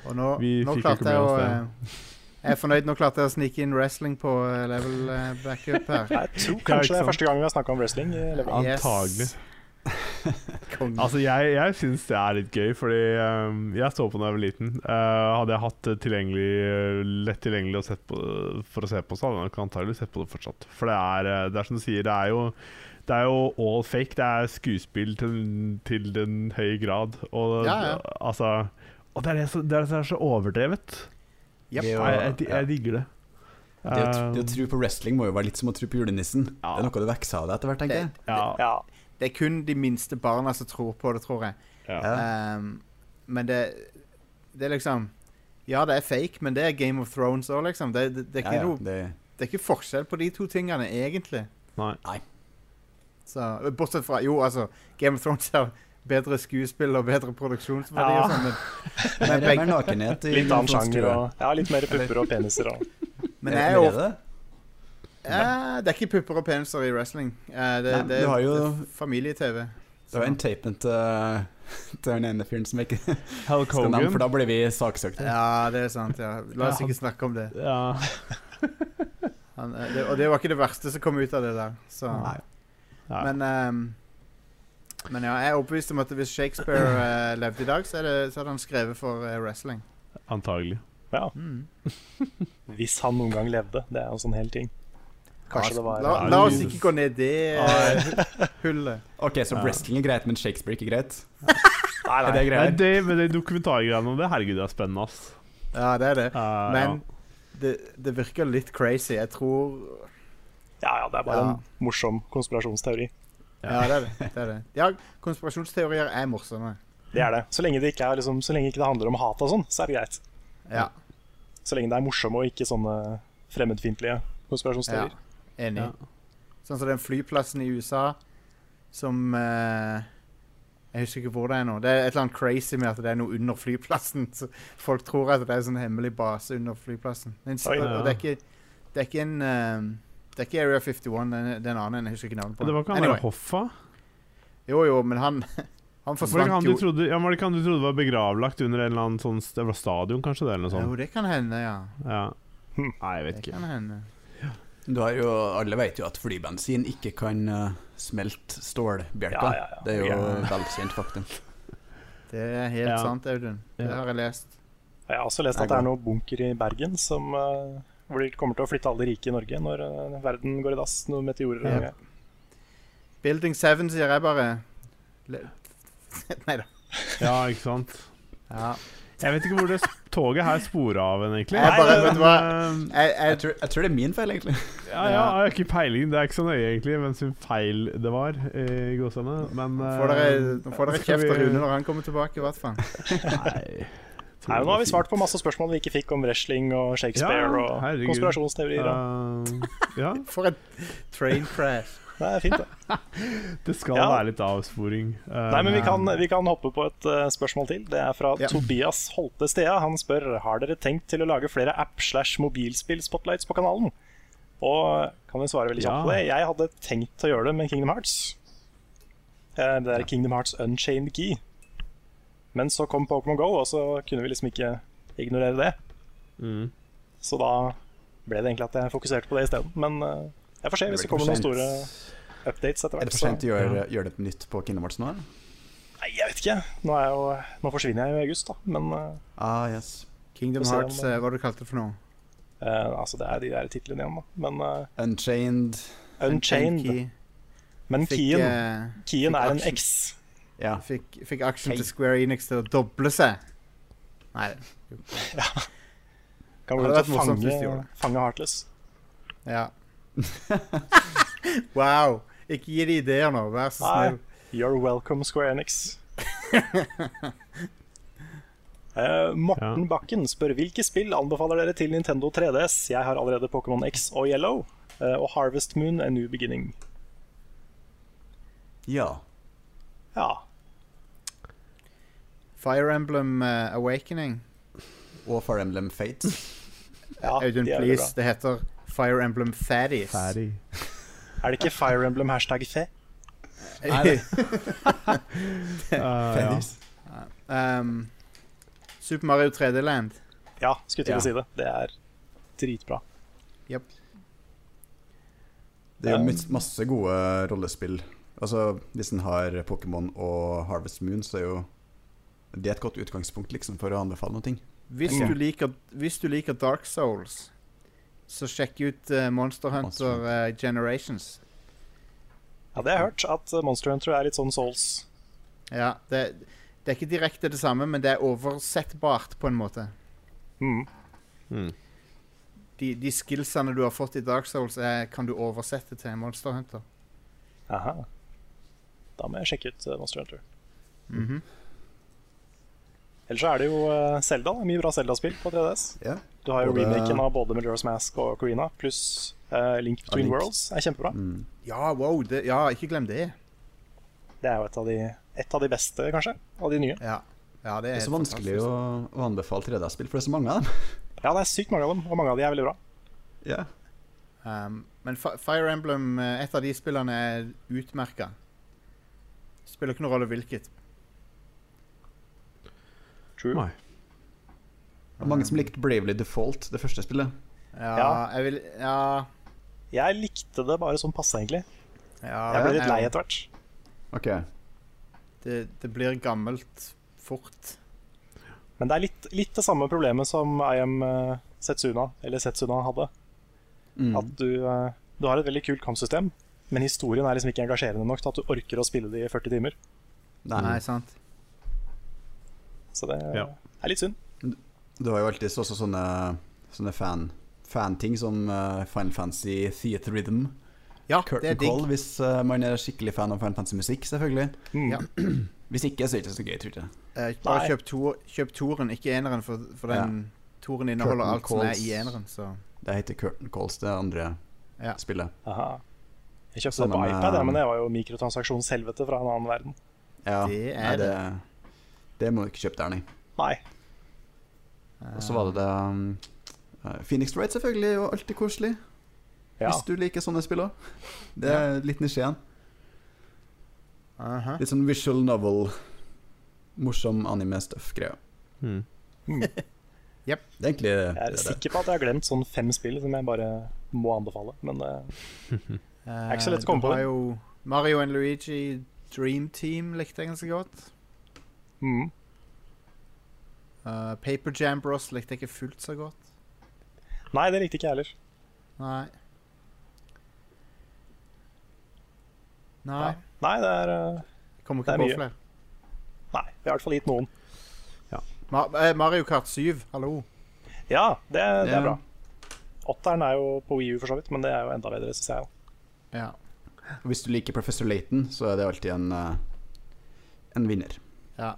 Og nå,
Vi
nå
fikk jo ikke
klarte jeg å
med
eh, Jeg er fornøyd. Nå klarte jeg å snike inn wrestling på eh, level eh, backup her.
Jeg tror
Ja, ikke
kanskje det er
sant.
første gang vi har snakka om wrestling. eh, i Level Up.
Yes.
antagelig.
Konge.
Altså, jeg, jeg syns det er litt gøy, fordi eh, jeg så på da jeg var liten. Eh, hadde jeg hatt det tilgjengelig, eh, lett tilgjengelig å sett på, for å se på, så hadde jeg nok antagelig sett på det fortsatt. For det er, eh, det er som du sier, det er jo det er jo all fake. Det er skuespill til, til den høye grad. Og,
Ja, ja.
Altså, og det er det som det er, det som er så overdrevet.
Jep.
Det er jo-
jeg, jeg,
ja.
jeg digger det.
Det å, tr- det å
Eh,
tro på wrestling må jo være litt som å tro på julenissen.
Ja.
Det er noe du vokser av deg etter hvert, tenker jeg.
Eh, ja,
Ja.
Det er kun de minste barna som tror på det, tror jeg.
ja.
Ja.
Ehm, men det Det er liksom Ja, det er fake, men det er Game of Thrones òg, liksom. Det, det, det, er
Ja,
ikke
ja,
Noe,
det,
det er ikke forskjell på de to tingene, egentlig.
Nei.
Så, bortsett fra Jo, altså, Game of Thrones har bedre skuespill og bedre produksjonsverdi
Ja.
og sånn, men,
det er mer nakenhet i
Litt annen sjanger
tror jeg.
og ja, litt mer pupper og peniser og
men
Er
jeg er
det
jo
det?
eh, Det er ikke pupper og peniser i wrestling. Eh, det,
Nei,
det,
du har
er-
jo-
det er familie-TV.
Det var en tapen til, til den ene fyren som jeg ikke
Hulk
skal nevne, for
Hogan.
da blir vi saksøkt.
Ja, det er sant. ja La
Ja,
oss
han-
ikke snakke om det.
Ja.
Han, eh, det. Og det var ikke det verste som kom ut av det der. Så
Nei. Ja.
Men, ehm, men ja, jeg er overbevist om at hvis Shakespeare eh, levde i dag, så, er det, så hadde han skrevet for eh, wrestling.
Antagelig.
Ja,
Mm.
hvis han noen gang levde. Det er jo en sånn hel ting. Kanskje det var
la,
Ja,
la oss
Jesus.
ikke gå ned i det eh, hullet.
Ok, så
Ja.
wrestling er greit, men Shakespeare er ikke greit?
Nei,
Er
nei.
det
Nei,
greier?
det, men det dokumentargreiene om det, herregud, det er spennende, ass.
Ja, det er det.
Eh,
Men det, det virker litt crazy. Jeg tror
Ja, ja, det er bare
Ja.
en morsom konspirasjonsteori.
Ja, det er det. det, er det. Ja, konspirasjonsteorier er morsomme.
Det er det. Så lenge det ikke, er, liksom, så lenge ikke det handler om hat og sånn, så er det greit.
Ja.
Så lenge det er morsomme og ikke sånne fremmedfiendtlige konspirasjonsteorier.
Ja, enig.
Ja.
Sånn som den flyplassen i USA som eh, Jeg husker ikke hvor det er nå. Det er et eller annet crazy med at det er noe under flyplassen. Så folk tror at det er en sånn hemmelig base under flyplassen. Men, s-
Oi.
og, og det,
Ja.
er ikke, det er ikke en eh, Det er ikke Area 51, det er en- det er en annen en. Jeg husker ikke navnet på
Det var ikke han der Hoffa?
Jo, jo, men han Han
Var det ikke
forsvant
han du
jo.
trodde, ja, var, det ikke han du trodde var begravlagt under en eller annen sånn st- det var stadion, kanskje? Det, eller noe
Jo,
sånt?
det kan hende, ja.
Ja.
Hm.
Nei, jeg vet
Det
ikke.
kan hende.
Du har jo, alle vet jo at flybensin ikke kan eh, smelte stålbjelker.
Ja, ja, ja.
Det er jo
Ja.
velkjent faktum.
Det er helt
Ja.
sant, Audun. Det
Ja.
har jeg lest.
Jeg har også lest at det er noe bunker i Bergen som eh, hvor de kommer til å flytte alle de rike i Norge når eh, verden går i dass. Noen meteorer og
Ja.
greier.
Building 7 sier jeg bare. Nei da.
Ja, ikke sant?
Ja.
Jeg vet ikke hvor det s- toget her sporer av en, egentlig.
Jeg bare- vet du
Men, eh,
Jeg,
Jeg
jeg,
tror, jeg tror det er min feil, egentlig.
ja, ja, jeg har ikke peiling. Det er ikke så nøye, egentlig, hvem sin feil det var. eh, I gåsene. Men eh,
nå får dere, nå får dere kjeft av Rune når han kommer tilbake, i hvert fall.
Nei.
Nei, nå har vi svart på masse spørsmål vi ikke fikk om wrestling og Shakespeare
Ja,
og
herregud.
konspirasjonsteorier. og-
Eh, ja,
For et train crash.
Det er fint, det.
det skal
Ja.
være litt avsporing. Eh,
Nei, men
Um,
vi kan, vi kan hoppe på et eh, spørsmål til. Det er fra
Ja.
Tobias Holte Stea. Han spør har dere tenkt til å lage flere app-slash-mobilspill-spotlights på kanalen. Og kan vi svare veldig kjapt på det? Jeg hadde tenkt å gjøre det med Kingdom Hearts. Eh, Det er Kingdom Hearts Unchained Key. Men så kom Pokémon Go, og så kunne vi liksom ikke ignorere det.
Mm.
Så da ble det egentlig at jeg fokuserte på det isteden. Men eh, jeg får se hvis det kommer noen store updates etter
Er
hvert.
det for
så-
sent å gjøre, gjøre det på nytt på Kingdom Hearts nå? eller?
Nei, jeg vet ikke. Nå, er jeg jo, nå forsvinner jeg jo i august, da. Men eh,
Ah, yes.
Kingdom
Få se om-
Hearts, eh, hva du kalte det for noe?
eh, altså, det er de der titlene igjen, da. Men eh,
Unchained
Unchained.
Key.
Men
Fikk,
keyen,
eh,
keyen
fikk
er en
action.
X.
Ja.
fikk, fikk aksjen
Key.
til Square Enix til å doble seg. Nei.
Kan
Ja,
gå
det
ut
hadde
og
vært morsomt hvis de
fange,
gjorde
fange Heartless.
Ja. Wow. Ikke gi de ideer nå, vær så
Nei.
snill.
You're welcome, Square Enix. Eh, Morten
Ja.
Bakken spør hvilke spill anbefaler dere til Nintendo 3DS. Jeg har allerede Pokémon X og Yellow. eh, og Harvest Moon A New Beginning.
ja.
Ja.
Fire Emblem eh, Awakening.
Og Fire Emblem Fates.
ja
Audun,
Ah, de er veldig
please. Det heter Fire Emblem Faddies.
Ferdig.
bra. Er det ikke Fire Emblem hashtag fe?
Nei,
Eh, ja.
Fates.
Um, Super Mario 3D Land.
Ja, skulle til
Ja.
å si det. Det er dritbra.
Det er jo
Um,
mys- masse gode rollespill. Altså, Hvis en har Pokémon og Harvest Moon, så er jo det et godt utgangspunkt liksom, for å anbefale noe.
Hvis,
Mm.
du liker, hvis du liker Dark Souls, så sjekk ut eh, Monster
Monster
Hunter eh, Generations.
Ja, det har jeg hørt, at eh, Monster Hunter er litt sånn Souls.
Ja, det, det er ikke direkte det samme, men det er oversettbart på en måte.
Mm.
Mm.
De, de skillsene du har fått i Dark Souls, er, kan du oversette til Monster Hunter.
Aha. Da må jeg sjekke ut eh, Monster Hunter.
Mhm.
Ellers så er det jo eh, Zelda. da. Mye bra Zelda-spill på 3DS.
Ja.
Du har jo
Både-
remaken av både Majora's Mask og Corina, pluss eh, Link Between
Link.
Worlds er kjempebra.
Mm.
Ja, wow. Det, ja, ikke glem det.
Det er jo et av, de, et av de beste, kanskje, av de nye.
Ja, ja det er
Det er så
helt
vanskelig å,
fantastisk.
å anbefale 3D-spill, for det er så mange av dem.
Ja, det er sykt mange av dem, og mange av de er veldig bra.
Ja.
Um, men Fi- Fire Emblem, eh, et av de spillene er utmerka. Spiller ikke noen rolle hvilket.
True.
Nei.
Det er mange som likte Bravely Default, det første spillet.
Ja,
Ja.
jeg vil Ja.
Jeg likte det bare sånn passe, egentlig.
ja
Jeg ble litt lei
jeg-
etter hvert.
Ok.
Det, det blir gammelt fort.
Men det er litt, litt det samme problemet som I am eh, Setsuna, eller Setsuna hadde.
Mm.
At du, eh, du har et veldig kult kampsystem, men historien er liksom ikke engasjerende nok til at du orker å spille det i 40 timer.
Nei.
Nei, sant?
Så det
Ja.
er litt synd.
Du har jo alltid også sånne, sånne fan, fan-ting som eh, Final Fantasy Theater Rhythm.
Ja, det er
Curtain
digg.
call hvis eh, man er skikkelig fan av Final Fantasy-musikk, selvfølgelig.
Mm.
Ja.
Hvis ikke, så er det ikke så gøy, tror jeg.
Eh, bare
Nei.
kjøp, to, kjøp toren, ikke eneren, for, for den toren
Curtain
inneholder alt som er
calls.
i eneren. Så.
Det heter Curtain Calls, det andre
Ja.
spillet.
Aha. Jeg kjøpte det
Sammen
på
med-
iPad, ja, men det var jo mikrotransaksjonshelvete fra en annen verden.
Ja,
Det er
nei, det. Det må du ikke kjøpe der, nei.
Nei.
eh,
Og så var det det um, eh, Phoenix Wright, selvfølgelig, og alltid koselig.
Ja.
Hvis du liker sånne spill òg. Det er litt nisjeen.
Aha.
Litt sånn visual novel, morsom anime-stuff-greia.
Mm.
Mm. Jeg
Det er egentlig det.
er
det.
sikker på at jeg har glemt sånn fem spill som jeg bare må anbefale. Men eh,
Eh,
er ikke så lett å
det
komme på
var
det.
Jo Eh, Mario and Luigi Dream Team likte jeg ganske godt.
mm.
Eh, Paper Jam Bros likte jeg ikke fullt så godt.
Nei, det likte ikke jeg heller.
Nei. Nei.
Ja. Nei, det er eh,
jeg Kommer
Det
ikke
er
på
mye.
flere.
Nei, vi har i hvert fall gitt noen.
Ma eh, Mario Kart 7, hallo.
Ja, det, det
Ja.
er bra. Åtteren er jo på Wii U for så vidt, men det er jo enda bedre, syns jeg. jo.
Ja.
Og Hvis du liker Professor Layton, så er det alltid en, eh, en vinner.
ja.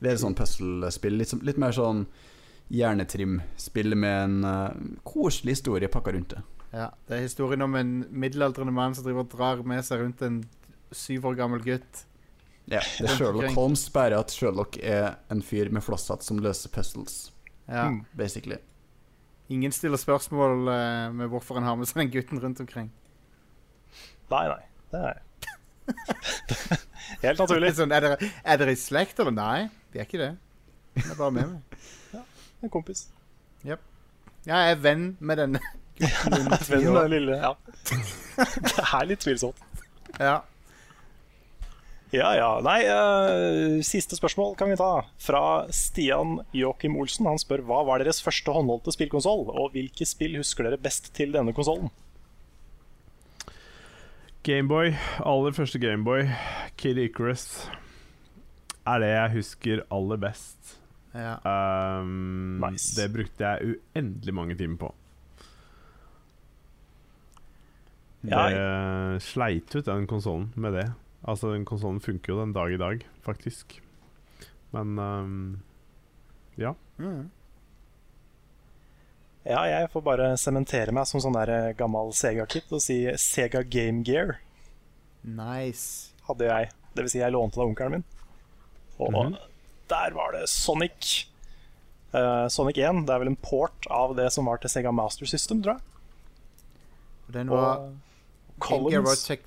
Det er et sånn puzzlespill. Litt, som- litt mer sånn hjernetrimspill med en eh, koselig historie pakka rundt det.
Ja, Det er historien om en middelaldrende mann som driver og drar med seg rundt en syv år gammel gutt.
Ja, det er Sherlock Holmes, bare at Sherlock er en fyr med flosshatt som løser puzzles,
Ja.
Mm.
basically.
Ingen stiller spørsmål eh, med hvorfor han har med seg den gutten rundt omkring.
Nei, nei. Det er Helt
Det
naturlig.
er Sånn, er, dere, er dere i slekt, eller? Nei, vi er ikke det. Han er bare med meg.
En kompis.
Ja, jeg er venn med denne gutten under ti
Vennen
år.
den lille. Ja. Det er litt tvilsomt.
Ja.
Ja, ja. Nei, eh, siste spørsmål kan vi ta. Fra Stian Joakim Olsen. Han spør hva var deres første håndholdte spillkonsoll, og hvilke spill husker dere best til denne konsollen?
Gameboy. Aller første Gameboy. Kid Icarus. Er det jeg husker aller best.
ja.
Um,
Nice.
Det brukte jeg uendelig mange timer på.
Ja,
Det sleit ut den konsollen med det. Altså, den konsollen funker jo den dag i dag, faktisk. Men um,
Mm.
Ja, jeg får bare sementere meg som sånn der eh, gammel Sega-kid og si Sega Game Gear
Nice.
hadde jeg. Det vil si, jeg lånte det av onkelen min. Og
Mhm.
der var det Sonic. Eh, Sonic 1 det er vel en port av det som var til Sega Master System, tror jeg.
Og Den var,
Og
Gameboy var
Collins.
tek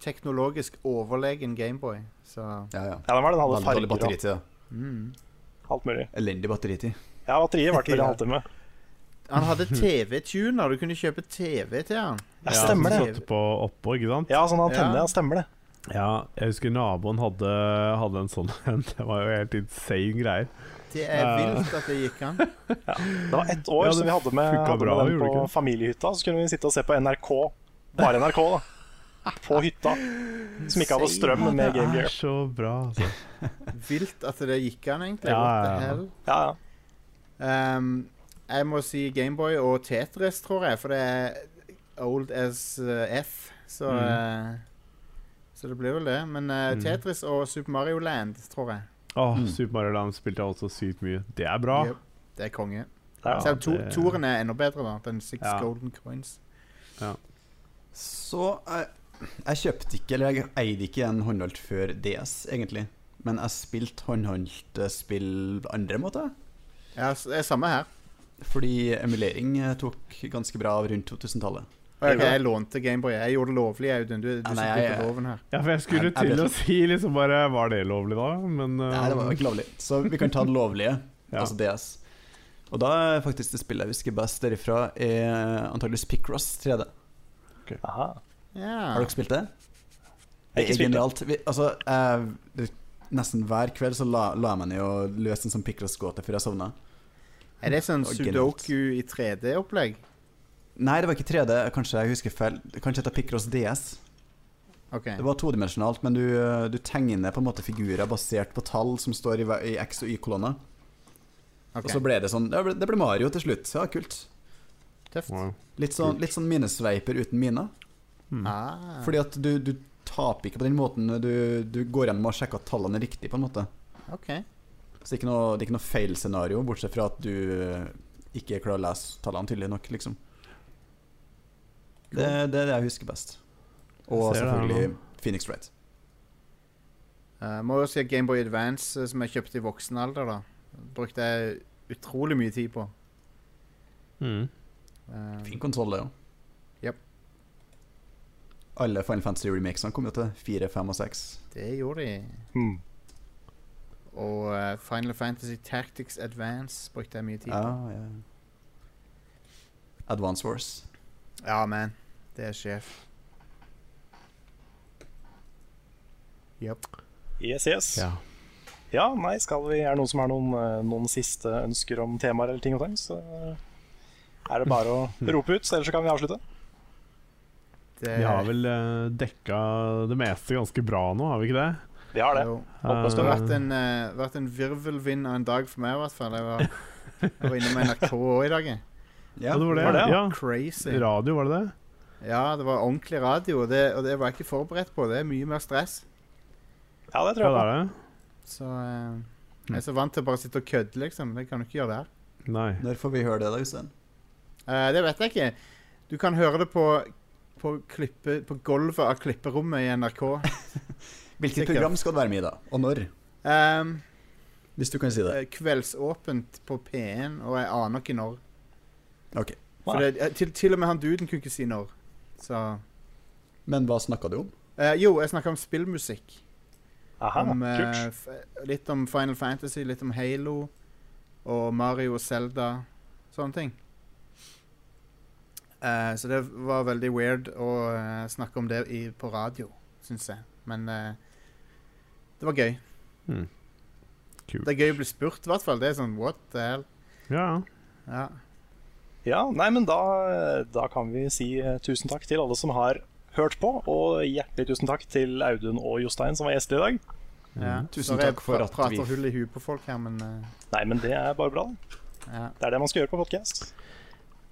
teknologisk overlegen Gameboy, så
Ja, ja.
Ja, den var den hadde
Veldig dårlig
farger og
batteritid. da.
mm.
alt mulig.
Elendig batteritid.
Ja, batteriet varte vel en
Ja.
halvtime.
Han hadde TV-tuner. Du kunne kjøpe TV til han.
Ja, stemmer
som
det.
satte på oppå, ikke sant?
Ja, sånn antenne,
Ja.
ja. stemmer det.
Ja, jeg husker naboen hadde, hadde en sånn en. Det var jo helt insane greier.
Det er
Ja.
vilt at det gikk an.
Det var ett år
Ja, det
som vi hadde med,
funka
hadde
bra,
med den
gjorde det
på
ikke?
familiehytta. Så kunne vi sitte og se på NRK, bare NRK, da. På hytta. Som ikke hadde strøm
Ja,
med Game
Det
Gear.
er så bra, altså.
Vilt at det gikk an, egentlig.
Ja, ja,
What the
ja.
hell?
Ja, ja.
Ehm, jeg må si Gameboy og Tetris, tror jeg, for det er old as eh, F. Så,
Mm.
eh, så det blir vel det. Men eh,
Mm.
Tetris og Super Mario Land, tror jeg.
Åh,
Mm.
Super Mario Land spilte jeg også sykt mye. Det er bra.
Yep. Det er konge.
Ja.
Selv om to
det-
toren er enda bedre, da. Den Six
Ja.
Golden Coins.
Så jeg, jeg kjøpte ikke, eller jeg eide ikke en håndholdt før DS, egentlig. Men jeg spilte håndholdte spill på andre måter.
Ja, s- det er samme her.
Fordi emulering eh, tok ganske bra av rundt 2000-tallet.
Og jeg,
Ja.
jeg lånte Gameboy. Jeg gjorde det lovlig, Audun. Du, du
Ja, nei,
sitter
jeg-
på loven her.
Ja, for jeg skulle
Jeg- jeg
til
vet
å si liksom bare Var det lovlig da? Men uh,
Nei, det var jo ikke lovlig. Så vi kan ta det lovlige,
Ja.
altså DS. Og da er faktisk det spillet jeg husker best derifra, er antageligvis Picross 3D.
Aha.
Ja.
Har dere spilt det?
Jeg har
Det
ikke
er
spilt det.
genialt. Vi, altså, eh, det, nesten hver kveld så la, la jeg meg ned og løste en sånn Picross-gåte før jeg sovna.
Er det sånn
Det var genialt.
Sudoku i 3D-opplegg?
Nei, det var ikke 3D. Kanskje jeg husker feil. Kanskje det heter Picross DS.
OK.
Det var todimensjonalt, men du, eh, du tegner på en måte figurer basert på tall som står i, hver- i X- og Y-kolonner.
ok.
Og så ble det sånn Det ble, det ble Mario til slutt. Ja, kult.
Tøft.
Wow.
Litt sånn, litt sånn minesveiper uten miner.
Mm.
Ah.
Fordi at du, du taper ikke på den måten. Du, du går gjennom og sjekker at tallene er riktige, på en måte.
OK.
Så det er ikke noe, det er ikke noe feilscenario, bortsett fra at du eh, ikke klarer å lese tallene tydelig nok, liksom. Det, det er det jeg husker best. Og
Jeg ser det her
selvfølgelig Phoenix Wright.
Eh, må jo si at Gameboy Advance, eh, som jeg kjøpte i voksen alder, da brukte jeg utrolig mye tid på.
Mm.
Eh,
Fin konsoll, det òg.
Japp.
Alle Final Fantasy remakesene kom jo til 4, 5 og 6.
det gjorde de.
Hmm.
Og eh, Final Fantasy Tactics Advance brukte jeg mye tid
Ja,
på.
ja. Advance Wars.
Ja, man. Det er sjef. Yep.
Yes, yes. Ja.
Ja.
nei, skal vi, er det noen som har noen, eh, noen siste ønsker om temaer eller ting og ting, så eh, er det bare
Hmm.
å rope ut, så ellers så kan vi avslutte.
Det
Vi har vel eh, dekka det meste ganske bra nå, har vi ikke det?
Vi har det.
jo.
Håper
Det har
det
Eh,
vært en, eh, vært en virvelvind av en dag for meg, i hvert fall. Jeg var, jeg var inne med NRK òg i dag. jeg.
ja, det var det.
Var det,
ja.
Crazy.
Radio, var det det?
Ja, det var ordentlig radio, og det, og det var jeg ikke forberedt på. Det er mye mer stress.
Ja, det tror
Ja,
jeg
det
på.
er det.
Så eh, jeg er så vant til å bare sitte og kødde, liksom. Det kan du ikke gjøre der.
Nei.
Når får vi høre det, da, Jostein?
Eh, det vet jeg ikke. Du kan høre det på, på, klippe, på gulvet av klipperommet i NRK.
Hvilket
Sikkert.
program skal du være med i, da? Og når?
Um,
Hvis du kan si det.
eh, kveldsåpent på P1, og jeg aner ikke når.
Ok.
For
Nei.
det, eh, til, til og med han duden kunne ikke si når. Så
Men hva snakka du om?
eh, Jo, jeg snakka om spillmusikk.
Aha,
om, eh,
kult.
f- litt om Final Fantasy, litt om Halo og Mario og Zelda. Sånne ting. Eh, så det var veldig weird å eh, snakke om det i, på radio, syns jeg. Men eh, det var gøy.
Hmm.
Mm. Kult.
Det er gøy å bli spurt, i hvert fall. Det er sånn what the hell.
Ja, ja.
Ja.
Ja, nei, men da, da kan vi si eh, tusen takk til alle som har hørt på, og hjertelig tusen takk til Audun og Jostein som var gjester i dag.
ja.
Hmm.
Mm.
Tusen
Sorry, jeg
takk for
pra-
at vi-
prater hull i huet på folk her, men eh,
Nei, men det er bare bra.
ja.
Det er det man skal gjøre på podcast.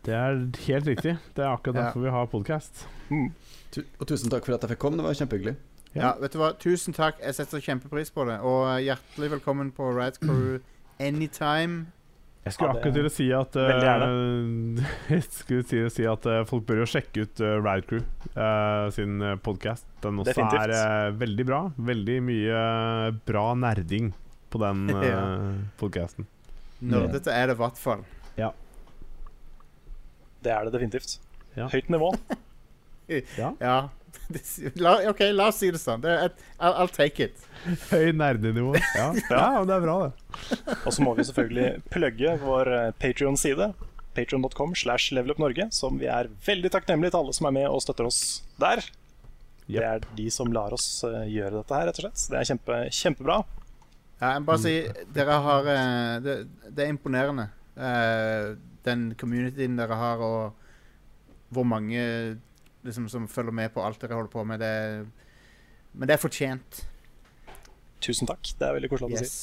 Det er helt riktig. Det er akkurat
Ja.
derfor vi har podkast.
Mm,
Tu og tusen takk for at jeg fikk komme, det var kjempehyggelig.
Ja.
Ja, vet du hva? Tusen takk. Jeg setter kjempepris på det. Og eh, hjertelig velkommen på Rad Crew anytime.
Jeg skulle
Ja, det-
akkurat til å si at
Veldig
eh, Jeg skulle til å si at eh, folk bør jo sjekke ut uh, Ride Crew eh, sin podkast. Den også
Definitivt.
er eh, veldig bra. Veldig mye eh, bra nerding på den uh,
Ja.
podkasten.
Nerdete er det i hvert fall.
Det er det definitivt.
Ja.
Høyt nivå.
Ja. Det s- La, OK, la oss si det sånn. Det er et, I'll, I'll take it.
Høy nerdenivå. Ja. ja, men det er bra, det.
Og så må vi selvfølgelig plugge vår Patrion-side, patreon.com slash levelupnorge, som vi er veldig takknemlige til alle som er med og støtter oss der. Det er de som lar oss eh, gjøre dette her, rett og slett. Det er kjempe, kjempebra.
Ja, jeg
Mm.
må bare si dere har eh, det, det er imponerende. eh, den communityen dere har, og hvor mange liksom, som følger med på alt dere holder på med. Det, er- men det er fortjent.
Tusen takk. Det er veldig koselig å si.
Yes.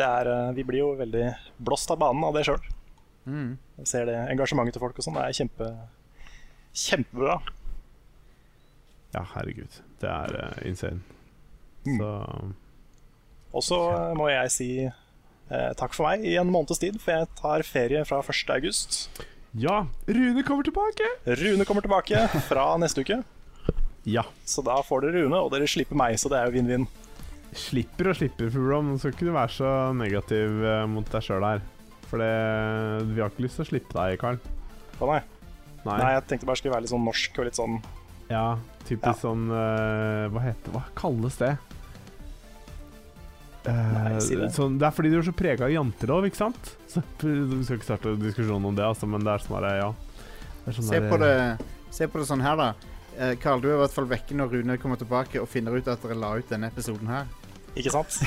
Det er, eh, vi blir jo veldig blåst av banen av det sjøl.
Mm.
Jeg ser det engasjementet til folk og sånn. Det er kjempe, kjempebra.
Ja, herregud. Det er eh, insane.
Mm.
Så
Og så eh, må jeg si eh, takk for meg i en måneds tid, for jeg tar ferie fra 1. august.
Ja, Rune kommer tilbake!
Rune kommer tilbake fra neste uke,
Ja.
så da får dere Rune, og dere slipper meg, så det er jo vinn-vinn.
slipper og slipper, Fugrom. Nå skal ikke du være så negativ eh, mot deg sjøl her. For det, vi har ikke lyst til å slippe deg, Karl.
Å, Nei. Nei, jeg tenkte bare skulle være litt sånn norsk og litt sånn
Ja, typisk
Ja.
sånn eh, Hva heter Hva kalles det? Eh,
Nei, si det.
Sånn, det er fordi du er så prega av jantelov, ikke sant? Så, vi skal ikke starte diskusjonen om det, altså, men det er sånn her, ja. Det er sånn
Se,
her,
på det, se på det sånn her, da. Eh, Karl, du er i hvert fall vekke når Rune kommer tilbake og finner ut at dere la ut denne episoden her.
Ikke sant?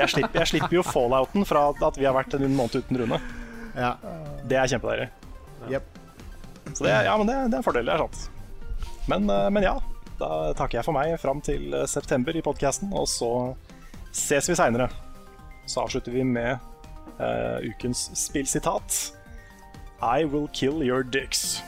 Jeg slipper, jeg slipper jo fallouten fra at vi har vært en måned uten Rune.
Ja.
Det er kjempedeilig.
Jep.
Så det, er- ja, men det, det er en fordel, det er sant. Men, eh, men ja, da takker jeg for meg fram til eh, september i podkasten, og så ses vi seinere. Så avslutter vi med eh, ukens spillsitat. I will kill your dicks.